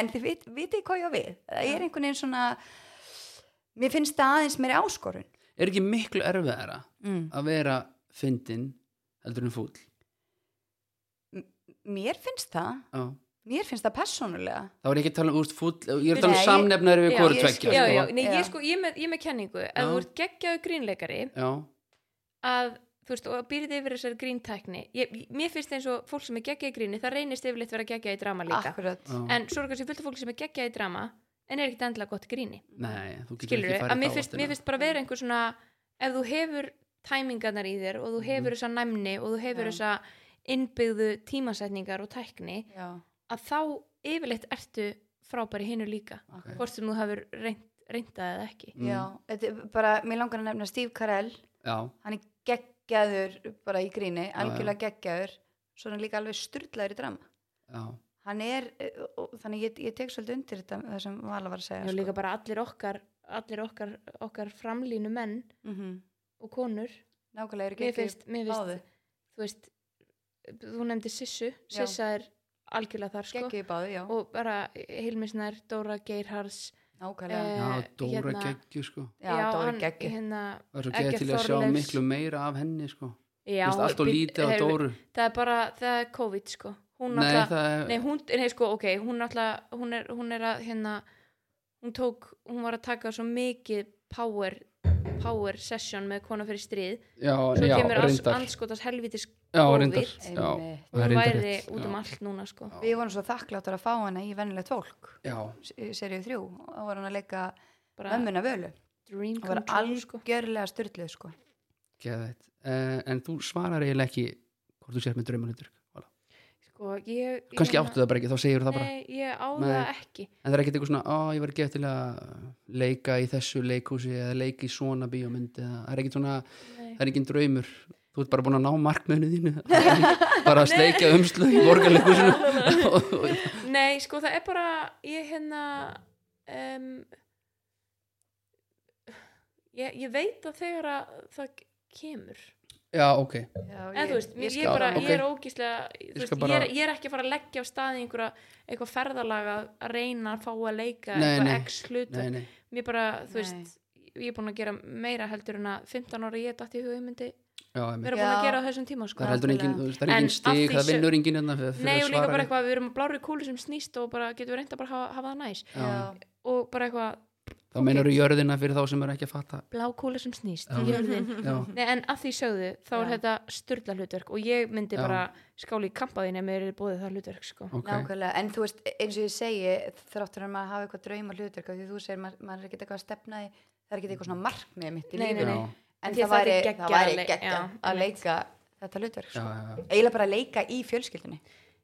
S2: en þið vit, vitið hvað ég á við það er einhvern veginn svona mér finnst það aðeins meiri áskorun
S1: Er ekki miklu erfiðara að vera fyndin heldur en fúll
S2: mér finnst það,
S1: Já.
S2: mér finnst það persónulega
S1: Það var ekki að tala um úrst fúll Ég er að tala um
S2: Nei, ég-
S1: samnefnari við
S3: Já,
S1: hvori
S2: ég
S1: tveggja
S2: skil.
S3: Já, já,
S1: sko.
S3: nei,
S2: Já.
S3: ég sko, ég er með, ég er með kenningu
S1: Já.
S3: að þú ert geggjaðu grínleikari
S1: já,
S3: að, þú veist, og býrið yfir þessari gríntækni ég, mér finnst eins og fólk sem er geggjað í gríni það reynist yfirleitt vera geggjað í drama
S1: Ah.
S3: líka
S2: akkurat
S1: já.
S3: en svo er kannski fullt af fólki sem er geggjað í drama en er ekkit endilega gott í gríni
S1: Nei, þú getur
S3: skilur
S1: ekki
S3: að
S1: farið
S3: mér finnst, mér finnst bara vera einhver svona ef þú hefur tæmingarnar í þér
S1: Mhm.
S3: og þú hefur þessa næmni og þú
S2: Já.
S3: hefur þessa innbyggðu tímasetningar og tækni
S2: já,
S3: að þá yfirleitt ertu frábæri hinu líka
S2: akkurat
S3: hvort sem þú hefur reynt, reyndað eða ekki
S1: Mm.
S2: já, þetta er bara, mér langar að nefna Steve Carell
S1: Já,
S2: hann er geggjaður bara í gríni,
S1: já.
S2: algjörlega geggjaður svo er hann líka alveg styrlaður í drama
S1: já,
S2: hann er, eh, og- þannig ég, ég tek svolítið undir þetta það sem Vala var að segja sko.
S3: Já,
S1: sko.
S3: líka bara allir okkar, allir okkar, okkar framlínu menn
S2: mm -hmm.
S3: og konur.
S2: nákvæmlega eru ekki
S3: Mér finnst, mér
S2: báðu
S3: finnst, þú veist, þú nefndi Sissu,
S2: Já.
S3: Sissa er algjörlega þar sko.
S2: geggið í báðu, já,
S3: Og bara Hilmisnær, Dóra Geirhars,
S2: nákvæmlega
S3: Eh,
S1: já, Dóra
S3: hérna-
S1: geggju sko
S2: já, það voru
S3: hann,
S2: geggið
S3: hérna,
S1: Það er svo geggja
S3: Eggert
S1: til að sjá
S3: Þorleifs.
S1: miklu meira af henni sko
S3: já.
S1: Mér finnst Allt og
S3: bíddu,
S1: lítið af
S3: heyrðu,
S1: Dóru
S3: Það er bara, það er COVID sko. Hún
S1: Nei,
S3: náttúrulega-
S1: það
S3: Nei,
S1: er
S3: hún, nei, sko, ok, hún alltaf, hún er, hún er að, hérna, hún tók, hún var að taka svo mikið power, power session með kona fyrir stríð,
S1: Já,
S3: svo
S1: já,
S3: kemur alls,
S1: reyndar
S3: anskotas helvitis,
S1: Já,
S3: COVID.
S1: reyndar Já,
S2: Einmitt.
S1: það er
S3: hún
S1: reyndar
S3: væri
S1: rétt.
S3: út
S1: Já.
S3: um allt núna, sko.
S1: Já.
S2: við vorum svo þakkláttur að fá hana í vennilegt fólk
S1: Já,
S2: serið þrjú, þá var hann að leika
S3: Bara
S2: mömmuna völu,
S3: dream
S2: það var
S3: come true, sko.
S2: algjörlega styrluð sko,
S1: geðveitt uh, En þú svarar eiginlega ekki hvort þú sér með draumulundur
S3: Sko, ég... ég
S1: Kanski
S3: hérna-
S1: áttu það bara ekki, þá segir það bara
S3: Nei, ég á
S1: Nei.
S3: það ekki.
S1: En það er ekkert eitthvað svona, á, ég var ekki til að leika í þessu leikhúsi eða leika í svona bíómynd eða það er ekkert svona,
S3: Nei.
S1: það er ekkert draumur Þú ert bara búin að ná markmiðinu þínu <laughs> bara að sleika umslug í
S3: <laughs>
S1: borgarleikhúsinu og- og-
S3: Nei, sko, það er bara, ég hérna, um, ég, ég veit að þegar að það kemur.
S1: Já, ok
S2: já,
S3: En þú veist, ég,
S2: skil
S3: ég, bara,
S1: það.
S2: það.
S1: Ok.
S3: ég er ógíslega ég,
S1: Ég
S3: veist,
S1: skal bara-
S3: ég, er, ég er ekki að fara að leggja á staði einhverja, eitthvað ferðalaga að reyna að fá að leika
S1: Nei,
S3: eitthvað
S1: nei.
S3: x hlut
S1: Nei, nei,
S3: mér bara, þú
S2: Nei.
S3: veist, ég er búin að gera meira heldur en að 15 ára ég dætti í hug ég myndi
S1: já, emi
S3: vera búin að
S2: Já.
S3: gera á þessum tíma sko.
S1: Það er heldur engin, þú veist, það er
S3: En
S1: engin stig,
S3: af því
S1: það
S3: sem-
S1: vinnur engin hérna fyrir
S3: Nei,
S1: að
S3: og líka
S1: svara
S3: bara
S1: rétt.
S3: eitthvað, við erum á blári kúlu sem snýst og bara getum við reynda bara að hafa, hafa það næs
S1: Já.
S2: Já.
S3: og bara eitthvað,
S1: Þá meinar þú jörðina fyrir þá sem er ekki að fatta
S3: <laughs> blá kúla sem snýst
S1: Já.
S3: jörðin.
S1: Já,
S3: Nei, en að því sögðu, þá er
S2: Já.
S3: þetta sturla hlutverk og ég myndi
S1: Já.
S3: bara skáli í kampaðin ef mér er búið það hlutverk sko.
S1: ok
S2: Nákvæmlega, en þú veist, eins og ég segi þráttur en maður hafa eitthvað drauma hlutverk af því þú segir, maður, maður er ekkert eitthvað að stefna í það er ekkert eitthvað svona markmið mitt í
S3: Nei,
S2: lífinu
S1: Já,
S2: en
S3: Því
S2: það
S3: það er
S2: væri,
S3: geggjað
S2: það væri
S3: að leik-
S2: geggja
S3: já,
S2: að
S3: einmitt.
S2: leika þetta
S1: já,
S2: hlutverk sko.
S1: já, já.
S2: eiginlega bara að leika í fjölskyldinni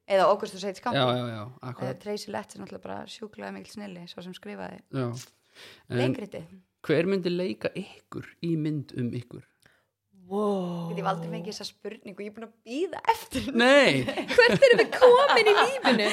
S2: eða okkur þú segið
S1: já,
S2: skamma
S1: já, já, akkurat
S2: Tracy Letts er náttúrulega bara sjúklaði mikil snilli svo sem skrifaði
S1: já. En
S2: leikriti ég
S1: hver myndi leika ykkur í mynd um ykkur?
S3: Wow.
S2: hef aldrei fengið þessa spurningu ég er búin að býða eftir
S3: <laughs>
S2: henni.
S1: Nei,
S2: <laughs>
S3: hvert erum við komin í lífinu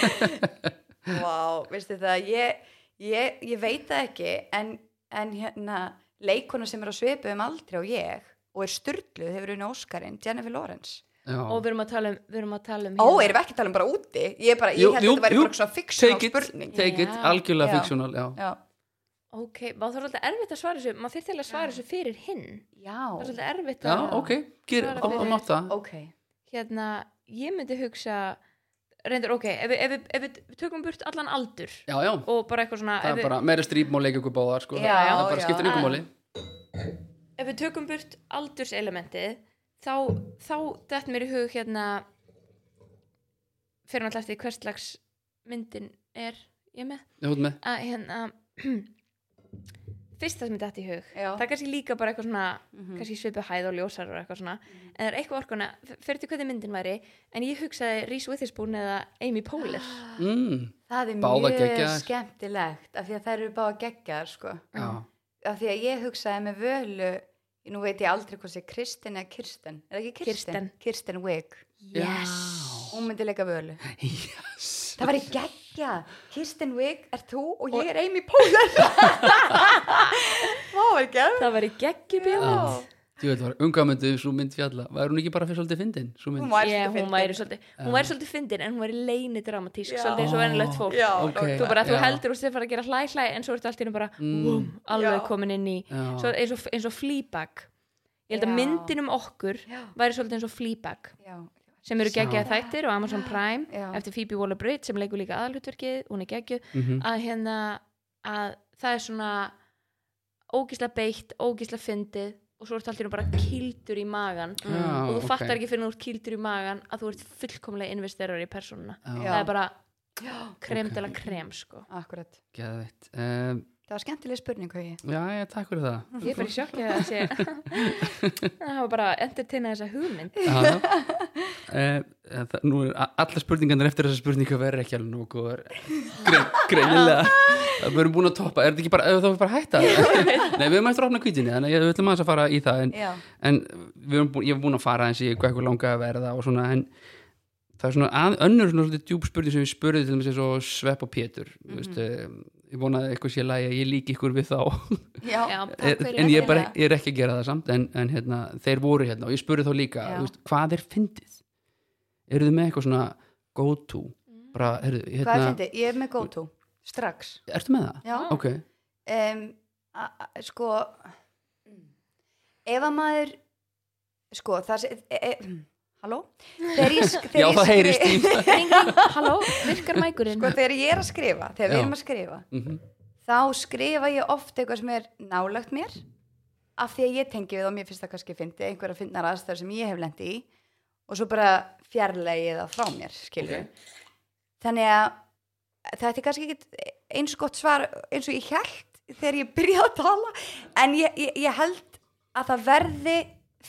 S2: Vá, veistu það, ég ég, ég veit það ekki en, en hérna leikona sem er á svipu um aldrei og ég og er styrluð hefur unni Óskarinn Jennifer Lawrence
S1: Já.
S3: og við erum að tala um, við erum að tala um
S2: ó, erum við ekki að tala um bara úti ég, er bara, ég
S1: Jú,
S2: held
S1: jú,
S2: þetta væri
S1: jú.
S2: bara svona
S1: take
S2: fiksjónal
S1: it,
S2: spurning
S1: take it,
S3: Já.
S1: algjörlega
S2: Já.
S1: fiksjónal já.
S2: já,
S3: ok, maður þarf alltaf erfitt að svara þessu maður þyrfti eiginlega að svara
S2: Já.
S3: þessu fyrir hinn það er
S2: já.
S3: alltaf erfitt
S1: já,
S3: að
S1: ok, ger, á,
S3: Svara
S1: á
S3: fyrir-
S1: mátt það
S2: ok
S3: hérna, ég myndi hugsa reyndar, ok, ef, við- ef, við- ef við tökum burt allan aldur
S1: já, já,
S3: og bara eitthvað svona
S1: það
S3: ef
S1: er
S3: við,
S1: bara meira strípmál leik ykkur báðar sko.
S2: Já,
S1: það
S2: já.
S1: bara skiptir ykkur máli
S3: ef við tökum burt aldurselementið þá, þá dætt mér í hug hérna fyrir náttúrulega eftir því hvers slags myndin er ég með
S1: Já, út með.
S3: að hérna <clears throat> fyrsta sem þetta í hug
S2: Já. Mm. Mhm.
S3: það er kannski líka bara eitthvað svona kannski svipu hæð og ljósar og eitthvað svona en það er eitthvað orkuna, fyrir til hvernig myndin væri en ég hugsaði Reese Witherspoon eða Amy
S2: <gasps>
S3: Poehler
S1: mm,
S2: það er
S1: Báðar
S2: mjög
S1: geggjaðar.
S2: skemmtilegt af því að þær eru báða geggjaðar sko.
S1: já,
S3: Ah,
S2: af því að ég hugsaði með völu nú veit ég aldrei hvað sé Kristin eða Kirsten er það ekki Kirsten?
S3: Kirsten.
S2: Kirsten Wig
S1: Yes.
S2: hún myndi leika völu
S1: yes
S2: Það var
S1: <laughs>
S2: í geggja Kirsten Wiig er þú og ég er Amy
S1: <laughs>
S2: Poehler Vá, er ekki
S3: það var í geggjubjóð
S2: Já.
S1: Ég veit, var ungamöndu, svo mynd fjalla Var hún ekki bara fyrir svolítið fyndin? Svo mynd
S2: Hún var
S3: Yeah, hún væri
S2: fyndin.
S3: svolítið, hún væri svolítið fyndin en hún væri leini dramatísk,
S2: Já.
S3: svolítið eins og venilegt fólk
S2: Já,
S1: ok.
S3: þú bara, þú
S1: Já.
S3: heldur og sér fara að gera hlæ hlæ en svo ertu allt í hennu bara,
S1: Mm.
S3: vum, alveg
S2: Já.
S3: komin inn í
S1: Já.
S3: svo, eins, og, eins og flýbak ég held að
S2: Já.
S3: myndin um okkur
S2: Já.
S3: væri svolítið eins og flýbak
S2: Já,
S3: sem eru
S1: Já.
S3: geggjaði þættir og Amazon Prime
S2: Já.
S3: eftir Phoebe Waller-Bridge sem leikur líka aðalhutverkið hún er geggju,
S1: Mhm.
S3: að hérna að það er svona ógisla beitt, ógisla fyndið og svo ertu allt í hennu bara kildur í magan
S1: Já,
S3: og þú
S1: ok.
S3: fattar ekki fyrir þú ert kildur í magan að þú ert fullkomlega investerar í persónuna
S1: Já,
S2: Já.
S3: það er bara
S2: já,
S3: krem
S1: Ok.
S3: til að krem sko
S2: akkurat
S1: geðveitt um,
S2: Það var skemmtileg spurning, Hauji
S1: Já, ég takk fyrir það
S3: Ég er bara í sjokki að það sé
S1: <laughs>
S3: Það hafa bara entertainað þessa hugmynd
S1: Já, já. Eh, eh, það- Nú er a- allar spurningarnir eftir þessa spurningu verður ekki alveg nógu góðar Grein- greinilega Við erum búin að toppa, er þetta ekki bara, ef það var bara að hætta <laughs> Nei, við erum eftir að opna kvítinni þannig að við ætlum aðeins að fara í það en,
S2: Já,
S1: en við erum búin, ég er búin að fara eins í hvað eitthvað langa að verða og svona en það er svona að, önnur svona svolítið djúb spurning sem ég spurði til þess að svepp og Pétur mm veist, eh, ég vonaði eitthvað sé lægi að ég líki ykkur við þá
S2: já,
S3: Já, takk fyrir
S1: Eh, en ég er,
S3: þetta.
S1: bara, ég er ekki að gera það samt en, en hérna, þeir voru hérna og ég spurði þá líka
S2: Já.
S1: þú veist, hvað er fyndið eru þið með eitthvað svona go to
S3: Mm.
S1: bara, heyrðu,
S2: Hvað er
S1: hérna,
S2: fyndið? Ég er með go to, strax
S1: ertu með það?
S2: Já,
S1: ok,
S2: um, a, a, sko Ef að maður sko, það sé e, e, Halló? Þegar ég, sk-
S1: já
S2: þegar ég
S1: það heyrist í
S2: skri- <laughs>
S3: Ring, ring, Halló, virkar mækurinn
S2: Sko, þegar ég er að skrifa, þegar við
S1: Já.
S2: erum að skrifa
S1: Mhm.
S2: þá skrifa ég oft eitthvað sem er nálagt mér af því að ég tengi við og mér finnst það kannski fyndi einhverja fyndnar aðstæður sem ég hef lendi í og svo bara fjarlægi það frá mér skilju þannig að þetta er kannski ekki eins gott svar eins og ég held þegar ég byrjaði að tala en ég, ég, ég held að það verði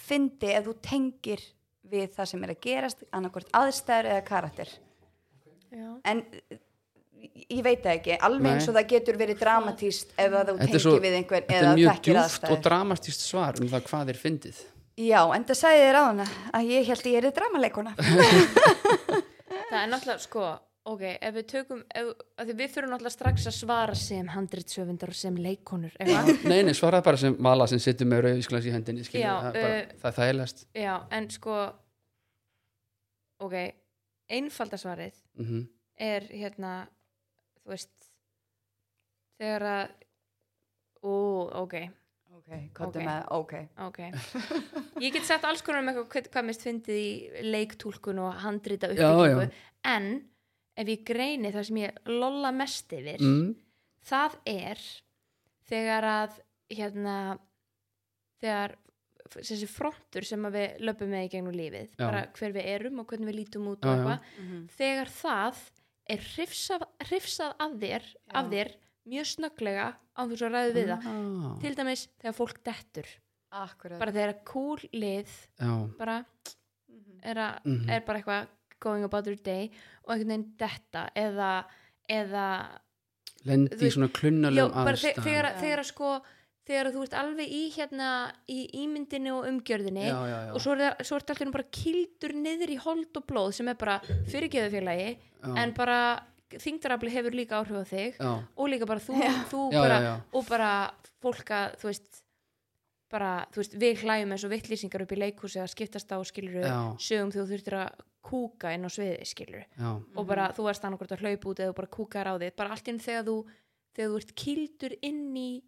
S2: fyndi ef þú tengir við það sem er að gerast annarkvort aðstæður eða karakter
S3: Já.
S2: en eh, ég veit það ekki alveg
S1: Nei.
S2: eins og það getur verið dramatíst ef að þú
S1: þetta
S2: tengir
S1: er, svo,
S2: við einhvern
S1: þetta
S2: eða
S1: er mjög
S2: þekkir
S1: djúft og
S2: aðstæður
S1: dramatíst svar um það hvað er fyndið
S2: já, en það sagði þér á hana að ég held að ég er
S1: <laughs>
S2: dramaleikuna
S3: Það er náttúrulega, sko Ok, ef við tökum, ef, af því við þurfum náttúrulega strax að svara sem handritsöfundar og sem leikonur, eitthvað
S1: nei, nei, svaraði bara sem vala sem sittur með rauðisglans í hendinni skilur,
S3: Já,
S1: það, er bara,
S3: uh,
S1: það er þægilegast
S3: Já, en sko Ok, einfalda svarið
S1: mm
S3: er hérna þú veist þegar að Ú, ok,
S2: ok, kottu
S3: Ok.
S2: með, ok
S3: ok Ég get sagt alls konar um eitthvað hvað- hvað mest fyndið í leiktúlkun og handrita
S1: Já,
S3: uppbyggingu en ef ég greini það sem ég lolla mest yfir
S1: Mm.
S3: það er þegar að hérna þegar f- þessi frontur sem að við löpum með í gegnum lífið
S1: Já.
S3: bara hver við erum og hvernig við lítum út
S1: Já, já.
S3: og eitthvað þegar það er hrifsað, hrifsað af, þér, af
S2: Já.
S3: þér mjög snögglega á þess að ræðu við það
S1: Ah,
S3: til dæmis þegar fólk dettur
S2: akkurat
S3: bara þegar cool lið
S1: já,
S3: bara er, a,
S1: Mhm.
S3: er bara eitthvað going about their day og einhvern veginn detta eða, eða
S1: lendi
S3: Þú
S1: í
S3: veist,
S1: svona
S3: Já,
S1: klunnalegum
S3: bara þe- þegar,
S1: aðstæðan
S3: að- þegar að sko þegar að þú ert alveg í hérna í ímyndinu og umgjörðinni
S1: Já, já, já.
S3: og svo er, það, svo er þetta alltaf bara kildur niður í hold og blóð sem er bara fyrirgeðu félagi
S1: Já.
S3: en bara þingdarafli hefur líka áhrif á þig
S1: já,
S3: og líka bara þú,
S2: Já.
S3: þú
S1: já,
S3: bara,
S1: já, já.
S3: og bara fólk að þú veist bara, þú veist, við hlæjum eins og vittlýsingar upp í leikhúsi að skiptast á skiluru
S1: Já.
S3: sögum þegar þú þurftir að kúka inn á sviði skiluru
S1: já.
S3: og bara
S1: Mhm.
S3: þú varst annarkvort að hlaupa út eða þú bara kúkar á þig bara allt inn þegar þú þegar þú ert kildur inn í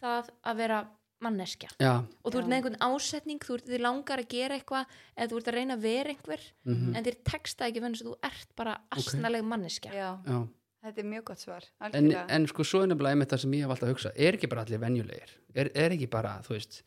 S3: það að vera manneskja
S1: já.
S3: og þú ert
S2: Já.
S3: með einhvern ásetning þú ert þið langar að gera eitthvað eða þú ert að reyna að vera einhver
S1: mhm,
S3: en þér texta ekki vegna þess að þú ert bara astnaleg manneskja
S2: já,
S1: já.
S2: þetta er mjög gott svar
S1: En,
S2: algjörlega.
S1: en sko svo er nefnilega einmitt það sem ég hef alltaf að hugsa er ekki bara allir venjulegir er, er ekki bara, þú veist,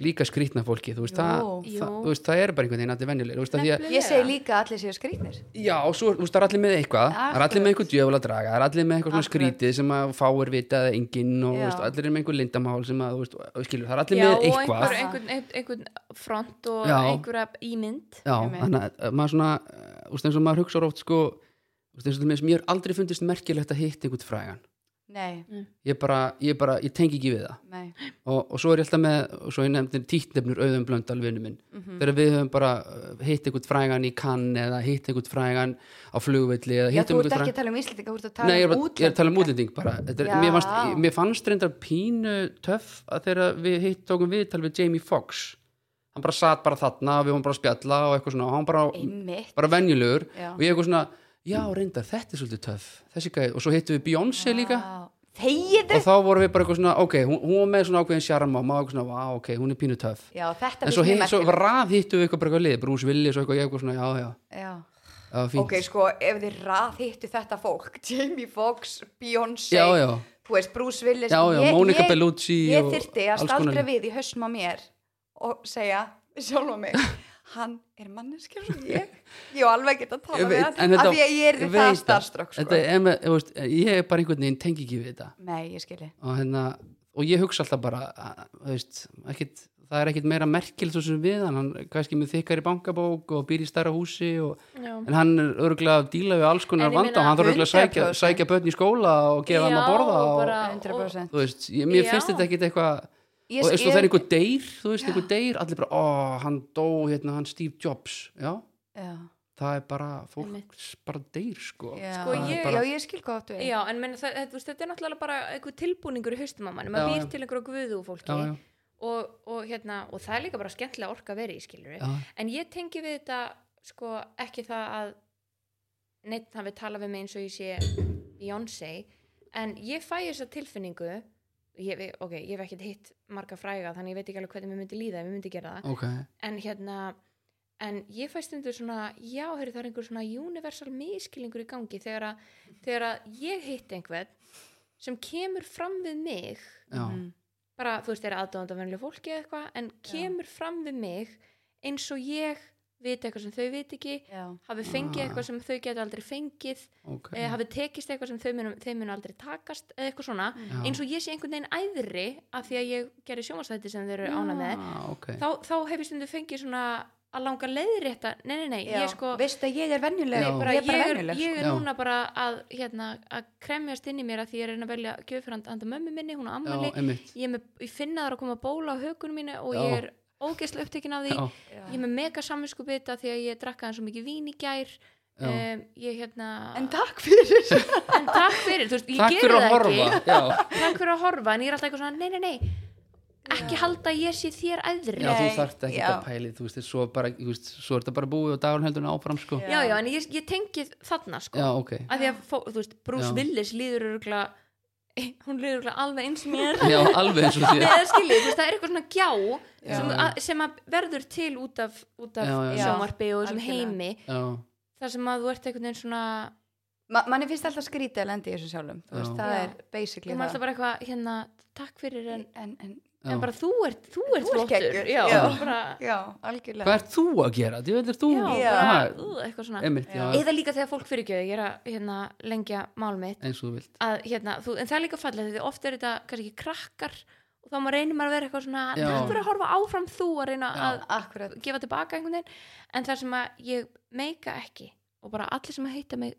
S1: líka skrýtna fólki þú veist,
S2: Jú.
S1: það,
S3: Jú.
S1: það, þú veist, það er bara einhvern veginn allir venjulegir þú veist, að því að,
S2: ég segi líka að allir séu skrýtnir
S1: já, og svo, þú veist, það er allir með eitthvað það er allir með eitthvað djöful að draga það er allir með eitthvað svona
S2: Akkurat.
S1: skrítið sem að fáir vita eða enginn og þú
S2: Já.
S1: veist, allir er með einhver lindamál sem að, þú veist, og- og skilur, það er allir
S3: Já,
S1: með
S3: og
S1: eitthvað
S3: einhver, einhvern, ein- einhvern front og
S1: Já.
S3: einhverja ímynd
S1: Já,
S2: Einmitt.
S1: þannig að maður svona uh, úst, eins og maður hugsa oft sko úst, eins og mér, mér er aldrei fundist merkilegt að hitta einhvern frægan
S2: nei,
S1: ég bara, ég bara, ég tengi ekki við það
S2: nei
S1: Mm. og, og svo er ég alltaf með, og svo ég nefndi títnefnur auðum blöndal vinnu minn
S2: Mhm.
S1: þegar við höfum bara uh, hitt einhvern frægan í kann eða hitt einhvern frægan á flugvelli eða
S2: já,
S1: hitt
S2: þú ert
S1: einhvern
S2: ekki að
S1: frægan
S2: tala um Íslendinga, þú ert að tala
S1: Nei, ég er, bara, ég er
S2: um
S1: að
S2: útlendinga
S1: tala um útlending bara Þetta er,
S2: Já.
S1: mér, fannst, mér fannst reyndar pínu töff að þegar við hitt tókum viðtal við Jamie Foxx hann bara satt bara þarna og við vorum bara að spjalla og eitthvað svona og hann bara
S2: einmitt,
S1: bara venjulegur
S2: Já.
S1: og ég eitthvað svona, já reyndar, þetta er svolítið töff þessi gæði, og svo hittum við Beyoncé líka
S2: þegiðu
S1: og þá vorum við bara eitthvað svona, ok, hún, hún var með svona ákveðin sjarma og maður eitthvað svona, vá, ok, hún er pínu töff
S2: já, þetta
S1: en svo,
S2: finnst
S1: hitt,
S2: mér
S1: svo
S2: merkilegt.
S1: rað hittum við eitthvað bara eitthvað lið, Bruce Willis og eitthvað, ég eitthvað svona, já, já,
S2: já
S1: það var fínt
S2: Ok, sko, ef þið raðhittu þetta fólk <laughs> Jamie Foxx, Beyoncé
S1: Já, já.
S2: Þú veist, Bruce Willis
S1: Já, já,
S2: ég,
S1: Monica
S2: ég-
S1: Bellucci
S2: Ég
S1: og
S2: þyrfti að
S1: alls konar
S2: staldra
S1: lið.
S2: við í hausnum á mér og segja sjálf á
S1: <laughs>
S2: mig hann er manneskja sem ég ég á alveg geta að tala
S1: Ég
S2: við
S1: veit, en
S2: hann af
S1: þetta-
S2: því að ég er
S1: ég
S2: það
S1: veit
S2: starfströkk sko.
S1: þetta, em, e, veist, ég er bara einhvern veginn tengi ekki við þetta
S2: Nei, ég skilji
S1: og, hérna, og ég hugsa alltaf bara að, þú veist, ekkit, það er ekkit meira merkil svo sem við hann, hann er kannski með þykkar í bankabók og býr í stærra húsi og,
S3: Já.
S2: Mm.
S1: en hann er örgulega að díla við alls
S3: En
S1: konar
S3: ég
S1: vanda og
S3: meina-
S1: hann þarf örgulega að sækja,
S2: 100%.
S1: sækja börn í skóla og gefa hann að borða
S3: og
S1: og,
S3: bara, og,
S2: 100%
S1: þú veist, ég, mér
S3: Já.
S1: finnst þetta ekkit eitthvað
S2: Ég-
S1: og eins og það er
S2: ég-
S1: einhver deyr, þú veist, einhver deyr allir bara, ó, hann dó, hérna, hann Steve Jobs já,
S2: Já,
S1: það er bara fólk
S3: Einmitt.
S1: bara deyr, sko
S2: já.
S1: Það
S3: Sko,
S1: er
S3: ég-
S1: bara,
S2: já, ég skil hvað áttu við.
S3: Já, en menn, það, þetta, þú veist, þetta er náttúrulega bara einhver tilbúningur í haustum á manni,
S1: Já,
S3: maður býr
S1: já.
S3: til einhverju guðu úr fólki
S1: já, já,
S3: Og, og hérna, og það er líka bara skemmtilega orka að vera í skilur
S1: já,
S3: en ég tengi við þetta sko ekki það að neitt hafi talað við mig eins og ég sé Beyoncé, en ég fæ þessa tilfinningu ég, ve- ok, ég hef ekkert hitt marga fræga þannig ég veit ekki alveg hvernig mér myndi líða ef mér myndi gera það
S1: ok
S3: en hérna en ég fæ stundur svona, já, heyrðu það er einhver svona universal miskilingur í gangi þegar að, þegar að ég hitt einhvern sem kemur fram við mig
S1: já,
S3: Mhm.
S2: Mm.
S3: bara, þú veist, er aðdóðand af venjuleg fólki eða eitthvað, en kemur fram við mig eins og ég viti eitthvað sem þau viti ekki,
S2: Já,
S3: hafi fengið
S1: Ah.
S3: eitthvað sem þau geta aldrei fengið,
S1: ok
S3: okay. hafi tekist eitthvað sem þau munu, þau munu aldrei takast eða eitthvað svona,
S1: Já.
S3: eins og ég sé einhvern veginn æðri af því að ég gerir sjónvarsþætti sem þau eru ánað með,
S1: Ah, ok.
S3: þá, þá hef ég stundu fengið svona að langa leiðrétta, nei, nei, nei,
S2: já.
S3: ég sko
S2: Veistu að ég er venjuleg
S1: Já.
S3: bara,
S2: Ég er bara
S3: ég, er,
S2: venjuleg sko.
S3: ég er
S1: Já.
S3: núna bara að, hérna, að kremjast inn í mér að því ég er að reyna að velja gjöfyrhand handa mömmu minni, hún
S1: já,
S3: á ammali
S1: einmitt
S3: ég, er með, ég finna þar að koma bóla á hökunum mínu og
S1: Já.
S3: ég er ógeðslega upptekin af því
S1: já,
S2: sko.
S3: ég er með mega samvinsku bita því að ég drakkaði svo mikið vín í gær
S1: Já.
S3: um, ég hérna
S2: En takk
S3: <laughs>
S2: fyrir
S3: en takk fyrir, þú veist, ég
S1: takk
S3: geri
S1: fyrir
S3: það
S1: að horfa
S3: ekki
S1: já,
S3: takk fyrir að horfa, en ég er alltaf eitthvað svona nei, nei, nei, ekki halda að ég sé þér æðri
S1: já þú
S2: Nei,
S1: þarft ekki
S2: já.
S1: að pæli þú veist, svo, bara, þú veist, svo er þetta bara búið og dagur heldur áfram sko.
S2: Já.
S3: já, já, en ég, ég tengi þarna sko,
S1: já, ok
S3: að því að, fó, þú veist, Bruce
S1: Já.
S3: Willis líður örugla <laughs> hún líður örugla alveg eins mér
S1: <laughs> já, alveg
S3: <laughs>
S1: eins og
S3: Nei,
S1: því
S3: það skilji, þú veist, það er eitthvað svona gjá
S2: Já.
S3: sem, að, sem að verður til út af, út af
S1: Já, já, já.
S3: sjónvarpi og þessum
S2: Algjörlega.
S3: heimi
S1: já,
S3: þar sem að þú ert einhvern veginn svona
S2: Ma, manni finnst alltaf skrítið að lenda í þessu sjálfum þú veist,
S1: Já.
S2: það
S3: Já.
S2: er
S3: þú
S2: basically
S3: maður alltaf
S2: það
S3: bara eitthvað, hérna, takk fyrir en,
S2: en, en,
S1: já.
S3: en bara þú ert, þú ert
S2: ert
S3: flottur
S2: geggjur,
S3: já,
S2: já.
S3: bara,
S2: já,
S1: hvað
S2: algjörlega
S1: ert þú að gera? Þú veldur þú
S3: já,
S2: Já.
S3: bara
S1: Ha,
S3: uh, eitthvað svona
S1: einmitt, já,
S3: eða líka þegar fólk fyrirgjöðu, ég er að hérna, lengja mál mitt
S1: eins og þú vilt
S3: að, hérna, þú, en það er líka fallið því oft er þetta kannski krakkar og þá maður reynir maður að vera eitthvað svona
S1: Já.
S3: takk fyrir að horfa áfram þú að reyna
S1: Já.
S3: að
S2: akkurat,
S3: gefa tilbaka einhvern veginn en það sem að ég meika ekki og bara allir sem að heita mig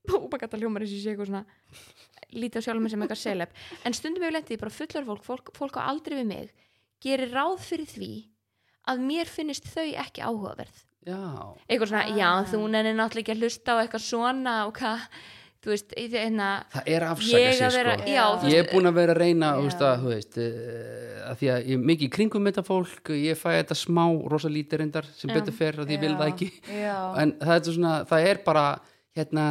S3: <laughs> bóbakata hljómar eins og ég sé eitthvað svona lítið á sjálfum mig sem eitthvað seleb en stundum hefur lendið bara fullar fólk, fólk fólk á aldrei við mig gerir ráð fyrir því að mér finnist þau ekki áhugaverð
S1: já,
S3: eitthvað svona,
S2: Ah.
S3: já þú nenni náttúrulega ekki að hlusta á eitthvað svona og hvað þú veist, í því- hérna
S1: það er að afsaka
S3: ég
S1: sig
S3: að vera,
S1: sko
S3: já, þú
S1: ég er búin að vera að reyna
S3: Já.
S1: þú veist, að, þú veist, eh, að því að ég er mikið í kringum þetta fólk, ég fæ þetta smá rosa lítið reyndar sem
S3: Já.
S1: betur fer að ég vil það ekki
S2: já,
S1: en það er, svona, það er bara hérna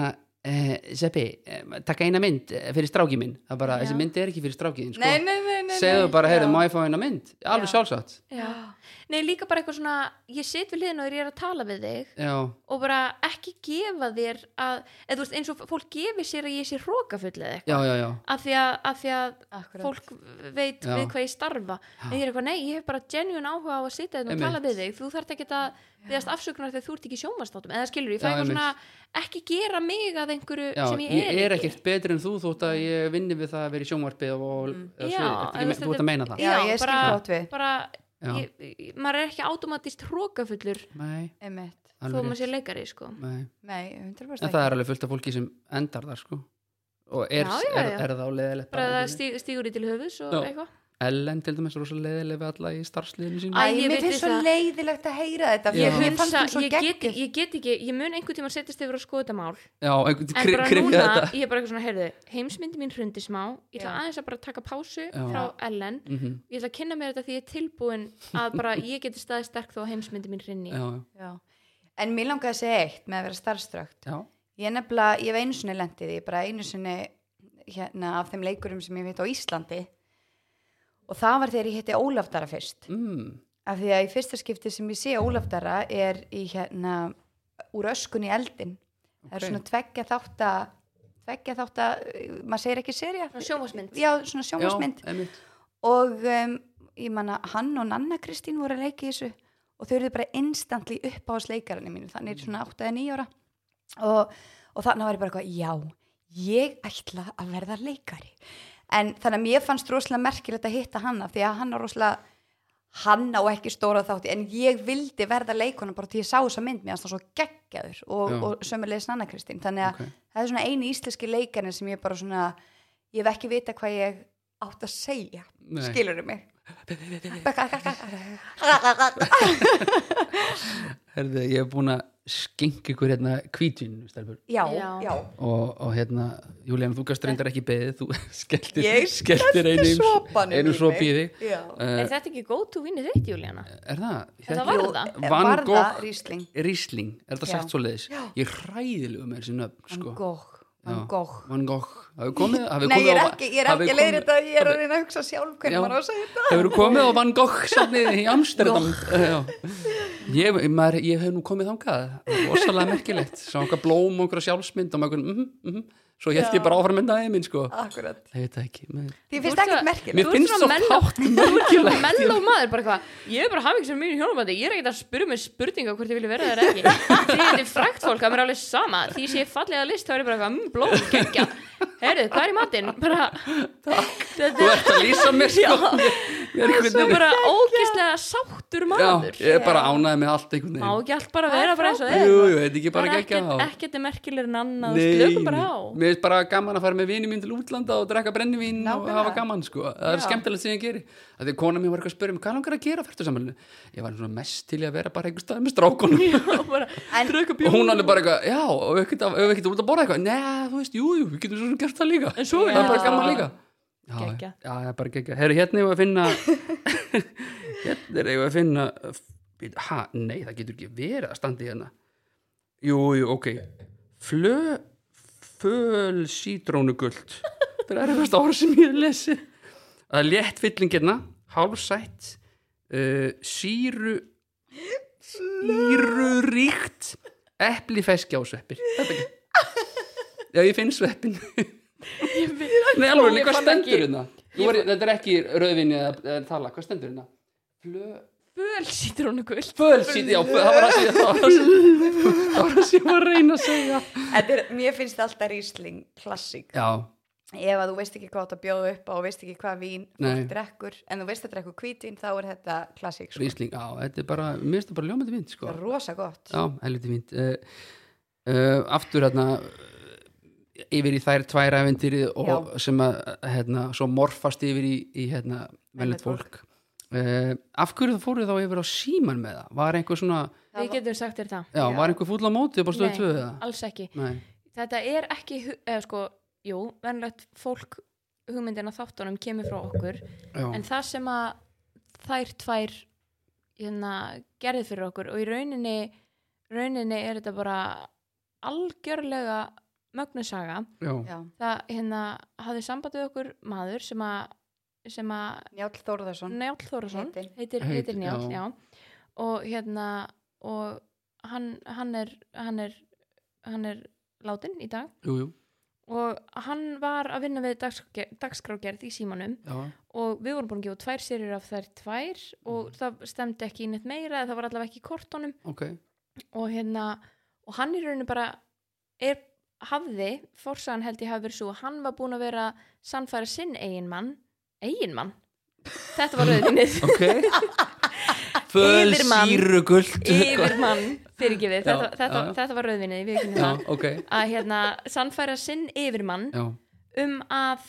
S1: eh, Seppi, eh, taka eina mynd eh, fyrir stráki minn, það er bara,
S3: Já.
S1: þessi mynd er ekki fyrir strákiðin sko.
S2: nei, nei, nei, nei
S1: segðu bara, heyrðu,
S2: já.
S1: má ég fá eina mynd alveg
S3: Já.
S1: sjálfsagt
S3: já. Nei, líka bara eitthvað svona, ég sit við hliðin og ég er að tala við þig
S1: já,
S3: og bara ekki gefa þér að, eða þú veist, eins og fólk gefi sér að ég sé hrókafull eða eitthvað
S1: já, já, já,
S3: af því að, af því að
S2: Akkurat.
S3: fólk veit
S1: Já.
S3: við hvað ég starfa en ég er eitthvað, nei, ég hef bara genuine áhuga á að sitja þetta og
S1: Einmitt.
S3: tala við þig, þú þarft ekki að viðast afsökunar þegar þú ert ekki í sjónvarstátum eða skilur, ég
S1: Já,
S3: fæ eitthvað svona
S1: einmitt.
S3: ekki gera mig að einhverju
S1: já
S3: sem ég er, ekki
S1: ekkert betri en þú þótt að ég vinni við það að vera í sjónvarpi og, og eða
S3: Mm.
S1: svo- ertu ekki
S3: Já, en
S1: me-
S3: þú
S1: þú ert að meina það
S2: já,
S3: Já,
S2: ég skil
S3: bara-
S2: þátt við
S3: bara,
S1: Já.
S3: ég, ég- maður er ekki automatist hrókafullur
S1: nei,
S2: einmitt,
S3: þó
S1: alveg
S3: maður
S1: rétt
S3: sé leikari, sko
S1: nei
S2: nei, 100%
S1: En það er alveg fullt af fólki sem endar þar sko og er,
S3: Já, já,
S1: er,
S3: já.
S1: er það á leiðilegt
S3: bara
S1: bara
S3: það stíg, stígur í til höfus og
S1: Já.
S3: eitthvað
S1: Ellen til dæmis er rosa leiðileg við alla í starfsliðinu sínu
S3: Æ,
S2: Æ,
S3: ég
S2: mér
S3: veit
S2: finnst
S3: við
S2: svo
S3: það.
S2: leiðilegt að heyra þetta
S1: Já.
S3: ég,
S2: Mér fannst
S3: hunsa,
S2: hún svo
S3: ég, get,
S2: geggjuð.
S3: ég get ekki, ég mun einhvern tíma setjast yfir að skoða þetta mál
S1: Já, einhvern
S3: en bara
S1: krifja
S3: núna,
S1: þetta
S3: ég er bara eitthvað svona, heyrðu, heimsmyndi mín hrundi smá ég ætla
S2: Já.
S3: aðeins að bara taka pásu
S1: Já.
S3: frá Ellen
S1: mm
S3: ég ætla að kynna mér þetta því ég er tilbúin að bara ég geti staðið sterk þó að heimsmyndi mín hrynni
S1: Já,
S2: Já. En mér langaði að segja eitt með að vera starfströkt.
S1: já,
S2: Ég nefnilega, ég hef einu sinni lendið, ég bara einu sinni hérna af þeim leikurum sem ég veit á Íslandi og það var þegar ég hitti Ólaf Dara fyrst.
S1: mm.
S2: Af því að í fyrsta skipti sem ég sé Ólaf Dara er í hérna úr öskun í eldin. Það er
S1: Ok.
S2: svona tveggja þátt að, tveggja þátt að, maður segir ekki serja.
S3: Svona sjónvarpsmynd.
S2: Já, svona
S1: já
S2: sjómasmynd
S1: einmitt.
S2: og um, ég manna hann og Nanna Kristín voru að leika í þessu og þau eru bara instantly upp á sleikarinni mínu þannig er svona 8 eða 9 ára og, og þannig var ég bara eitthvað já ég ætla að verða leikari en þannig að mér fannst rosalega merkilegt að hitta hanna því að hann er rosalega hann á ekki stóra þátti en ég vildi verða leikona bara til ég sá þessa mynd mér fannst það svo geggjaður og,
S1: Já.
S2: og sömulegis Nanna Kristín þannig að
S1: Ok.
S2: það er svona eini íslenski leikarinn sem ég bara svona ég hef ekki vita hvað ég átt að segja
S1: Nei.
S2: skilurðu mig
S1: Herði, ég er búin að skenka ykkur hérna hvítvin stelpur.
S2: já,
S3: Já.
S2: já,
S1: og, og hérna, Júlían, þú gast reyndar ekki beðið þú <laughs> skelltir,
S2: Ég
S1: skelltir
S2: skellti
S1: einum
S2: sopanum í
S1: einum
S2: mig.
S1: sopi í þig
S2: já.
S1: uh,
S3: er þetta ekki góð to vinni þitt, Júlíana?
S1: Er það?
S3: Þetta
S1: Þekki-
S3: var það.
S1: Van
S2: Var
S1: Gogh-
S2: það Rísling
S1: Rísling, er þetta
S2: Já.
S1: sagt svo leiðis? Ég er hræðilegu með þessi nöfn
S2: Van
S1: sko.
S2: Gogh,
S1: Já.
S2: Van Gogh.
S1: Van Gogh, hafið komið, hafið
S2: Nei,
S1: komið
S2: ég er
S1: á-
S2: ekki, ég er
S1: hafið
S2: ekki leiðir
S1: komið-
S2: þetta ég er að reyna að hugsa sjálf
S1: Já.
S2: hvernig maður á að segja þetta
S1: Hefur komið á Van Gogh safnið í Amsterdam? <laughs> Já. Ég, maður, ég hef nú komið þangað, það var rosalega merkilegt, sá okkar blóm og okkar sjálfsmynd og maður, mm, mm, svo held ég bara áfram með dagið minn, sko.
S2: Akkurat,
S1: Ég veit það ekki, maður.
S2: því finnst ekkert merkilegt
S1: Mér finnst svo
S3: <laughs>
S1: fátt merkilegt.
S3: Mell og maður bara hvað, ég er bara hafing sem mínu hjónabandi, ég er ekkert að spyrja mig spurninga hvort ég vilja vera þar ekki Því þetta er frækt fólk, það er alveg sama, því sé ég fallega list þá er ég bara eitthvað, mmm, blóm, geggja Herðu, hvað er í matinn? Bara,
S1: Þú
S3: þetta er
S1: ert að lýsa mér, sko.
S3: <laughs>
S1: Mér er einhvern
S3: svo
S1: veginn-
S3: bara ógislega sáttur maður
S1: Já, ég er bara ánæði með allt einhvern
S3: Má
S1: veginn.
S3: ekki allt bara vera bara eins og
S1: Jú, jú, þetta er ekki
S3: Það
S1: bara
S3: er
S1: ekki
S3: ekkert, ekkert er merkilegir en annað Nei. slökum bara á
S1: mér er bara gaman að fara með vinið mín til útlanda og drekka brennivín og
S2: Nákvæmlega.
S1: hafa gaman sko, það er
S2: Já.
S1: skemmtilegt sem ég geri að því að kona mér var eitthvað að spyrja mig, hvað langar að gera fyrstu samhælinu, ég var svona mest til í að vera bara einhver stað með strákunum
S3: og bara
S2: En-
S1: <laughs>
S3: drukka
S1: og
S3: bjór
S1: hún alveg bara eitthvað, já, og við ekkert að- ef við ekkert út að borða eitthvað, neða, þú veist, jú, jú, við getum svo sem gert það líka,
S3: En svo er
S1: það er bara
S3: það
S1: gaman
S3: bara-
S1: líka Já, já,
S3: Geggjað.
S1: já, það er bara geggja, herru, hérna ég að finna hérna er ég að finna bíddu, ha, nei, það getur ekki verið að standi hérna jú, jú, ok flö föl sítrónugult það er erfast ára sem ég hef lesið það er létt fylling hérna hálfsætt uh, síru síruríkt epli feskja á sveppir Þetta ekki. já ég finn sveppin nei alveg, nei,
S3: ég
S1: hvað
S3: fann
S1: stendur
S3: ekki-
S1: hérna Nú er, ég- þetta er ekki rauðvinni eða eða tala, hvað stendur hérna flö
S3: föl sítrónu guld
S1: föl sítrónugult já, föl- það var að segja það var að segja- það var að segja það var að reyna að segja
S2: Þetta er- Mér finnst alltaf Rísling klassík
S1: já,
S2: ef að þú veist ekki hvað það bjóða upp á og veist ekki hvað vín
S1: Nei.
S2: fólk drekkur en þú veist að drekkur hvítvin þá er þetta klassík sko.
S1: Rísling, já, þetta er bara, mér finnst það bara ljómandi fint, sko.
S2: Það er rosa gott
S1: Já, helviti fint. Uh, uh, aftur hérna eh, yfir í þær tvær æventýrið og sem að, hérna, svo morfast yfir í, í hérna,
S2: Venjulegt
S1: velnett fólk. Uh, af hverju það fóruð þá yfir á síman með það? Var einhver svona,
S2: Það
S3: við
S2: var-
S3: getum sagt þér það
S1: já,
S2: Já.
S1: var einhver fúll á mótið bara stöðu
S3: Nei,
S1: tvöðu það?
S3: alls ekki
S1: Nei,
S3: þetta er ekki hu- eða sko, jú, venlegt fólk hugmyndina þáttunum kemur frá okkur en
S1: já,
S3: það sem að þær tvær hérna, gerði fyrir okkur og í rauninni rauninni er þetta bara algjörlega mögnusaga
S1: já,
S2: já.
S3: það hérna hafði samband við okkur maður sem að sem að
S2: Njáll Þórðarsson
S3: Njáll Þórason
S2: Heiti.
S3: heitir,
S1: Heit-
S3: heitir Njáll,
S1: já.
S3: já. og hérna og hann, hann er hann er hann er látin í dag
S1: jú, jú,
S3: og hann var að vinna við dagskrá- dagskrágerð í símanum
S1: já,
S3: og við vorum búin að gefa út tvær serjur af þær tvær
S1: Mm.
S3: og það stemdi ekki í neitt meira eða það var allavega ekki í kortunum
S1: ok,
S3: og hérna og hann í rauninu bara er, hafði, forsagan held ég hafi verið svo hann var búin að vera að sannfæra sinn eiginmann, eiginmann þetta var rauðinnið
S1: <laughs>
S3: <laughs>
S1: ok. Föl
S3: Yfirmann.
S1: síru guld.
S3: yfirmann, fyrirgefið
S1: Já,
S3: þetta, þetta,
S1: já.
S3: þetta var rauðinnið, ég veit
S1: Já,
S3: það
S1: ok,
S3: að hérna sannfæra sinn yfirmann
S1: já.
S3: um að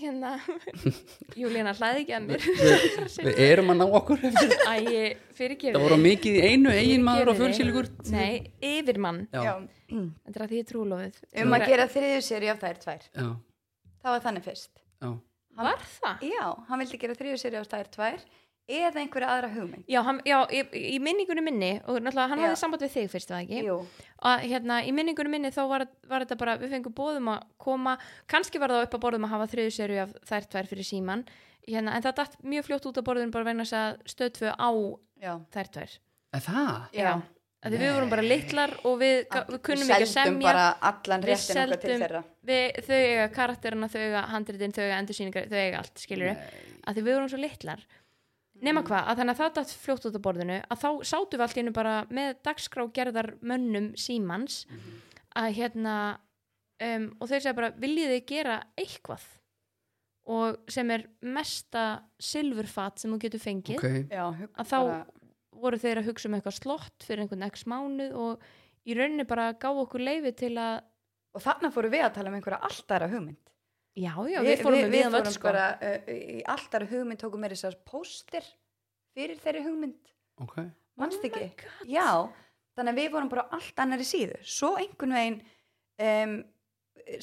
S3: hérna <laughs> Júlíana hlæði ekki að mér
S1: Við erum að ná okkur eftir.
S3: Æ, fyrirgefið
S1: Það voru mikið í einu eigin maður og
S3: Fyrirgefiði.
S1: fjölsýlugur.
S3: Nei, yfirmann,
S1: Já,
S2: Já.
S1: já,
S2: um
S3: þetta er að því ég er trúlofið
S1: Um
S2: að gera þriðju seri af þær tvær
S1: já,
S2: það var þannig fyrst
S1: já,
S3: Var það?
S2: já, hann vildi gera þriðju seri af þær tvær eða einhverja aðra hugmynd
S3: Já, hann, já í, í minningunum minni og náttúrulega hann
S2: Já.
S3: hafði samband við þig fyrst var það ekki
S2: Jú,
S3: að hérna, í minningunum minni þá var, var þetta bara, við fengum bóðum að koma kannski var það upp að borðum að hafa þriðu serju af þær tvær fyrir síman hérna, en það datt mjög fljótt út af borðunum bara vegna þess að stöð tvö á
S2: já,
S3: þær tvær
S1: Er það?
S2: já.
S3: Af því við vorum bara litlar og við, ga- við kunnum
S2: Við
S3: ekki að
S2: seldum
S3: semja
S2: bara allan
S3: Við
S2: réttin okkar til
S3: seldum-
S2: þeirra
S3: við, þau eiga karakterina, þau eiga handritin, þau eiga endursýningar, þau eiga allt, skilur að því við vorum svo litlar
S2: Mm.
S3: nema hvað, að þannig að það datt fljótt út af borðinu að þá sátum við allt í einu bara með dagskrágerðar mönnum símans
S2: Mhm.
S3: að hérna um, og þeir segja bara, viljið þið gera eitthvað og sem er mesta silfurfat sem þú getur fengið
S1: Ok,
S2: já, hug-
S3: að þá
S2: bara-
S3: voru þeir að hugsa um eitthvað slott fyrir einhvern x mánuð og í rauninni bara gáðu okkur leifi til að
S2: og þarna fórum við að tala um einhverja allt aðra hugmynd
S3: já, já, við fórum
S2: við,
S3: við, við,
S2: fórum
S3: við sko.
S2: bara uh, í allt aðra hugmynd tókum meira þessar póster fyrir þeirri hugmynd
S1: ok,
S2: mannst
S3: Oh my
S2: ekki
S3: God.
S2: já, þannig að við vorum bara á allt annari síðu svo einhvern veginn um,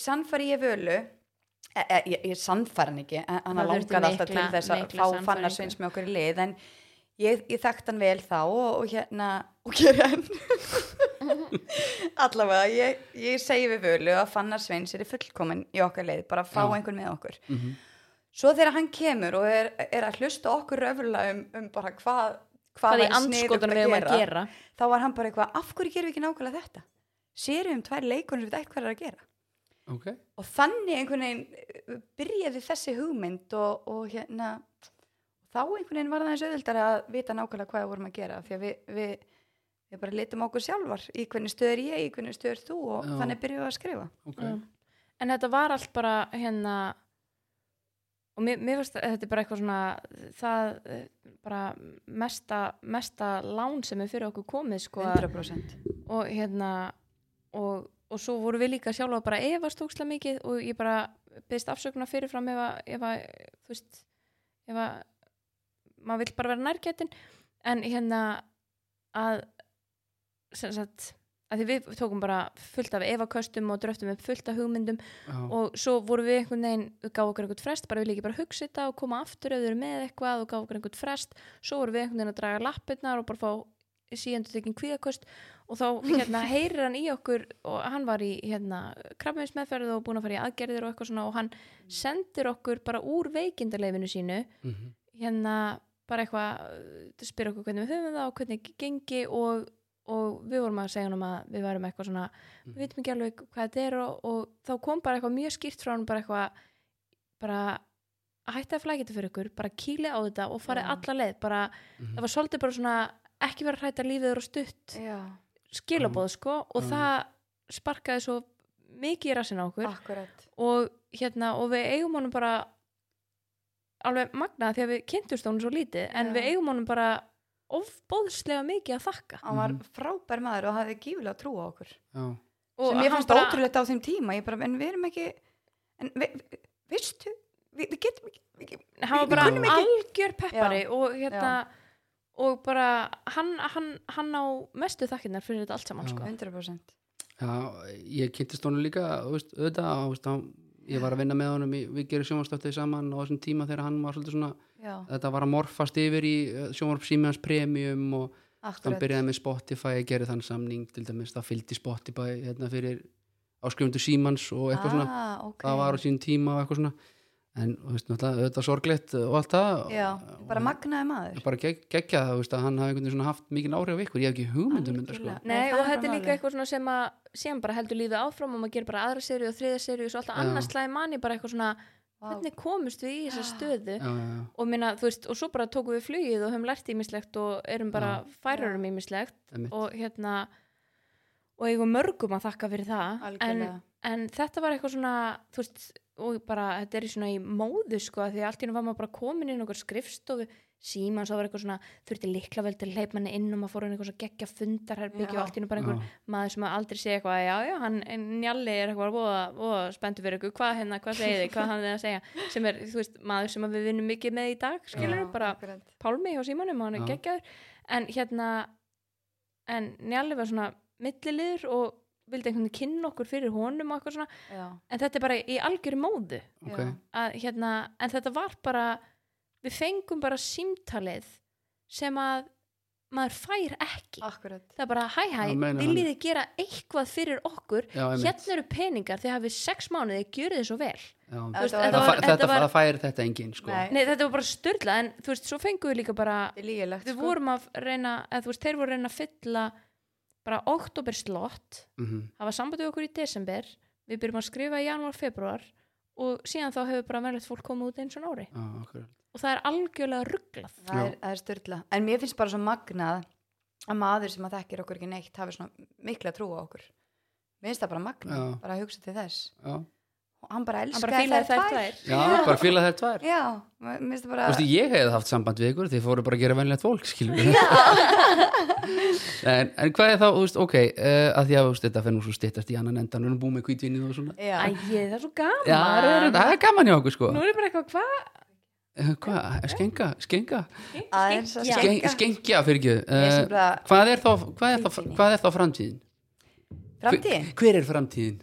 S2: sannfæri ég völu e, e, ég, ég sannfæri hann ekki en hann
S3: Það þurfti
S2: langaði alltaf til
S3: mikla-
S2: þess að
S3: mikla
S2: fá fannar
S3: sannfæringu.
S2: sveins með okkur í lið en ég, ég þekkt hann vel þá og, og hérna og gera
S3: <laughs>
S2: enn allavega, ég, ég segi við völu að fannar sveins er fullkomin í okkar leið bara fá
S1: Já.
S2: einhvern með okkur
S1: mhm,
S2: svo þegar hann kemur og er, er að hlusta okkur röfla um, um bara hvað
S3: hvað í
S2: væri sniðugt
S3: anskotanum við um að gera
S2: þá var hann bara eitthvað, af hverju gerum við ekki nákvæmlega þetta? Sérum um tvær leikunum sem við eitthvað er að gera.
S1: ok.
S2: Og þannig einhvern veginn eh, byrjaði þessi hugmynd og, og hérna, þá einhvern veginn var það eins auðvildar að vita nákvæmlega hvað við vorum að gera. Því að við, við, við bara litum á okkur sjálfar, í hvernig stöður ég, í hvernig stöður þú og
S1: Já.
S2: þannig byrjuðum við að skrifa.
S1: ok,
S3: Já. Mm. en þetta var allt bara hérna og mér, mér finnst að þetta er bara eitthvað svona það eh, bara mesta, mesta lán sem er fyrir okkur komið sko að-
S2: 100%.
S3: og hérna og, og svo voru við líka sjálfa bara að efast tókslega mikið og ég bara beðist afsökunar fyrirfram ef að, ef að þú veist ef að maður vill bara vera nærgætin en hérna að sem sagt að því við tókum bara fullt af efaköstum og dröftum upp fullt af hugmyndum
S1: já,
S3: og svo voru við einhvern veginn gáðu okkur einhvern frest, bara við líka bara að hugsa þetta og koma aftur ef þau eru með eitthvað og gáðu okkur einhvern frest svo voru við einhvern veginn að draga lappirnar og bara fá síðan tekinn kvíðakost og þá <laughs> hérna heyrir hann í okkur og hann var í hérna krabbeinsmeðferð og búin að fara í aðgerðir og eitthvað svona og hann sendir okkur bara úr veikindaleifinu sínu
S1: mhm,
S3: hérna bara eitthvað spyr okkur hvernig við höfum það og hvernig gengi og, og við vorum að segja hann um að við varum eitthvað svona
S1: Mhm.
S3: við veitum ekki alveg hvað þetta er og, og þá kom bara eitthvað mjög skýrt frá hann bara eitthvað bara að hætta að flækja þetta fyrir ykkur bara kýli á þetta og farið
S2: Já. Mm.
S3: alla leið bara,
S1: mhm,
S3: það var svolítið bara svona ekki vera að hræta lífið er og stutt
S2: Já,
S3: skilabóð sko og
S1: Já.
S3: það sparkaði svo mikið í rassin á
S2: Ah.
S3: okkur
S2: akkurat.
S3: og hérna og við eigum honum bara alveg magna því að við kynntumst honum svo lítið en
S2: Já.
S3: við eigum honum bara ofbóðslega mikið að þakka
S2: Hann var
S1: Mhm.
S2: frábær maður og hafði gífilega trú á okkur.
S1: já,
S3: og
S2: sem ég
S3: hann
S2: fannst
S3: bara-
S2: ótrúlegt á þeim tíma ég bara, en við erum ekki en vi, vi, vistu, við, við getum ekki við, getum-
S3: hann var
S1: Við
S3: bara
S1: kunnum
S2: ekki-
S3: algjör peppari og hérna og bara hann, hann, hann á mestu þakkinnar fyrir þetta allt saman
S1: Já.
S3: sko.
S2: 100%
S1: Já, ég kynntist honum líka þú veist, auðvitað, og, veist, hann, ég var að vinna með honum í, við gerum sjónvarpstöftið saman á þessum tíma þegar hann var svolítið svona
S2: já,
S1: þetta var að morfast yfir í sjónvarpsímiðans premium og hann
S2: akkurat
S1: byrjaði með Spotify að gera þann samning til dæmis, það fylgdi Spotify hérna fyrir áskrifundu símans og eitthvað svona,
S2: ah, okay.
S1: það var á sínum tíma og eitthvað svona, en þú veist, náttúrulega, auðvitað sorglegt og allt það
S2: já,
S1: og-
S2: bara magnaði maður
S1: og bara gegg, geggja það, þú veist, að hann hafi einhvern veginn svona haft mikið áhrif á ykkur, ég hef ekki hugmyndum mynda, sko.
S2: Algjörlega.
S3: Nei,
S2: Nei, það
S3: og
S2: er
S3: þetta er
S2: bara
S3: líka
S2: málið.
S3: eitthvað svona sem að sem bara heldur lífið áfram og maður gerir bara aðra seri og þriða seri og svo alltaf
S1: Já.
S3: annars slæði manni bara eitthvað
S2: Vá.
S3: svona
S2: Ah.
S3: hvernig komust við í þessa
S2: Já.
S1: Já,
S3: stöðu
S1: já, já.
S3: og, minna, veist, og svo bara tókum við flugið og höfum lært ímislegt og erum bara færarum ímislegt
S1: Einmitt.
S3: og hérna og eigum mörgum að þakka fyrir það en,
S2: algjörlega,
S3: en þetta var eitthvað svona þú veist, og bara þetta er í svona í móðu sko, af því að allt í nú var maður bara komin inn okkur skrifstofu síma, svo var eitthvað svona þurfti liklavel til að hleypa manni inn og maður fór hann eitthvað svona geggja fundarherbyggja
S2: Já.
S3: og allt í nú bara einhver
S1: Já.
S3: maður sem aldrei segja eitthvað já, já, hann en njalli er eitthvað voða, voða spenntu fyrir ykkur, hvað hérna, hvað segið þið hvað hann er að segja, sem er, þú veist, maður sem að við vinnum mikið með í dag, skilur
S2: Já,
S3: bara
S2: akkurat.
S3: Pálmi hjá símanum og hann er
S1: Já.
S3: geggjaður en hérna en njalli var svona milliliður og vildi einhvern veginn kynna okkur fyrir honum og eitthvað svona,
S2: já,
S3: en þetta er bara í algjöru móðu
S1: ok,
S2: já.
S3: að, hérna, en þetta var bara við fengum bara símtalið sem að maður fær ekki
S2: akkurat
S3: það er bara hæ hæ,
S1: Já, meinar
S3: viljið þið gera eitthvað fyrir okkur
S1: já, einmitt.
S3: hérna eru peningar, þið hafið sex mánuði gjörið þið svo vel
S1: já.
S2: Þetta
S3: Þú veist,
S2: var-
S3: en
S1: Það
S2: var-
S1: fær- þetta
S3: þetta var-
S1: það fær þetta enginn, sko.
S2: Nei.
S3: Nei, þetta var bara störla, en þú veist, svo fengum við líka bara
S2: Þetta er lígilegt sko.
S3: við vorum að reyna, eða þú veist, þeir voru að reyna að fylla bara oktober slott
S1: Mhm.
S3: hafa samband við okkur í desember við byrjum að skrifa í janúar, februar og síðan þá hefur bara verðilegt fólk komið út eins og ári
S1: Já, akkurat.
S3: og það er algjörlega rugglað
S2: það er, það er styrla en mér finnst bara svo magnað að maður sem að þekkir okkur ekki neitt hafi svona mikla trú á okkur mér finnst það bara magnað,
S1: Já.
S2: bara að hugsa til þess
S1: Já.
S2: og hann bara
S3: hann
S2: elskaði
S3: bara fílaði þær
S2: tvær.
S3: tvær
S1: já, bara fíla þær tvær
S2: já, mér finnst það bara
S1: Þú veist, ég hefði haft samband við ykkur, þið fóru bara að gera venlegt fólk, skilur við. <laughs> en, en hvað er þá, þú veist, ok, uh, að því að þú veist, þetta fennum svo styttast í annan endan, við erum búið með kvítvinnið og svona.
S2: já,
S3: Æ, það er svo gaman
S1: Já, það er- það er gaman hjá okkur, sko.
S3: nú er ég bara eitthvað, hvað?
S1: Eh, Hvað, skenga, skenga,
S2: aðeins að
S3: Já.
S1: Sken-
S2: skengja
S1: skengja fyrir ekki.
S2: Ég sem
S1: Uh,
S2: bara-
S1: hvað, er þá, hvað, er þá,
S2: Hvítvíni.
S1: hvað er þá framtíðin?
S2: framtíðin,
S1: Hver, hver er framtíðin?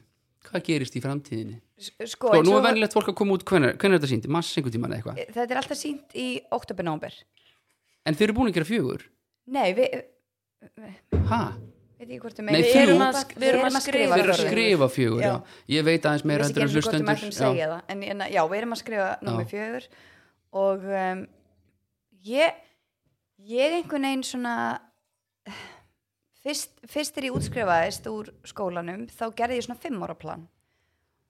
S1: Hvað gerist í framtíðinni?
S2: S- sko,
S1: Sko,
S2: eins
S1: nú
S2: og-
S1: er venlegt fólk að koma út, hvernig, hvernig er þetta sínt? Mass, einhvern tímann eða eitthvað.
S2: þetta er alltaf sínt í oktober-nómber
S1: En þið eru búin að gera fjögur?
S2: nei, við,
S1: Hæ?
S2: veit ég hvort þú
S1: Nei,
S2: meina
S1: Við erum
S3: að sk- við erum að skrifa
S1: Þið eru að
S3: fjögur.
S1: skrifa fjögur, já.
S2: Já.
S1: Ég veit aðeins
S2: Ég
S1: meira
S2: veist ekki
S1: heldur en
S2: eins og hvort ég
S1: hlustendur.
S2: mættum
S1: já. <laughs>
S2: segja það en, en já, við erum að skrifa nummer fjögur og um, ég ég einhvern veginn svona fyrst, fyrst er ég útskrifaðist úr skólanum þá gerði ég svona fimm ára plan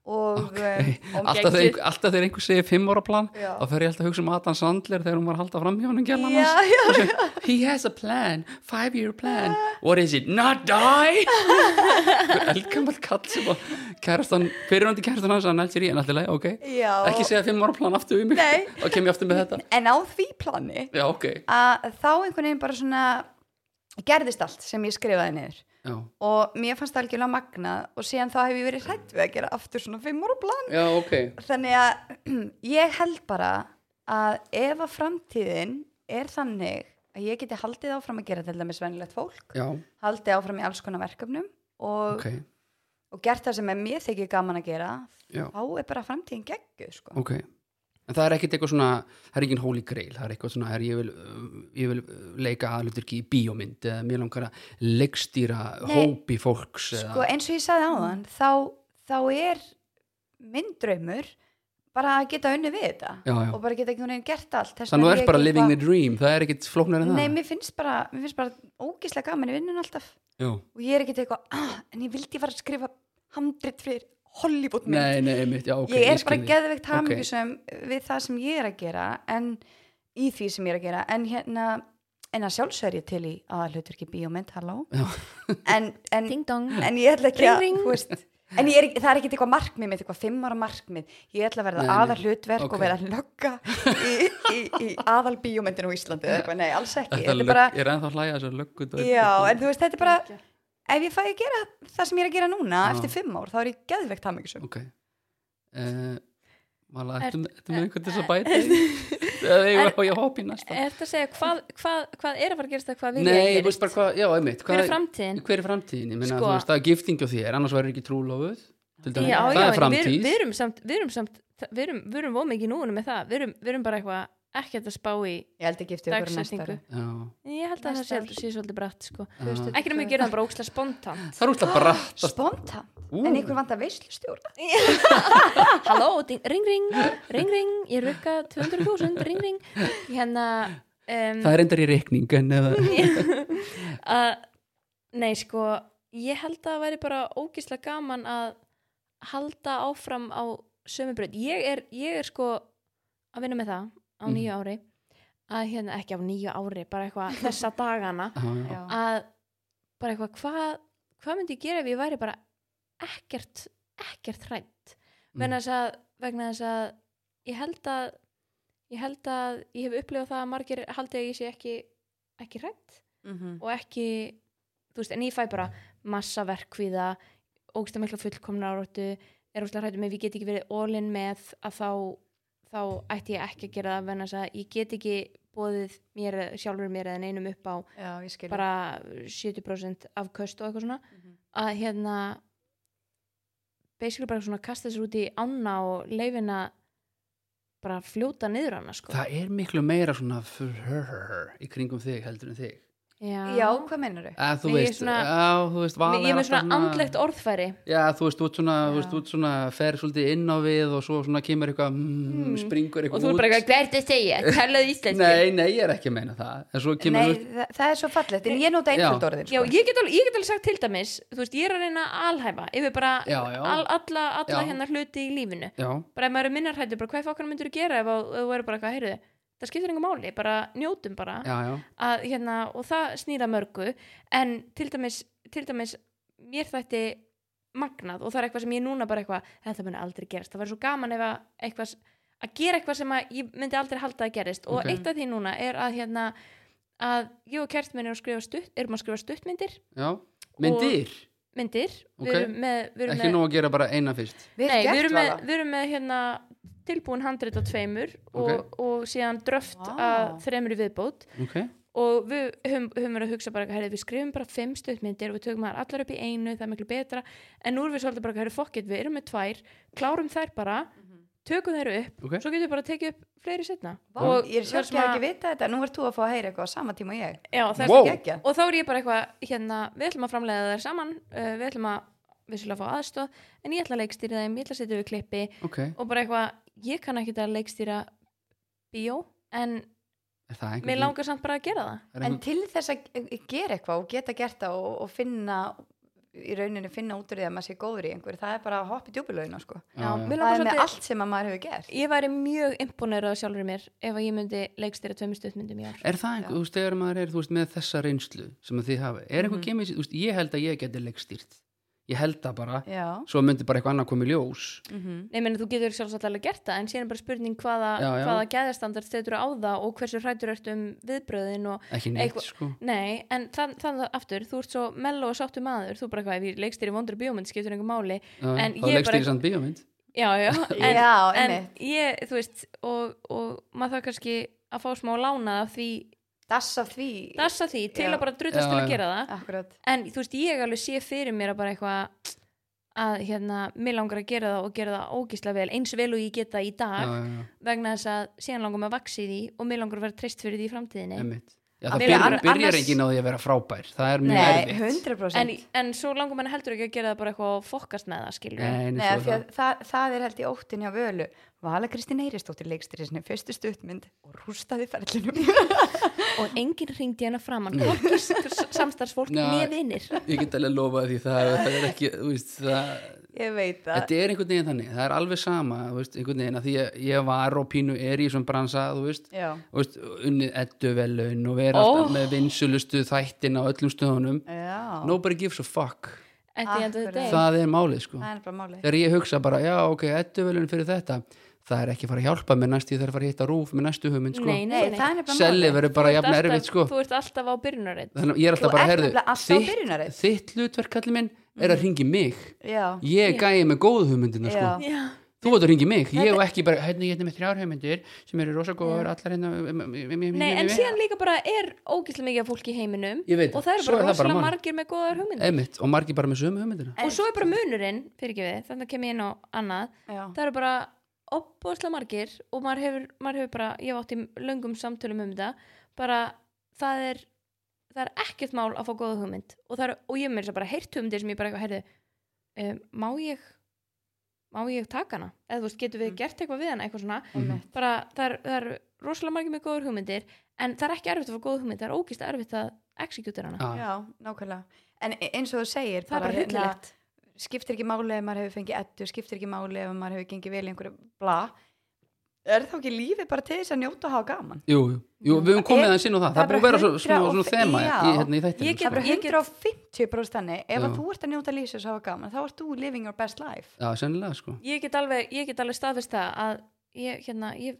S2: og,
S1: Okay.
S2: um, og
S1: Alltaf,
S3: geggjuð.
S1: þeir, alltaf þeir einhver segir fimm ára plan
S2: Já.
S1: þá fer ég alltaf að hugsa um Adam Sandler þegar hún var að halda fram hjá hann um gerðan
S2: Já, já,
S1: hans He has a plan, five year plan What is it, not die? <laughs> Elgamall kall sem að kærastan, fyrirvændi kærastan hans að nælt sér í en alltaf leið, ok
S2: já
S1: Ekki segja fimm ára plan aftur við mig
S2: Nei.
S1: <laughs> og kem ég aftur með þetta
S2: en á því plani
S1: Já, ok
S2: að þá einhvern veginn bara svona gerðist allt sem ég skrifaði niður
S1: Já,
S2: og mér fannst það algjörlega magnað og síðan þá hef ég verið hrætt við að gera aftur svona fimm ára plan
S1: já ok
S2: þannig að <clears throat> ég held bara að ef að framtíðin er þannig að ég geti haldið áfram að gera til dæmis venjulegt fólk,
S1: Já,
S2: haldið áfram í alls konar verkefnum og,
S1: ok,
S2: og gert það sem er mér þykir gaman að gera
S1: já
S2: þá er bara framtíðin gegguð sko.
S1: Ok, en það er ekkert eitthvað svona, það er engin holy grail, það er eitthvað svona, er, ég, vil, uh, ég vil uh, leika aðluturki í bíómynd eða mér langar að leikstýra
S2: Nei.
S1: hópi fólks
S2: sko,
S1: eða,
S2: eins og ég sagði áðan þá, þá er minn draumur bara að geta unni við þetta
S1: já, já.
S2: og bara geta einhvern veginn gert allt Þess
S1: Þannig þú
S2: vegna er
S1: ert
S2: ég
S1: bara
S2: ekki
S1: living the
S2: eitthvað-
S1: dream, það er ekkert flóknar en það.
S2: Nei, mér finnst bara, mér finnst bara ógislega gaman í vinnun alltaf
S1: Já.
S2: og ég er ekkert eitthvað ah, en ég vildi fara að skrifa handrit fyrir Hollywood
S1: Nei, nei, mitt, já, ok.
S2: ég er bara
S1: skil þig.
S2: geðveikt
S1: Ok.
S2: hamingjusum við það sem ég er að gera en í því sem ég er að gera en hérna, en að sjálfsögð er ég til í að hlutur ekki bíómynd, halló
S1: Já.
S2: en, en,
S3: ding dong
S2: en ég ætla ekki að
S3: Ring, ring.
S2: þú veist, en ég er, ekki- það er ekkert eitthvað markmið mitt, eitthvað fimm ára markmið ég ætla að
S1: Nei,
S2: verða
S1: nei.
S2: aðal hlutverk
S1: Ok.
S2: og verða lögga í, í, í, í aðal bíómyndin á Íslandi eða eitthvað, nei, alls ekki
S1: Þetta
S2: Þetta
S1: lög,
S2: er bara,
S1: Ég er ennþá að hlæja þessar löggu.
S2: Já, en þú veist, þetta er bara ef ég fæ að gera það sem ég er að gera núna
S1: Já.
S2: eftir fimm ár, þá er ég geðveikt hamingisum
S1: Ok. Uh, Vala,
S3: Ert-
S1: ertu með ertu með einhvern til
S2: <laughs>
S1: þess að bæta í? Eða eigum við á ég að hoppa í næsta?
S3: Er þetta að segja hvað, hvað, hvað er að fara að gerast það hvað við
S1: Nei, ég veist bara hvað, já, einmitt
S3: Hver er
S1: hvað-
S3: framtíðin?
S1: Hver er framtíðin? Ég meina,
S3: Sko.
S1: þú veist, það er gifting á þér, annars verður ekki trúlofuð til
S3: Já,
S1: dæmis.
S3: já,
S1: Það er
S3: en við,
S1: framtíð
S3: við erum samt, við erum samt, við erum, við erum vóð mikið núna með það, við erum, við erum bara eitthvað ekkert að spá í,
S2: Ég held ekki eftir okkur næsta ári.
S3: Dagsetningu.
S1: Já,
S3: ég held að það
S2: Næsta
S3: sé,
S2: ár.
S3: sé svolítið bratt sko.
S1: já.
S3: Ekki nema við gerum það bara ókslega spontant.
S1: Það er útla bratt
S2: Spontan,
S1: Ú.
S2: en ykkur vantar veislustjóra
S3: Halló, ding- ring ring, ring ring, ég rukka 200.000, ring ring. Hérna, um,
S1: Það er endar í reikning en eða
S3: <laughs> að, nei sko, ég held að það væri bara ógislega gaman að halda áfram á sömu breyt. Ég er, ég er sko að vinna með það á
S1: Mhm.
S3: nýju ári, að hérna, ekki á nýju ári, bara eitthvað þessa dagana,
S1: Já, já.
S2: Já.
S3: að bara eitthvað, hvað, hvað myndi ég gera ef ég væri bara ekkert, ekkert hrætt?
S1: Mm.
S3: Vegna þess að, vegna þess að ég held að, ég held að ég hef upplifað það að margir haldi að ég sé ekki, ekki hrætt
S2: Mhm.
S3: og ekki þú veist, en ég fæ bara massa verkvíða ógsta mikla fullkomna áróttu er ógsta hrættum ef ég get ekki verið all-in með að þá, þá ætti ég ekki að gera það vegna þess að ég get ekki bóðið mér, sjálfur mér eða neinum upp á
S2: Já, ég skil
S3: bara 70% afköst og eitthvað svona
S2: Mhm.
S3: að hérna basically bara svona kasta sér út í ána og leifina bara fljóta niður hana sko
S1: Það er miklu meira svona for her í kringum þig heldur en þig
S2: Já, hvað meinar þau?
S1: að þú
S3: Nei, ég er
S1: veist,
S3: svona-
S1: já, þú veist Vala
S3: Ég er
S1: er
S3: með
S1: alltaf
S3: svona andlegt orðfæri
S1: já, þú veist, þú ert svona, þú
S2: Já.
S1: veist, þú ert svona fer svolítið inn á við og svo svona kemur eitthvað, mm,
S3: Mm.
S1: springur
S3: og
S1: eitthvað
S3: þú er bara
S1: út.
S3: eitthvað, hvað er þetta að
S1: <laughs>
S3: segja, talaðu íslensku
S1: nei, nei, ég er ekki að meina það en svo kemur,
S2: Nei,
S1: þú veist,
S2: það, það er svo fallegt, en ég nota einföld orðin
S3: Já,
S2: sko.
S3: ég get, alveg, ég get alveg sagt til dæmis þú veist, ég er að reyna að alhæfa yfir bara
S1: Já, já.
S3: Al, alla, alla
S1: Já.
S3: hennar hluti í lífinu
S1: já,
S3: bara ef maður er minnarhættur, bara hvað fókana myndur þú gera ef að- ef þú verður bara eitthvað, heyrðu það skiptir engum máli, bara njótum bara
S1: já, já
S3: að, hérna, og það snýra mörgu en til dæmis, til dæmis mér þætti magnað og það er eitthvað sem ég núna bara eitthvað þetta muni aldrei gerast, það var svo gaman ef að eitthvað, s- að gera eitthvað sem að ég myndi aldrei halda að gerist og
S1: Ok.
S3: eitt af því núna er að hérna að ég og kært minn erum, að skrifa stutt, erum að skrifa stuttmyndir
S1: já, myndir,
S3: myndir,
S1: Ok.
S3: við erum með, við erum
S1: ekki
S3: með
S1: nóg að gera bara eina fyrst
S2: Vel
S3: Nei,
S2: gert,
S3: við erum með,
S2: Vala.
S3: við erum með hérna, tilbúin handrit á tveimur og, og síðan dröft
S2: Vá.
S3: að þremur í viðbót
S1: ok,
S3: og við höfum, höfum verið að hugsa bara herri, við skrifum bara fimm stuttmyndir og við tökum það allar upp í einu, það er miklu betra en nú erum við svolítið bara, herri, fokkitt, við erum með tvær klárum þær bara, tökum þær upp
S1: ok
S3: svo getum við bara að tekið upp fleiri setna
S2: Mhm. Vá,
S3: og hérna-
S2: Ég er
S3: það er
S2: sjálfskeið
S3: svona-
S2: ekki vita þetta Nú verður þú að fá að heyra eitthvað á sama tíma og ég
S3: já, það er
S1: Vó.
S3: svo gegn-
S2: Gekja
S3: og þá er ég bara eitthvað, hérna, við ætlum að framlega þær saman uh, við ætlum að vissulega fá aðstóð en ég ætla að leikstýra þeim, ég ætla að setja við klippi
S1: ok,
S3: og bara eitthvað, ég kann ekki að leikstýra bíó, en
S1: er það
S3: mér
S1: einhvern
S3: langar samt bara að gera það
S1: er
S2: En
S1: einhvern-
S2: til þess að e, gera eitthvað og geta gert það og, og finna í rauninni finna út úr því að maður sé góður í einhverju það er bara að hoppa í djúbulögin sko.
S1: já, já.
S3: mér
S2: það
S3: langar
S2: er með
S3: svolítið-
S2: allt sem að maður hefur gert
S3: ég væri mjög imponerað sjálfur mér ef að ég myndi leikstýra tveimur stuttmyndum í ár
S1: Er það einhver, þú veist, þegar maður er, þú veist, með þessa reynslu sem að þið hafa, er
S3: Mhm.
S1: einhver mm. kemur, þú veist, ég held að ég geti leikstýrt, ég held það bara,
S2: Já,
S1: svo myndi bara eitthvað annað komið ljós,
S2: mm
S3: Nei, meni, þú getur sjálfsagt alveg gert það en síðan er bara spurning hvaða,
S1: Já, já.
S3: hvaða geðastandard setur á það og hversu hrættur ertu um viðbröðin og
S1: ekki neitt,
S3: Eitthvað-
S1: sko.
S3: nei, en þannig þann aftur þú ert svo mello og sáttu maður þú bara eitthvað, ef ég leikstýri vondri bíómynd skiptur einhver máli
S1: Já,
S3: En
S1: þá
S3: ég er
S1: leikstýri
S3: bara-
S1: samt bíómynd.
S3: já, já,
S1: <laughs>
S3: en,
S2: Já,
S3: en
S2: einmitt.
S3: ég, þú veist og, og maður þarf kannski að fá smá lánað af því,
S2: dass af því
S3: dassa því til
S2: Já.
S3: að bara
S1: Já,
S3: drutast til
S1: já.
S3: að gera það
S2: Akkurat
S3: en þú veist, ég alveg sé fyrir mér að bara eitthvað að hérna, mér langar að gera það og gera það ógislega vel, eins vel og ég geta í
S1: Já,
S3: dag
S1: já, já,
S3: vegna þess að síðan langar maður að vaxa í því og mér langar að vera treyst fyrir því í framtíðinni
S1: emmitt. Já,
S3: Að
S1: það
S3: byrja
S1: byrjar,
S3: an-
S1: byrjar
S3: annars-
S1: enginn á því að vera frábær, það er mjög
S2: Nei,
S1: erfitt.
S2: 100%
S3: en, en svo langar maður heldur ekki að gera það bara eitthvað og fokast með það, skilur
S1: Nei, nei,
S2: Nei, af
S1: svo
S2: því
S1: er
S2: að það, það er held í óttin hjá völu Vala Kristín Eiristóttir leikstýri sinni fyrstu stuttmynd og rústaði ferlinum <laughs>
S3: og enginn ringdi hana framann hvorki s- samstarfsfólk
S1: Nei.
S3: með vinnir
S1: það. Ég get alveg lofað því það, það er ekki, þú veist, það,
S2: Ég veit það
S1: þetta er einhvern veginn þannig, það er alveg sama, þú veist, einhvern veginn að því að ég var og pínu er í svona bransa, þú veist,
S2: Já,
S1: Þú veist, unnið eddu velun og vera
S3: Ó.
S1: alltaf með vinsulustu þættin á öllum stöðunum
S2: já
S1: nobody gives a fuck
S3: at the end of the
S2: Akkurat.
S3: day
S1: það er málið sko
S2: Það er bara máli
S1: þegar ég hugsa bara, já ok, eddu velun fyrir þetta það er ekki að fara að hjálpa mér næst ég þarf að fara að hitta rúf með næstu hugmynd sko
S3: Nei,
S2: Nei, það er nefnilega
S1: selli
S2: málið.
S1: verður bara
S3: Þú ert
S1: jafn
S3: alltaf-
S1: erfitt sko
S3: þú ert alltaf á byrjunarreit
S1: þannig að ég er
S2: Þú
S1: alltaf bara,
S2: ert
S1: heyrðu,
S2: nefnilega alltaf á byrjunarreit.
S1: þitt, þitt hlutverk kallið minn er að ringi mig
S2: Já,
S1: ég er gæið með góðu hugmyndina sko
S2: Já.
S3: já,
S1: Þú vartur hringi mig, ég
S3: Þetta-
S1: og ekki bara, hérna ég hérna með þrjár hugmyndir sem eru rosa góður, allar hérna um, um, um, um,
S3: Nei,
S1: um,
S3: en
S1: um,
S3: síðan líka bara er ógæslega mikið af fólki í heiminum
S1: Ég veit
S3: og það eru
S1: svo
S3: bara
S1: er það bara
S3: rosalega
S1: mál.
S3: margir með góðar hugmyndir
S1: Einmitt, og margir bara með sömu hugmyndina
S3: og svo er bara munurinn, fyrir ekki við þannig að kem ég inn á annað
S2: Já.
S3: það eru bara opbóðslega margir og maður hefur, maður hefur bara, ég hef átt í löngum samtölum um þetta bara það er það er ekkert mál að fá góða hugmynd og, það er, og ég hef mér þess að segja bara heyrt hugmyndir sem ég bara eitthvað, heyrðu um, má ég má ég taka hana eða þú veist, getum við
S2: Mm.
S3: gert eitthvað við hana eitthvað svona,
S1: Mhm.
S3: bara það er, það er rosalega margir með góður hugmyndir en það er ekki erfitt að fá góða hugmynd, það er ógist erfitt að executera hana,
S1: Já,
S2: Já, nákvæmlega. En e- eins og þú segir,
S3: það er bara
S2: hérna,
S3: huglægt
S2: skiptir ekki máli ef maður hefur fengið ettu, skiptir ekki máli ef maður hefur gengið vel í einhverju bla. Er þá ekki lífið bara til þess að njóta og hafa gaman?
S1: jú, jú, jú, við höfum komið
S2: Er-
S1: aðeins inn á það
S2: það
S1: Það
S2: er
S1: er búið að vera svo,
S2: bara
S1: svona, svona
S2: 100
S1: þema
S2: já.
S1: í, hérna, í þættinu
S2: Það
S3: Ég
S2: er
S1: sko.
S2: bara
S3: bara- ég get-
S2: 150 bróðst þannig. Ef
S1: Já.
S2: að þú ert að njóta lífsins og hafa gaman, þá ert þú living your best life.
S1: Já, sennilega sko
S3: ég get alveg, ég get alveg staðfist það að ég, hérna, ég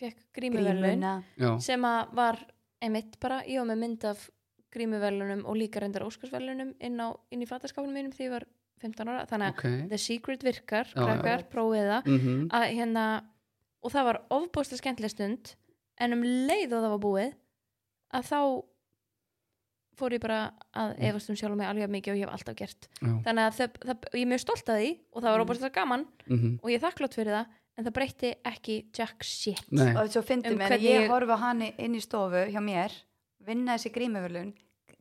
S3: fekk grímuverlun
S1: Já,
S3: sem að var einmitt bara, ég var með mynd af grímuverlunum og líka reyndar óskarsverlunum inn, á, inn í fattaskafunum mínum því ég var 15 ára, þannig að
S1: ok
S3: The Secret virkar,
S1: Já, já.
S3: krakkar, prófið það
S1: mm
S3: að hérna og það var ofbósta skemmtileg stund en um leið og það var búið að þá fór ég bara að
S1: Mm.
S3: efast um sjálf mig alveg jafn mikið og ég hef alltaf gert
S1: Já.
S3: þannig að það, það, ég er mjög stolt að því og það var
S2: Mm.
S3: ofbósta gaman
S1: -hmm.
S3: og ég er þakklátt fyrir það en það breytti ekki jack shit
S1: Nei,
S2: Og þetta svo fyndi
S3: Um
S2: mér,
S3: hvernig
S2: ég
S3: ég-
S2: horfa hann inn í stofu hjá mér, vinna þessi grímuvölun,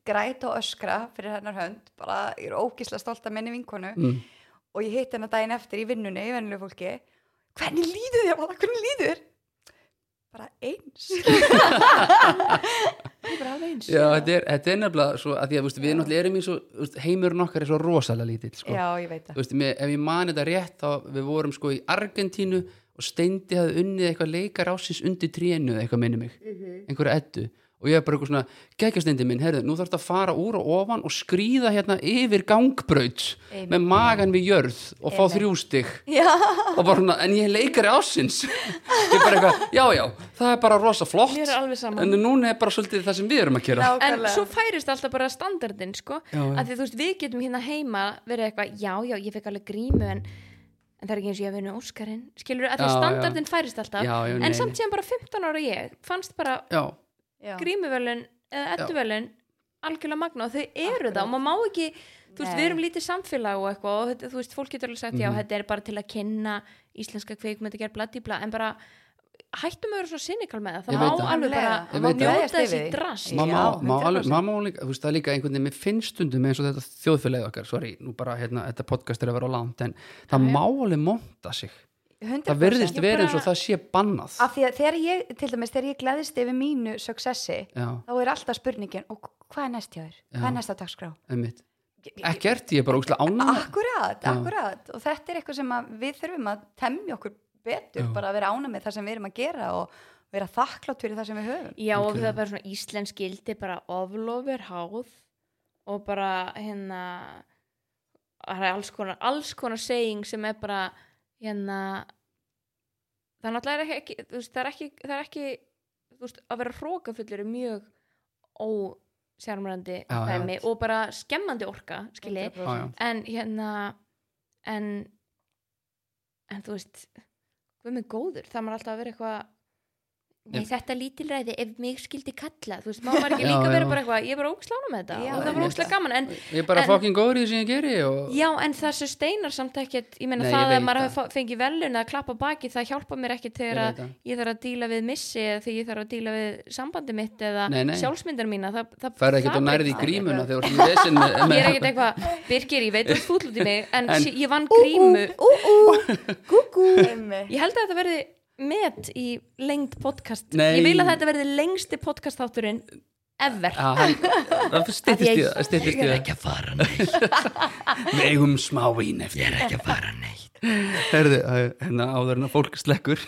S2: græta og öskra fyrir hennar hönd, bara ég er ókísla stolt að minni vinkonu
S1: mm,
S2: og ég hitt hennar daginn eftir í vinnunni í venjulegu fólki hvernig líður þér, Vala? hvernig líður þér bara eins
S3: það er bara alveg eins
S1: já, þetta er, þetta er nefnilega svo að því að þú veist, við náttúrulega erum í svo þú veist, heimurinn okkar er svo rosalega lítill sko.
S2: já, ég veit
S1: Þú veist, með, ef ég man þetta rétt þá við vorum sko í Argentínu og Steindi hafði unnið eitthvað leikar ásins undir trénu eða eitthvað minni mig einhverja ettu og ég er bara eitthvað svona gegja Steindi minn, herðu, nú þarf þetta að fara úr og ofan og skrýða hérna yfir gangbraut
S2: Einmitt.
S1: með magan við jörð og fá
S2: Einmitt.
S1: þrjústig
S2: <laughs> það
S1: og bara svona, en ég er leikari ásins ég er bara eitthvað, já, já, það er bara rosa flott
S3: mér er alveg
S1: en
S3: saman
S1: núna er bara svolítið það sem við erum að gera
S3: en svo færist alltaf bara standardin sko,
S1: Já, já.
S3: að því þú veist við getum hérna heima verið eitthvað, já já ég fekk alveg grímu en, en það er ekki eins og ég hef vinnu Óskarinn skilur að
S1: Já,
S3: því
S1: já.
S3: að standardin færist alltaf
S1: Já, já, nei,
S3: en samt síðan bara 15 ára ég fannst bara
S1: já,
S3: grímuvelun eða edduvelun algjörlega magna og þau eru
S2: Akkurat.
S3: það og maður má ekki, þú veist,
S2: Nei.
S3: við erum lítið samfélag og eitthvað og þetta- þú veist, fólk getur alveg sagt já,
S1: Mhm.
S3: þetta er bara til að kynna íslenska kveikmynd að gera bladibla, en bara hættum að vera svona sinikal með
S1: Ég
S3: það,
S1: veit
S3: það má
S1: það.
S3: alveg bara
S1: Ég
S3: má
S1: veit það.
S3: njóta þessi drast
S1: má, má,
S2: Já,
S1: má, alveg,
S2: 100%.
S1: má, má líka, þú veist, það er líka einhvern veginn, mér finnst stundum eins og þetta þjóðfélagið okkar, sorry, nú bara hérna, þetta podcast er að vera á langt, en það
S3: Já, já.
S1: má alveg monta sig, það verðist
S3: Ég
S1: verið eins og
S3: bara-
S1: það sé bannað
S2: af því að þegar ég, til dæmis, þegar ég gleðist yfir mínu successi,
S1: já,
S2: þá er alltaf spurningin og hvað er næst hjá þér, hvað
S1: Já.
S2: er næsta dagskrá
S1: einmitt ekkert, ég er bara ógstlega ánægð
S3: Ah.
S2: akkurat,
S1: Mm. Já.
S2: akkurat og þetta er eitthvað sem að við þurfum að temja okkur betur,
S1: Já.
S2: bara að vera ána með það sem við erum að gera og vera þakklátt fyrir það sem við höfum
S3: Já, og
S1: Ok.
S3: það er bara svona íslensk gildi bara oflofur háð og bara hérna það er alls konar, alls konar saying sem er bara hérna það er náttúrulega er ekki, ekki, þú veist, það er ekki, það er ekki þú veist, að vera hrókafullur er mjög ósjármurandi
S1: Já, já.
S3: dæmi og bara skemmandi orka skilji,
S1: Já, já.
S3: en hérna en en þú veist hvað með góður, það maður alltaf að vera eitthvað Nei,
S1: Ég-
S3: þetta lítilræði, ef mig skildi kalla þú veist,
S1: <laughs>
S3: má maður ekki
S1: Já,
S3: líka vera
S1: já.
S3: bara eitthvað ég er bara ógslána með þetta
S2: Já,
S3: og það var
S1: einmitt.
S3: ógslega gaman en,
S1: ég er bara
S3: En-
S1: fokkin góður í því sem ég geri og
S3: já, en það sem steinar samt ekkert ég meina
S1: Nei,
S3: það
S1: ég
S3: að
S1: veit
S3: maður
S1: það.
S3: hafi fa- fengið velun að klappa á baki það hjálpa mér ekki
S1: Ég
S3: þegar
S1: veit
S3: að
S1: það.
S3: ég þarf að díla við missi eða þegar ég þarf að díla við sambandi mitt eða
S1: Nei, nei.
S3: sjálfsmyndar mína það, það,
S1: færði ekkert
S3: það
S1: og nærði í
S3: breytist ekki.
S1: grímuna þegar þú ert í vesinn
S3: <laughs>
S1: með,
S3: ég er
S1: með,
S3: ekkert eitthvað, Birgir, ég veit þú ert fúll út í mig
S1: <laughs> En-
S3: en, en ég vann grímu
S1: <laughs>
S2: gúgú
S3: ég held að þetta verði met í lengd podcast
S1: Nei.
S3: ég vil að þetta verði lengsti podcast þátturinn ever
S1: Já, hann, það styttist í það styttist í
S3: Ég er
S1: það
S4: ekki að fara neitt
S1: <laughs> við eigum smá vín eftir
S4: Ég er ekki að fara neitt
S1: Herðu, hérna áður en að fólk slekkur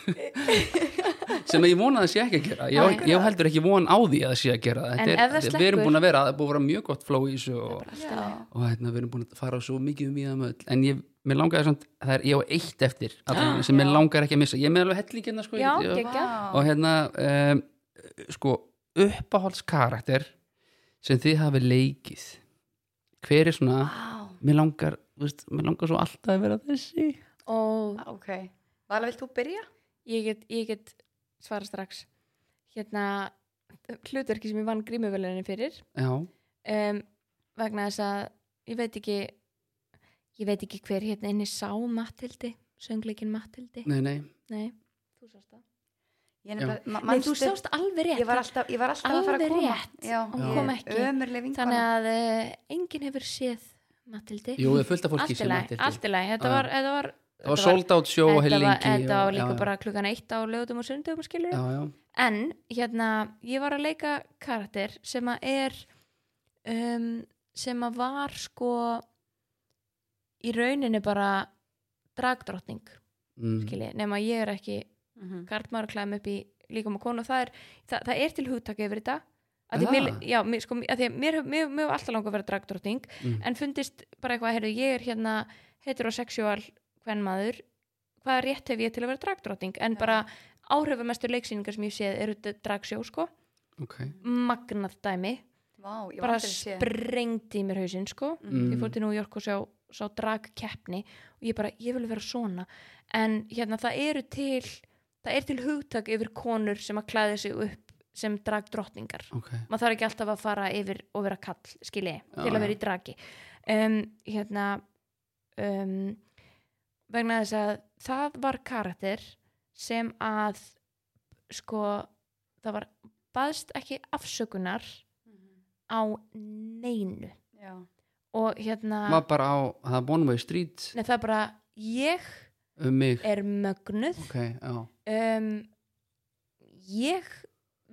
S1: sem að ég vona að það sé ekki að gera ég,
S3: Nei.
S1: ég á heldur ekki von á því að það sé að gera það.
S3: En
S1: Þetta
S3: ef það
S1: þetta- við erum
S3: slekkur-
S1: búin að vera, það er búin að vera mjög gott flow í þessu og,
S3: Allt
S1: og hérna, við erum búin að fara á svo mikið um í það möll en ég, mér langaði samt, það er ég á eitt eftir allavega, sem mér
S2: Já.
S1: langar ekki að missa ég er með alveg hellingina
S3: í
S1: sko
S3: lagi. já,
S1: ég, ég,
S3: geggja
S1: og hérna um, sko, uppáhaldskarakter sem þið hafi leikið hver er svona, mér langar þú veist, mér langar svo alltaf að vera þessi
S3: og
S2: ok, Vala, vilt þú byrja?
S3: ég get, ég get svara strax hérna hlutverki sem ég vann grímuvelunin fyrir
S1: já,
S3: um, vegna þess að ég veit ekki ég veit ekki hver hérna inni sá Mattildi, söngleikin Mattildi
S1: nei, nei
S3: nei, þú sást það
S2: Ég
S1: Já.
S2: nefnilega, ma-
S3: nei, þú
S2: manstu-
S3: sást alveg rétt
S2: Ég var alltaf, ég var alltaf að fara að
S3: Alveg
S2: koma
S3: rétt.
S2: Já,
S3: Hún
S2: ég
S3: kom
S2: er
S3: ekki.
S2: Ömurleg vinkona
S3: þannig að uh, enginn hefur séð Mattildi
S1: jú, það er fullt af fólki
S3: allt í
S1: sem
S3: lagi,
S1: mættir
S3: allt í lagi þetta
S1: Já.
S3: var, þetta var
S1: það var sold out show og
S3: þetta var,
S1: hellingi
S3: þetta
S1: og-
S3: var líka
S1: já,
S3: bara klukkan eitt á lögutum og sundum og skilur
S1: já, já,
S3: en hérna ég var að leika karakter sem að er um, sem að var sko í rauninni bara dragdrottning
S1: mm,
S3: skilji, nema ég er ekki
S2: Mhm.
S3: kartmaður að klæða mig upp í líkum og konu og það er, það, það er til hugtak yfir þetta að því,
S1: Ah.
S3: mér, já, mér, sko, að því að mér, hef- mér, mér hef alltaf langa að vera dragdrottning
S1: Mm.
S3: en fundist bara eitthvað, heyrðu, ég er hérna heterosexual kvenmaður hvaða rétt hef ég til að vera dragdrottning en
S2: Já.
S3: bara áhrifamestu leiksýningar sem ég séð eru d- dragsjó, sko
S1: ok
S3: magnað dæmi,
S2: Vá, ég var
S3: bara
S2: Mm. aldrei séð
S3: sprengdi í mér hausinn, sko
S1: Mm.
S3: ég fór til New York og sjá, sjá dragkeppni og ég bara, ég vil vera svona en hérna það eru til það er til hugtak yfir konur sem að klæði sig upp sem dragdrottningar
S1: ok,
S3: maður þarf ekki alltaf að fara yfir og vera kall skilji, til að
S1: já.
S3: vera í dragi um, hérna um, vegna þess að það var karakter sem að sko, það var baðst ekki afsökunar
S2: Mhm.
S3: á neinu
S2: Já,
S3: og hérna
S1: maður bara á það er one way street
S3: Nei, það er bara, ég
S1: um mig
S3: er mögnuð,
S1: ok, já,
S3: um, ég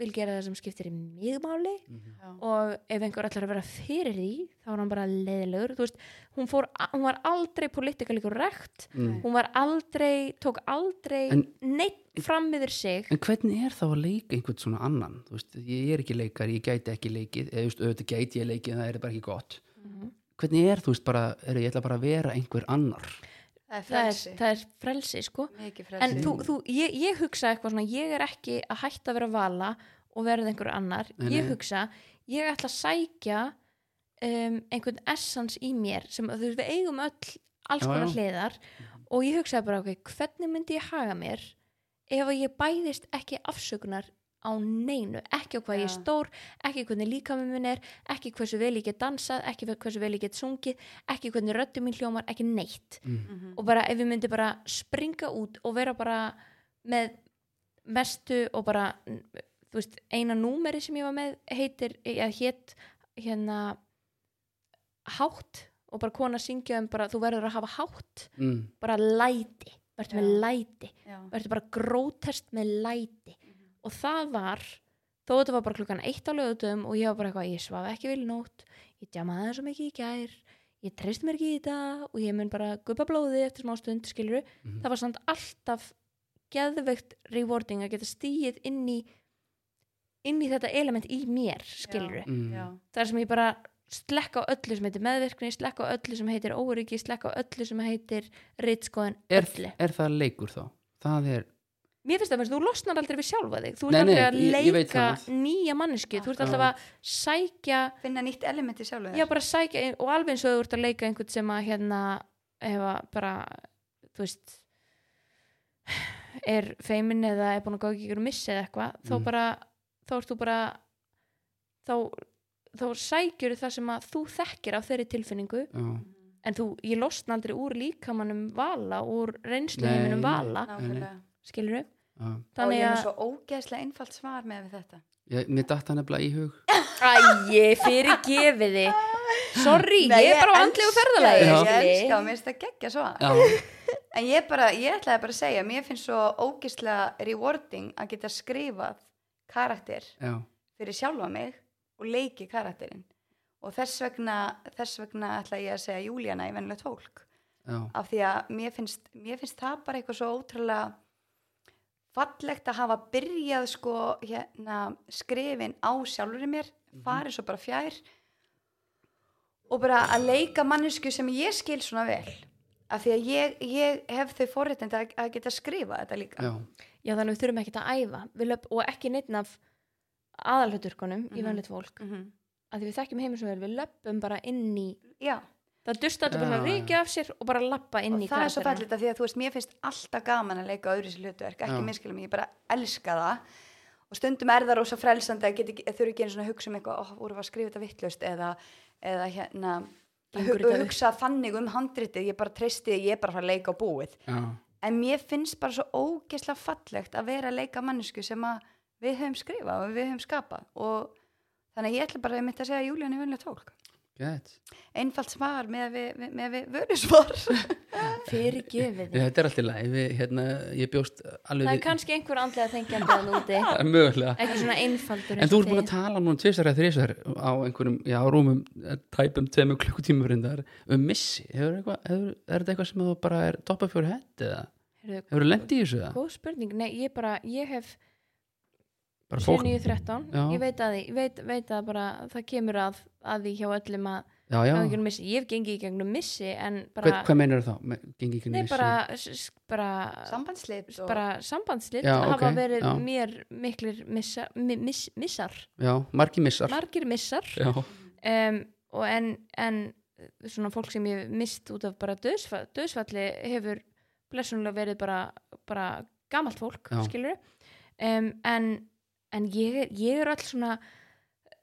S3: vil gera það sem skiptir í mig máli
S1: mhm,
S2: já,
S3: og ef einhver ætlar að vera fyrir því, þá er hann bara leiðilegur, þú veist, hún, fór, a- hún var aldrei politikalíkur rekt,
S1: mm.
S3: hún var aldrei, tók aldrei
S1: En-
S3: neitt fram yfir sig,
S1: En hvernig er þá að leika einhvern svona annan? Þú veist, ég er ekki leikar, ég gæti ekki leikið, eða þú veist, auðvitað gæti ég leikið, en það er bara ekki gott. Hvernig er, þú veist, bara, er, ég ætla bara að vera einhver annar.
S2: það er
S3: það er,
S2: frelsi
S3: það er frelsi, sko.
S2: Mikið
S3: En
S2: frelsi
S3: þú, þú, ég, ég hugsa eitthvað svona, ég er ekki að hætta að vera vala og verða einhver annar.
S1: Nei,
S3: Ég
S1: nei.
S3: hugsa, ég ætla að sækja um, einhvern essans í mér sem þú veist, við eigum öll alls
S1: Já,
S3: konar
S1: já.
S3: hliðar og ég hugsaði bara, ok, hvernig myndi ég haga mér ef að ég bæðist ekki afsökunar á neinu, ekki á hvað ég er
S2: Já.
S3: stór, ekki hvernig líkamum minn er, ekki hversu vel ég get dansað, ekki hversu vel ég get sungið, ekki hvernig röddum mín hljómar, ekki neitt
S1: Mm,
S2: Mhm.
S3: og bara ef ég myndi bara springa út og vera bara með mestu og bara þú veist, eina númeri sem ég var með heitir, eða hétt hérna hátt og bara kona syngja um bara, þú verður að hafa hátt,
S1: Mm.
S3: bara læti verður með
S2: Já.
S3: læti,
S2: Já,
S3: verður bara grótest með læti og það var, þó þetta var bara klukkan eitt á lögutum og ég var bara eitthvað, ég svaf ekki vel í nótt, ég djamaði það svo mikið í gær ég treyst mér ekki í þetta og ég mun bara guppa blóði eftir smá stund skiluru,
S1: Mhm.
S3: það var samt alltaf geðveikt rewarding að geta stíið inn í inn í þetta element í mér skiluru,
S1: Mm.
S2: já,
S3: þar sem ég bara slekka á öllu sem heitir meðverkni, slekka á öllu sem heitir óryggi, slekka á öllu sem heitir reitskoðan,
S1: Er,
S3: öllu
S1: er það leikur þá? Það er,
S3: Mér finnst það að þú losnar aldrei við sjálfa þig Þú ert
S1: Nei,
S3: aldrei
S1: nei,
S3: að
S1: ég- ég veit
S3: leika
S1: það.
S3: nýja mannesku Þú ert
S1: Já.
S3: alltaf að sækja
S2: finna nýtt element í sjálfu
S3: Já, bara sækja Og alveg eins og þú ert að leika einhvern sem að hérna hefa bara Þú veist Er feimin eða er búin að góða ekki og missa eða eitthvað Þá
S1: Mm.
S3: bara Þá ert þú bara Þá, þá sækjur það sem að þú þekkir af þeirri tilfinningu
S1: já,
S3: En þú, ég losna aldrei úr líkamanum vala Úr reynslu
S1: Nei.
S3: vala
S2: Nákvæmlega
S3: Skilur við?
S1: já.
S2: Og ég er með svo ógeðslega einfalt svar með við þetta
S1: Ég, mér datt hann nefnilega í
S3: <laughs>
S1: hug.
S3: Æi, fyrir gefiði Sorry,
S2: Nei,
S3: ég er bara á andlegu
S2: elska-
S3: ferðalagi
S1: Já.
S2: Ég elska og
S3: skilji.
S2: mér finnst það geggja svar
S1: Já,
S2: En ég bara, ég ætlaði bara að segja Mér finnst svo ógeðslega rewarding að geta skrifað karakter
S1: já,
S2: fyrir sjálfa mig og leiki karakterinn og þess vegna, þess vegna ætla ég að segja Júlíana í venilegt fólk
S1: já,
S2: af því að mér finnst, mér finnst það bara eitthvað svo ótrúlega fallegt að hafa byrjað sko hérna skrifin á sjálfur mér, farið svo bara fjær og bara að leika mannesku sem ég skil svona vel af því að ég, ég hef þau forréttindi að, að geta skrifa þetta líka
S1: já.
S3: Já, þannig við þurfum ekkert að æfa Við löp, og ekki neittn af aðalhuturkunum í
S2: Mhm.
S3: vennlegt fólk
S2: Mhm.
S3: að því við þekkjum heimur svo vel, við löpum bara inn í
S2: Já,
S3: það dusta þetta bara
S1: Já,
S3: að
S1: já.
S3: reykja af sér og bara lappa inn
S2: og
S3: í
S2: það er svo
S3: karakterana.
S2: fallið að því að þú veist, mér finnst alltaf gaman að leika öðru sér hlutverk, ekki
S1: Já.
S2: minnskilum, ég bara elska það og stundum er það rosa frelsandi að, geta, ekki- að þurfi ekki einu svona að hugsa um eitthvað, ó, voru að skrifa þetta vittlust eða, eða hérna að
S3: Gengur
S2: hu-
S3: þetta upp?
S2: hugsa þannig um handritið, ég bara treysti, ég er bara að fara að leika á búið
S1: já,
S2: en mér finnst bara svo ógeðslega fallegt að vera að leika mannesku sem að við höfum skrifað og við höfum skapað og þannig að ég ætla bara að mynda að segja að Júlían er vunlega tólk
S1: gett
S2: einfalt svar með að við, með að við vörusvar
S3: <laughs> fyrirgefið
S1: Þetta er allt í lagi, við, hérna, ég bjóst alveg
S3: það er
S1: <laughs>
S3: kannski einhver andlega þengjandi að núti
S1: Það er mögulega
S3: ekki svona einfaldur
S1: En þú ert búin að tala núna tvisar eða þrisar á einhverjum, já, rúmum, eh, tæpum tveimur klukkutímur reyndar um missi, hefur eitthvað, hefur, er þetta eitthvað sem þú bara er toppa fyrir hett eða
S3: tala
S1: hefur þú lendið í þessu það?
S3: góð spurning, nei ég bara ég hef
S1: Bara fólk,
S3: 7.13,
S1: Já.
S3: ég veit að því ég veit, veit að bara það kemur að, að því hjá öllum að
S1: já, já,
S3: hafa ekki um missi, ég hef gengið í gegnum missi en
S1: hvað,
S3: bara,
S1: hvað meinar þá? Me- Gengi ekki um
S3: nei
S1: missi?
S3: bara s- s- bara,
S2: sambandslit og
S3: bara sambandslit
S1: Já,
S3: hafa
S1: ok,
S3: verið
S1: já.
S3: mér miklir missa, mi, miss, missar
S1: Já, margi missar
S3: margir missar
S1: Já,
S3: um, og en, en svona fólk sem ég hef mist út af bara döðsfalli, döðsfalli hefur blessunlega verið bara, bara gamalt fólk,
S1: Já.
S3: skilur um, en, en ég, er- ég er all svona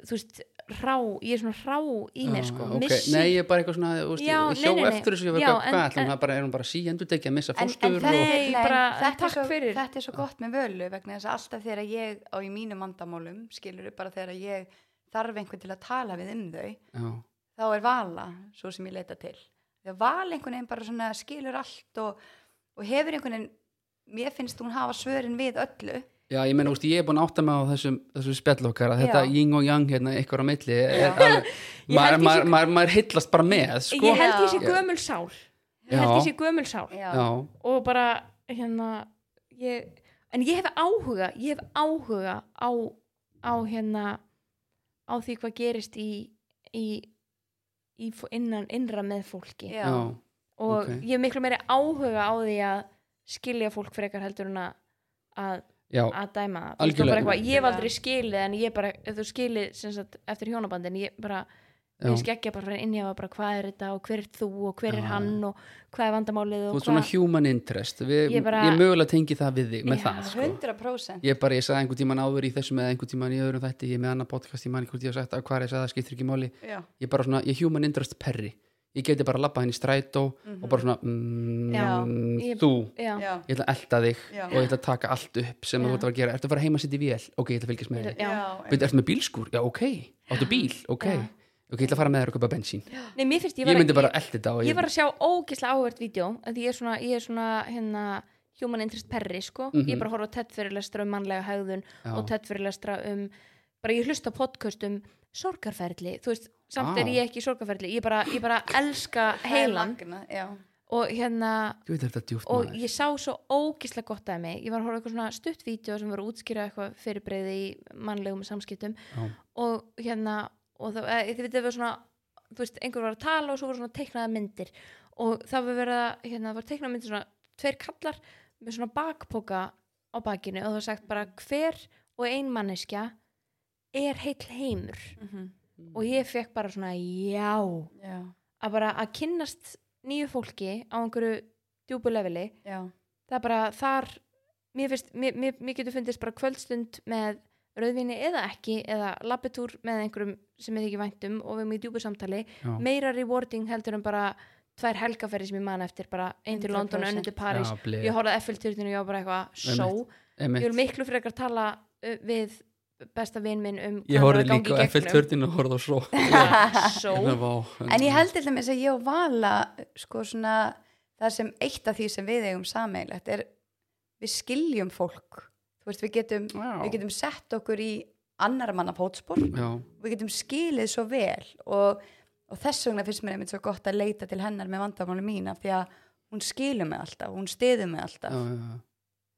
S3: þú veist, rá, ég er svona rá í
S1: Já,
S3: mér sko,
S1: Ah, ok.
S3: missi
S1: Nei, ég er bara eitthvað svona, þú veist,
S3: Já,
S1: ég hjó
S3: nei, nei, nei.
S1: eftir þessu ég var
S3: Já,
S1: eitthvað,
S3: en-
S1: hvað ætlum,
S3: en-
S1: það bara erum bara síendur tekið að missa
S2: En- en
S1: fóstur
S2: þetta-
S1: og,
S3: Nei, bara,
S2: þetta er
S3: takk
S2: svo,
S3: fyrir.
S2: þetta er svo gott með völu vegna þess að alltaf þegar ég á í mínum vandamálum skilur bara þegar ég þarf einhvern til að tala við um þau
S1: já,
S2: þá er vala svo sem ég leita til þegar val einhvern veginn bara svona skilur allt og, og hefur einhvern veginn mér finnst hún hafa svörin við öllu
S1: Já, ég meina, úst, ég er búin að átta mig á þessum, þessum spjallokkar að þetta
S2: Já.
S1: ying og yang hérna, ykkur á milli er
S2: Já.
S1: alveg,
S3: <laughs> Ég
S1: maður,
S3: held ég
S1: maður,
S3: sé-
S1: maður, maður hillast bara með, sko
S3: ég held ég sé
S2: Já.
S3: gömul sál ég
S1: Já.
S3: held ég sé gömul sál
S2: já,
S1: Já,
S3: og bara hérna ég, en ég hef áhuga ég hef áhuga á, á hérna á því hvað gerist í, í, í fó- innan innra með fólki
S1: já,
S3: og
S1: ok.
S3: ég hef miklu meiri áhuga á því að skilja fólk frekar heldur en að að,
S1: já,
S3: að dæma það Þú veist, og
S1: Algjörlega.
S3: bara eitthvað, ég hef aldrei skilið en ég bara, ef þú skilið sem sagt, eftir hjónabandin ég bara,
S1: já.
S3: ég skeggja bara inn í að bara hvað er þetta og hver er þú og
S1: Já.
S3: hver er hann og hvað er vandamálið
S1: Þú
S3: og
S1: ert svona
S3: hvað
S1: human interest, Vi,
S3: Ég
S1: ég,
S3: bara-
S1: mögulega tengi það við þig með
S3: Já.
S1: það, sko
S2: 100%
S1: Ég bara, ég sagði einhvern tíman áður í þessum eða einhvern tíman í öðrum þætti, ég er með annað podcast, ég man ekki hvort ég hef sagt að hvað ég sagði, það skiptir ekki máli
S2: já.
S1: Ég bara svona, ég er human interest perri Ég geti bara labbað henni í strætó og bara svona,
S3: Mhm. Já,
S1: mm,
S3: ég-
S1: þú
S3: já.
S2: Já.
S1: ég ætla að elda þig
S2: Já.
S1: og ég ætla að taka allt upp sem
S3: Já.
S1: þú ert að fara að gera, ertu að fara heima að sitja í vél ok, ég ætla að fylgjast með
S3: Ég
S1: þig,
S3: ætla- Já.
S1: Veit, ertu með bílskúr, já ok áttu bíl, ok,
S3: Já.
S1: ok, ég ætla að fara með þér og köpa bensín
S3: Nei, mér finnst, ég,
S1: ég,
S3: var,
S1: myndi bara að elda þetta og
S3: ég, ég var að sjá ógislega áhvert vídeo að því ég er svona, ég er svona hérna, human interest perri, sko
S1: Mhm.
S3: ég er bara að horfa á tettfyrirlestra um mannlega hegðun
S1: Já.
S3: og tettfyrirlestra um bara ég hlusta á podcast um sorgarferli þú veist, samt
S1: Vá.
S3: er ég ekki í sorgarferli ég bara, ég bara elska
S2: Það er
S3: heilan
S2: magnað, já.
S3: og hérna
S1: Jú, þetta er þetta djúpt
S3: og
S1: maður
S3: ég sá svo ógislega gott að mig ég var að horfa á eitthvað svona stutt vídeo sem var að útskýra eitthvað fyrirbreiði í mannlegum samskiptum
S1: Já.
S3: og hérna og þá, eða, þið veit að við svona þú veist, einhver var að tala og svo voru svona teiknaða myndir og það var verið að hérna, var teiknaða myndir svona tveir kallar með svona bakpoka á bakinu og það var sagt bara hver og ein manneskja er heill heimur og ég fekk bara svona já
S2: já,
S3: að bara að kynnast nýju fólki á einhverju djúbu leveli
S2: já,
S3: það er bara þar mér, finnst, mér, mér, mér getur fundist bara kvöldstund með rauðvinni eða ekki eða labbitúr með einhverjum sem ég þykir væntum og við erum í djúbu samtali
S1: Já.
S3: meira rewarding heldur en bara tvær helgaferði sem ég man eftir bara einn til London,
S2: 100%.
S3: önn til Paris
S1: Já, blek.
S3: ég horfði FL-turðinu og ég var bara eitthvað sjó,
S1: Einmitt.
S3: ég vil miklu frekar tala uh, við besta vinn minn um
S1: ég horfði líka á
S3: <laughs>
S1: FL-törtin og horfði á svo Hérna,
S3: sjó,
S2: En ég held til dæmis að ég og Vala sko svona það sem eitt af því sem við eigum sameigilegt er við skiljum fólk þú veist við getum,
S1: Já.
S2: við getum sett okkur í annar manna fótspor
S1: já,
S2: við getum skilið svo vel og, og þess vegna finnst mér einmitt svo gott að leita til hennar með vandamáli mín af því að hún skilur mig alltaf, hún stiður mig alltaf
S1: já, já.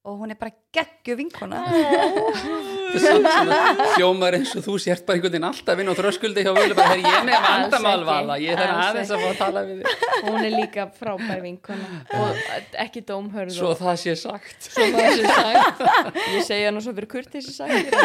S2: og hún er bara geggju vinkona
S1: Það er samt svona hljómar eins og þú sért bara einhvern veginn alltaf inn á þröskuldi hjá völu bara, "Herri, ég er með
S3: Alls
S1: vandamál
S3: ekki.
S1: vala ég þarf
S3: Alls
S1: aðeins að fá að tala við þig
S3: hún er líka frábær vinkona og uh, ekki dómhörð
S1: svo
S3: og-
S1: það sé sagt
S3: <laughs> Svo maður sé sagt. ég segja nú svo fyrir kurteisi sagt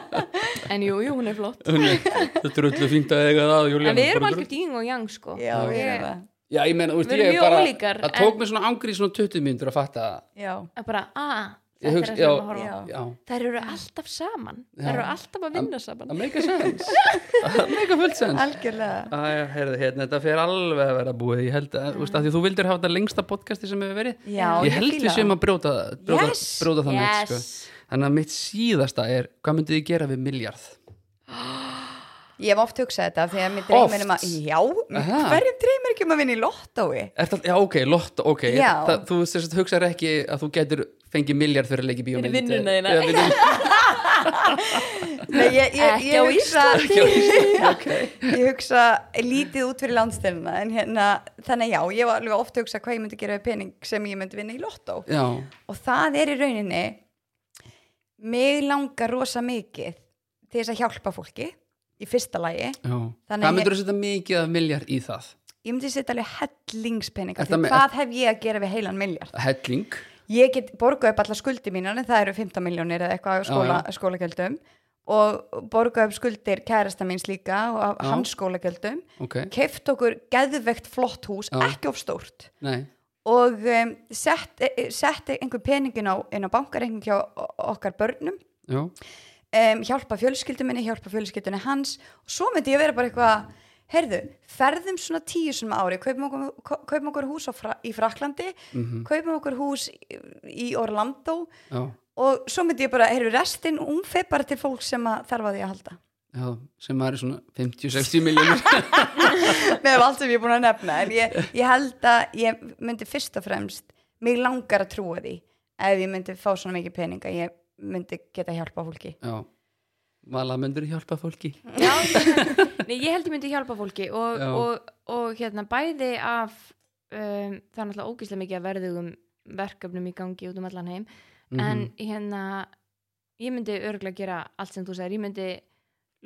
S3: <laughs> en jú, jú, hún er flott
S1: þetta er öllu fínt að eiga það Júlíana,
S3: en við erum
S1: bara
S3: algjör dýing og jang sko
S5: já,
S1: Já.
S5: við erum það
S1: Já, ég menn, úst,
S3: Við
S1: ég
S3: erum
S1: er
S3: mjög
S1: bara,
S3: ólíkar,
S1: það tók
S3: en-
S1: mér svona ángrið svona 20 mínútur að fatta
S5: já,
S3: að bara, að,
S1: Ég
S3: þetta
S1: hugsa-
S3: er það sem við erum
S1: já,
S3: að horfa á.
S5: já,
S1: Já,
S3: þær eru alltaf saman
S1: Já.
S3: þær eru alltaf að vinna saman
S1: það make a
S3: <laughs>
S1: sense Það make a full sense
S5: algjörlega
S1: Æ, heyrðu, hérna, þetta fer alveg að vera búið ég held að, úst, að því þú vildir hafa þetta lengsta podcasti sem hefur verið
S5: já,
S1: ég held
S5: fíla
S1: við séum að brjóta, brjóta,
S5: Yes!
S1: brjóta það mitt
S3: yes,
S1: sko. þannig að mitt síðasta er hvað myndið þið gera við miljard
S2: Ég hef oft hugsað þetta því að mér
S1: Oft?
S2: dreymir um að, já,
S1: Aha.
S2: hverjum dreymir ekki um að vinna í lottói?
S1: Ertal, já, ok, lott, ok
S2: Já.
S1: Það, þú sem sagt hugsaðir ekki að þú getur fengið miljard fyrir að leiki bíómynd
S3: Fyrir vinnuna þína.
S1: Eða vinnuna-
S2: Nei, ég, ég,
S3: Ekki
S2: <laughs>
S3: á
S2: ég, hugsa,
S1: Já, ég- ok.
S2: ég hugsa lítið út fyrir landstæluna en hérna, þannig að já, ég hef alveg oft hugsað hvað ég myndi gera við pening sem ég myndi vinna í lottó
S1: Já,
S2: og það er í rauninni mig langar rosa mikið til þess að hjálpa fólki í fyrsta lagi,
S1: já
S2: Þannig
S1: Hvað
S2: ég-
S1: myndir þú setja mikið af miljard í það?
S2: ég myndi setja alveg hellingspeninga
S1: Ertu
S2: því
S1: með-
S2: hvað hef ég að gera við heilan miljard
S1: Helling
S2: ég get borgað upp alla skuldi mínar en það eru 15 miljónir eða eitthvað á skóla, skólagjöldum og borgað upp skuldir kærasta míns líka og af
S1: Já.
S2: hans skólagjöldum
S1: Ok,
S2: keft okkur geðvegt flott hús,
S1: Já.
S2: ekki of stórt
S1: nei,
S2: og um, sett, eh, sett einhver peningin á, inn á bankarreikning hjá o- okkar börnum
S1: já
S2: um, hjálpa fjölskylduminni, hjálpa fjölskyldunni hans og svo myndi ég vera bara eitthvað herðu, ferðum svona tíu sem ári kaupum okkur, kau- kaupum okkur hús á fra, í Fraklandi
S1: mhm,
S2: kaupum okkur hús í Orlando
S1: Já,
S2: og svo myndi ég bara, herru, restin hún fer bara til fólk sem að þarf að því að halda
S1: já, sem maður er svona 50-60 miljónir
S2: með allt sem ég er búin að nefna en ég, ég held að ég myndi fyrst og fremst mig langar að trúa því ef ég myndi fá svona mikið peninga ég myndi geta hjálpa fólki
S1: Já, vala myndir hjálpa fólki
S3: já, <laughs> ég- nei, ég held ég myndi hjálpa fólki og,
S1: Já.
S3: og, og hérna bæði af um, það er náttúrulega ógíslega mikið að verðugum verkefnum í gangi út um allan heim en
S1: Mhm.
S3: hérna ég myndi örgulega gera allt sem þú segir ég myndi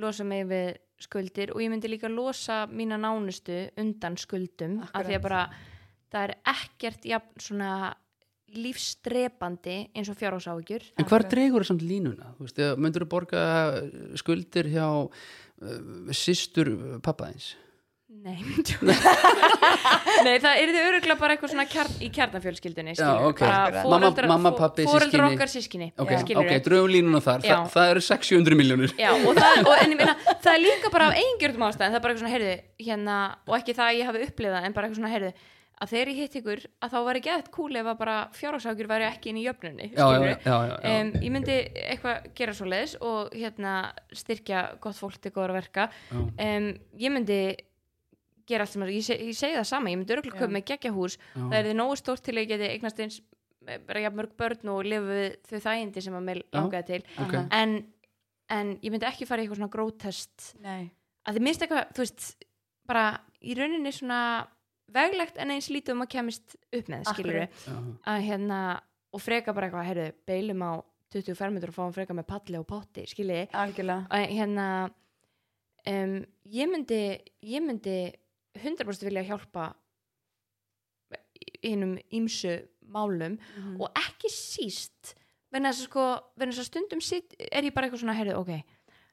S3: losa mig við skuldir og ég myndi líka losa mína nánustu undan skuldum af
S2: Akkurat.
S3: því að bara það er ekkert jafn svona lífstrepandi eins og fjárhásáhyggjur
S1: En hvar dreigur það samt línuna? Þú veist, eða myndirðu borga eh, skuldir hjá uh, systur pappaðins?
S3: Nei, Nei það er þið öruglega bara eitthvað svona kjarn, í kjarnafjölskyldunni
S1: Já,
S3: skilurðu,
S1: ok.
S3: bara
S2: Akkurat.
S1: Mamma-
S3: foreldrar-
S1: mamma,
S3: fo-
S1: pabbi,
S3: foreldrar
S1: systkini.
S3: okkar sískinni
S1: Ok,
S3: skilurðu.
S1: ok, draugum línuna þar Þa,
S3: Já.
S1: Það eru 600 miljónir
S3: Já, og það, og, en, ég meina, það er líka bara af eingjörðum ástæðin, það er bara eitthvað svona, heyrðu, hérna, og ekki það að ég hafi upplifað, en bara eitthvað svona, heyrðu, að þegar ég hitt ykkur, að þá væri ekki eftir kúli ef að bara fjárhásákjur væri ekki inn í jöfnunni,
S1: Já, já,
S3: skilurðu.
S1: já, já, já.
S3: Em, ég myndi eitthvað gera svo leiðis og hérna styrkja gott fólk til góðra verka.
S1: Já.
S3: Um, ég myndi gera allt sem að, ég, seg, ég segi það sama, ég myndi örgulega köpa með geggja hús,
S1: Já.
S3: það er þið nógu stórt til að ég geti eignast eins eh, bara jafn mörg börn og lifa við þau þægindi sem að mér
S1: Já.
S3: langaði til
S1: Ok.
S2: Aha.
S3: en, en ég myndi ekki fara í eitthvað svona grótest
S2: Nei.
S3: að þið minnst eitthvað, þú veist bara í rauninni svona veglegt en eins lítið um að kemist upp með skilur við
S1: Já.
S3: að hérna og freka bara eitthvað, heyrðu, beilum á 20 fermetur og fáum freka með palli og potti skiljiði,
S2: algjörlega
S3: og hérna um, ég myndi ég myndi 100% vilja hjálpa hinnum ímsu málum
S2: Mhm.
S3: Mm. og ekki síst vegna þess að sko, vegna þess að stundum sitt, er ég bara eitthvað svona, heyrðu, ok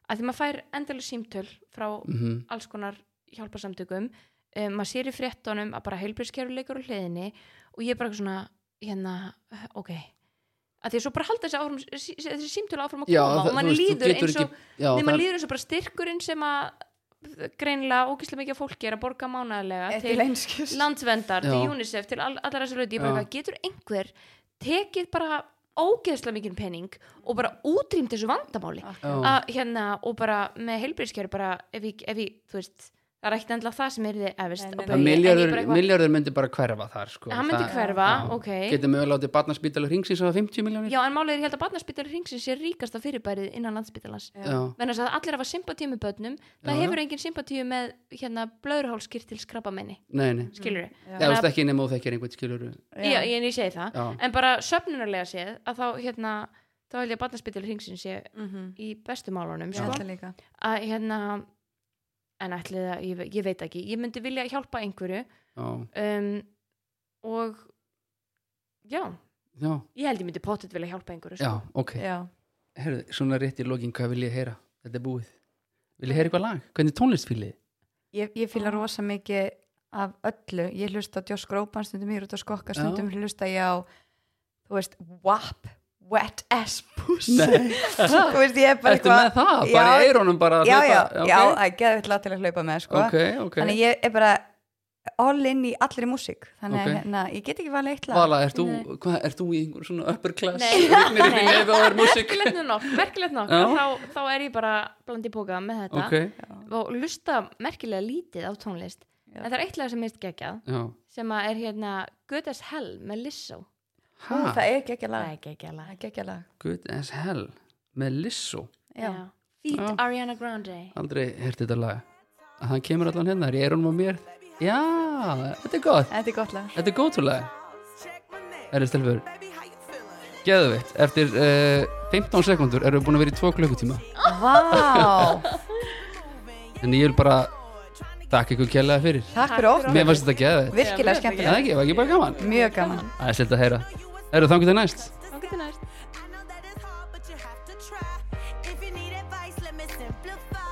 S3: að því maður fær endalega símtöl frá
S1: Mhm.
S3: alls konar hjálparsamtökum um, maður sér í fréttunum að bara heilbjörnskerfi leikur á hliðinni og ég er bara eitthvað svona, hérna, ok að því að svo bara halda þessi, áfram, sí- þessi símtöl áfram að
S1: Já,
S3: koma
S1: það-
S3: og
S1: þú
S3: mann
S1: veist, þú
S3: líður
S1: getur
S3: eins og
S1: ekki- já,
S3: Nei,
S1: það-
S3: maður líður eins og bara styrkurinn sem að greinilega ógislega mikið af fólki er að borga mánaðarlega
S2: Til einskis.
S3: landsvendar,
S1: Já.
S3: til UNICEF, til all, allar þessu hluti, ég bara
S1: Já.
S3: eitthvað, getur einhver tekið bara ógeðslega mikinn penning og bara útrýmt þessu vandamáli
S1: Já.
S3: að hérna og bara með heilbyrðskjöru bara ef ég, ef ég, þú veist það er ekkert endla það sem er þið efist
S2: Nei,
S3: á
S2: nei,
S3: baugi, en ég
S1: Miljardur,
S3: bara eitthvað-
S1: miljardur myndi bara hverfa þar sko.
S3: Hann
S1: Það-
S3: myndi hverfa,
S1: já.
S3: ok.
S1: Getum við að látið barnaspítalur hringsins að 50 miljónir?
S3: Já, en málið er ég held að barnaspítalur hringsins sé ríkasta fyrirbærið innan landsspítalans
S1: Já.
S3: Þannig að allir hafa sympatíu með börnum
S1: Já,
S3: það
S1: já.
S3: hefur engin sympatíu með hérna blöðurhálskirtil skrabamenni
S1: Nei, nei.
S3: skilur
S1: Já, þú veist ekki nema og þekkir einhvern skilur
S3: Já, ég, en ég segi það
S1: Já.
S3: en bara söfnunarlega séð að þá hérna þá held ég að barnaspítil hringsins sé
S2: Mhm.
S3: í bestu málunum
S2: ég
S3: sko.
S2: held það líka
S3: að hérna en ætlið að, ég, ve- ég veit ekki ég myndi vilja hjálpa einhverju
S1: Já,
S3: um, og já,
S1: já,
S3: ég held ég myndi pottet vilja hjálpa einhverju
S1: já,
S3: sko.
S1: ok
S2: já.
S1: Herðu, svona rétt í lokin, hvað vil ég heyra? þetta er búið Viljið heyra eitthvað lag? Hvernig tónlist fílið?
S2: Ég, ég fýla rosa mikið af öllu. Ég hlusta á Josh Groban stundum, ég er út að skokka stundum, hlusta ég á, þú veist, WAP, Wet Ass Pussy.
S1: Nei.
S2: þú <laughs> veist, ég er bara
S1: Ertu með það? Bara í eirónum bara að
S2: Já, já,
S1: hlaupa-
S2: já,
S1: ok.
S2: það er geðvitt lág til að hlaupa með, sko.
S1: Ok, ok
S2: Þannig ég er bara all in í allri músík. Þannig að
S1: Ok.
S2: hérna, ég get ekki valið eitt lag.
S1: Vala, ert þú,
S3: Nei.
S1: hvað, ert þú í einhver svona upper class? <laughs>
S3: Nei.
S1: Rignir ykkur
S3: Nei.
S1: nefið og er músík?
S3: merkilegt nú nokk, merkilegt nokk
S1: Já.
S3: að þá, þá er ég bara bland í póka með þetta
S1: Ok,
S3: og lusta merkilega lítið á tónlist
S2: Já.
S3: en það er eitt lag sem minnst geggjað
S1: já
S3: sem að er hérna Good as Hell með Lizzo
S2: Ú, það er geggja
S3: það
S2: lag.
S3: er geggjað
S2: Það
S3: lag
S2: er geggja lag.
S1: Good as hell með Lissó
S2: Já.
S3: Já. Feet
S1: Já.
S3: Ariana Grande
S1: Aldrei heyrti þetta lag að hann kemur allan hérna, er ég erum á mér Já, þetta er gott
S2: Þetta er gott lag.
S1: Þetta er góttúlega Erðu stelfur Geðveitt, eftir uh, 15 sekundur erum við búin að vera í 2 klukkutíma
S2: Vá,
S1: En ég vil bara Takk ykkur kjærlega fyrir
S2: takk fyrir oft.
S1: Mér fannst þetta geðveitt
S2: Virkilega
S1: Er Það
S2: skemmtilegt.
S1: ekki, var ekki bara gaman
S2: Mjög gaman.
S1: Það er svolítið að heyra Erðu þangur til næst
S3: Þangað til næst
S5: I know that it's hard, but you have to try. If you need advice, let me simplify.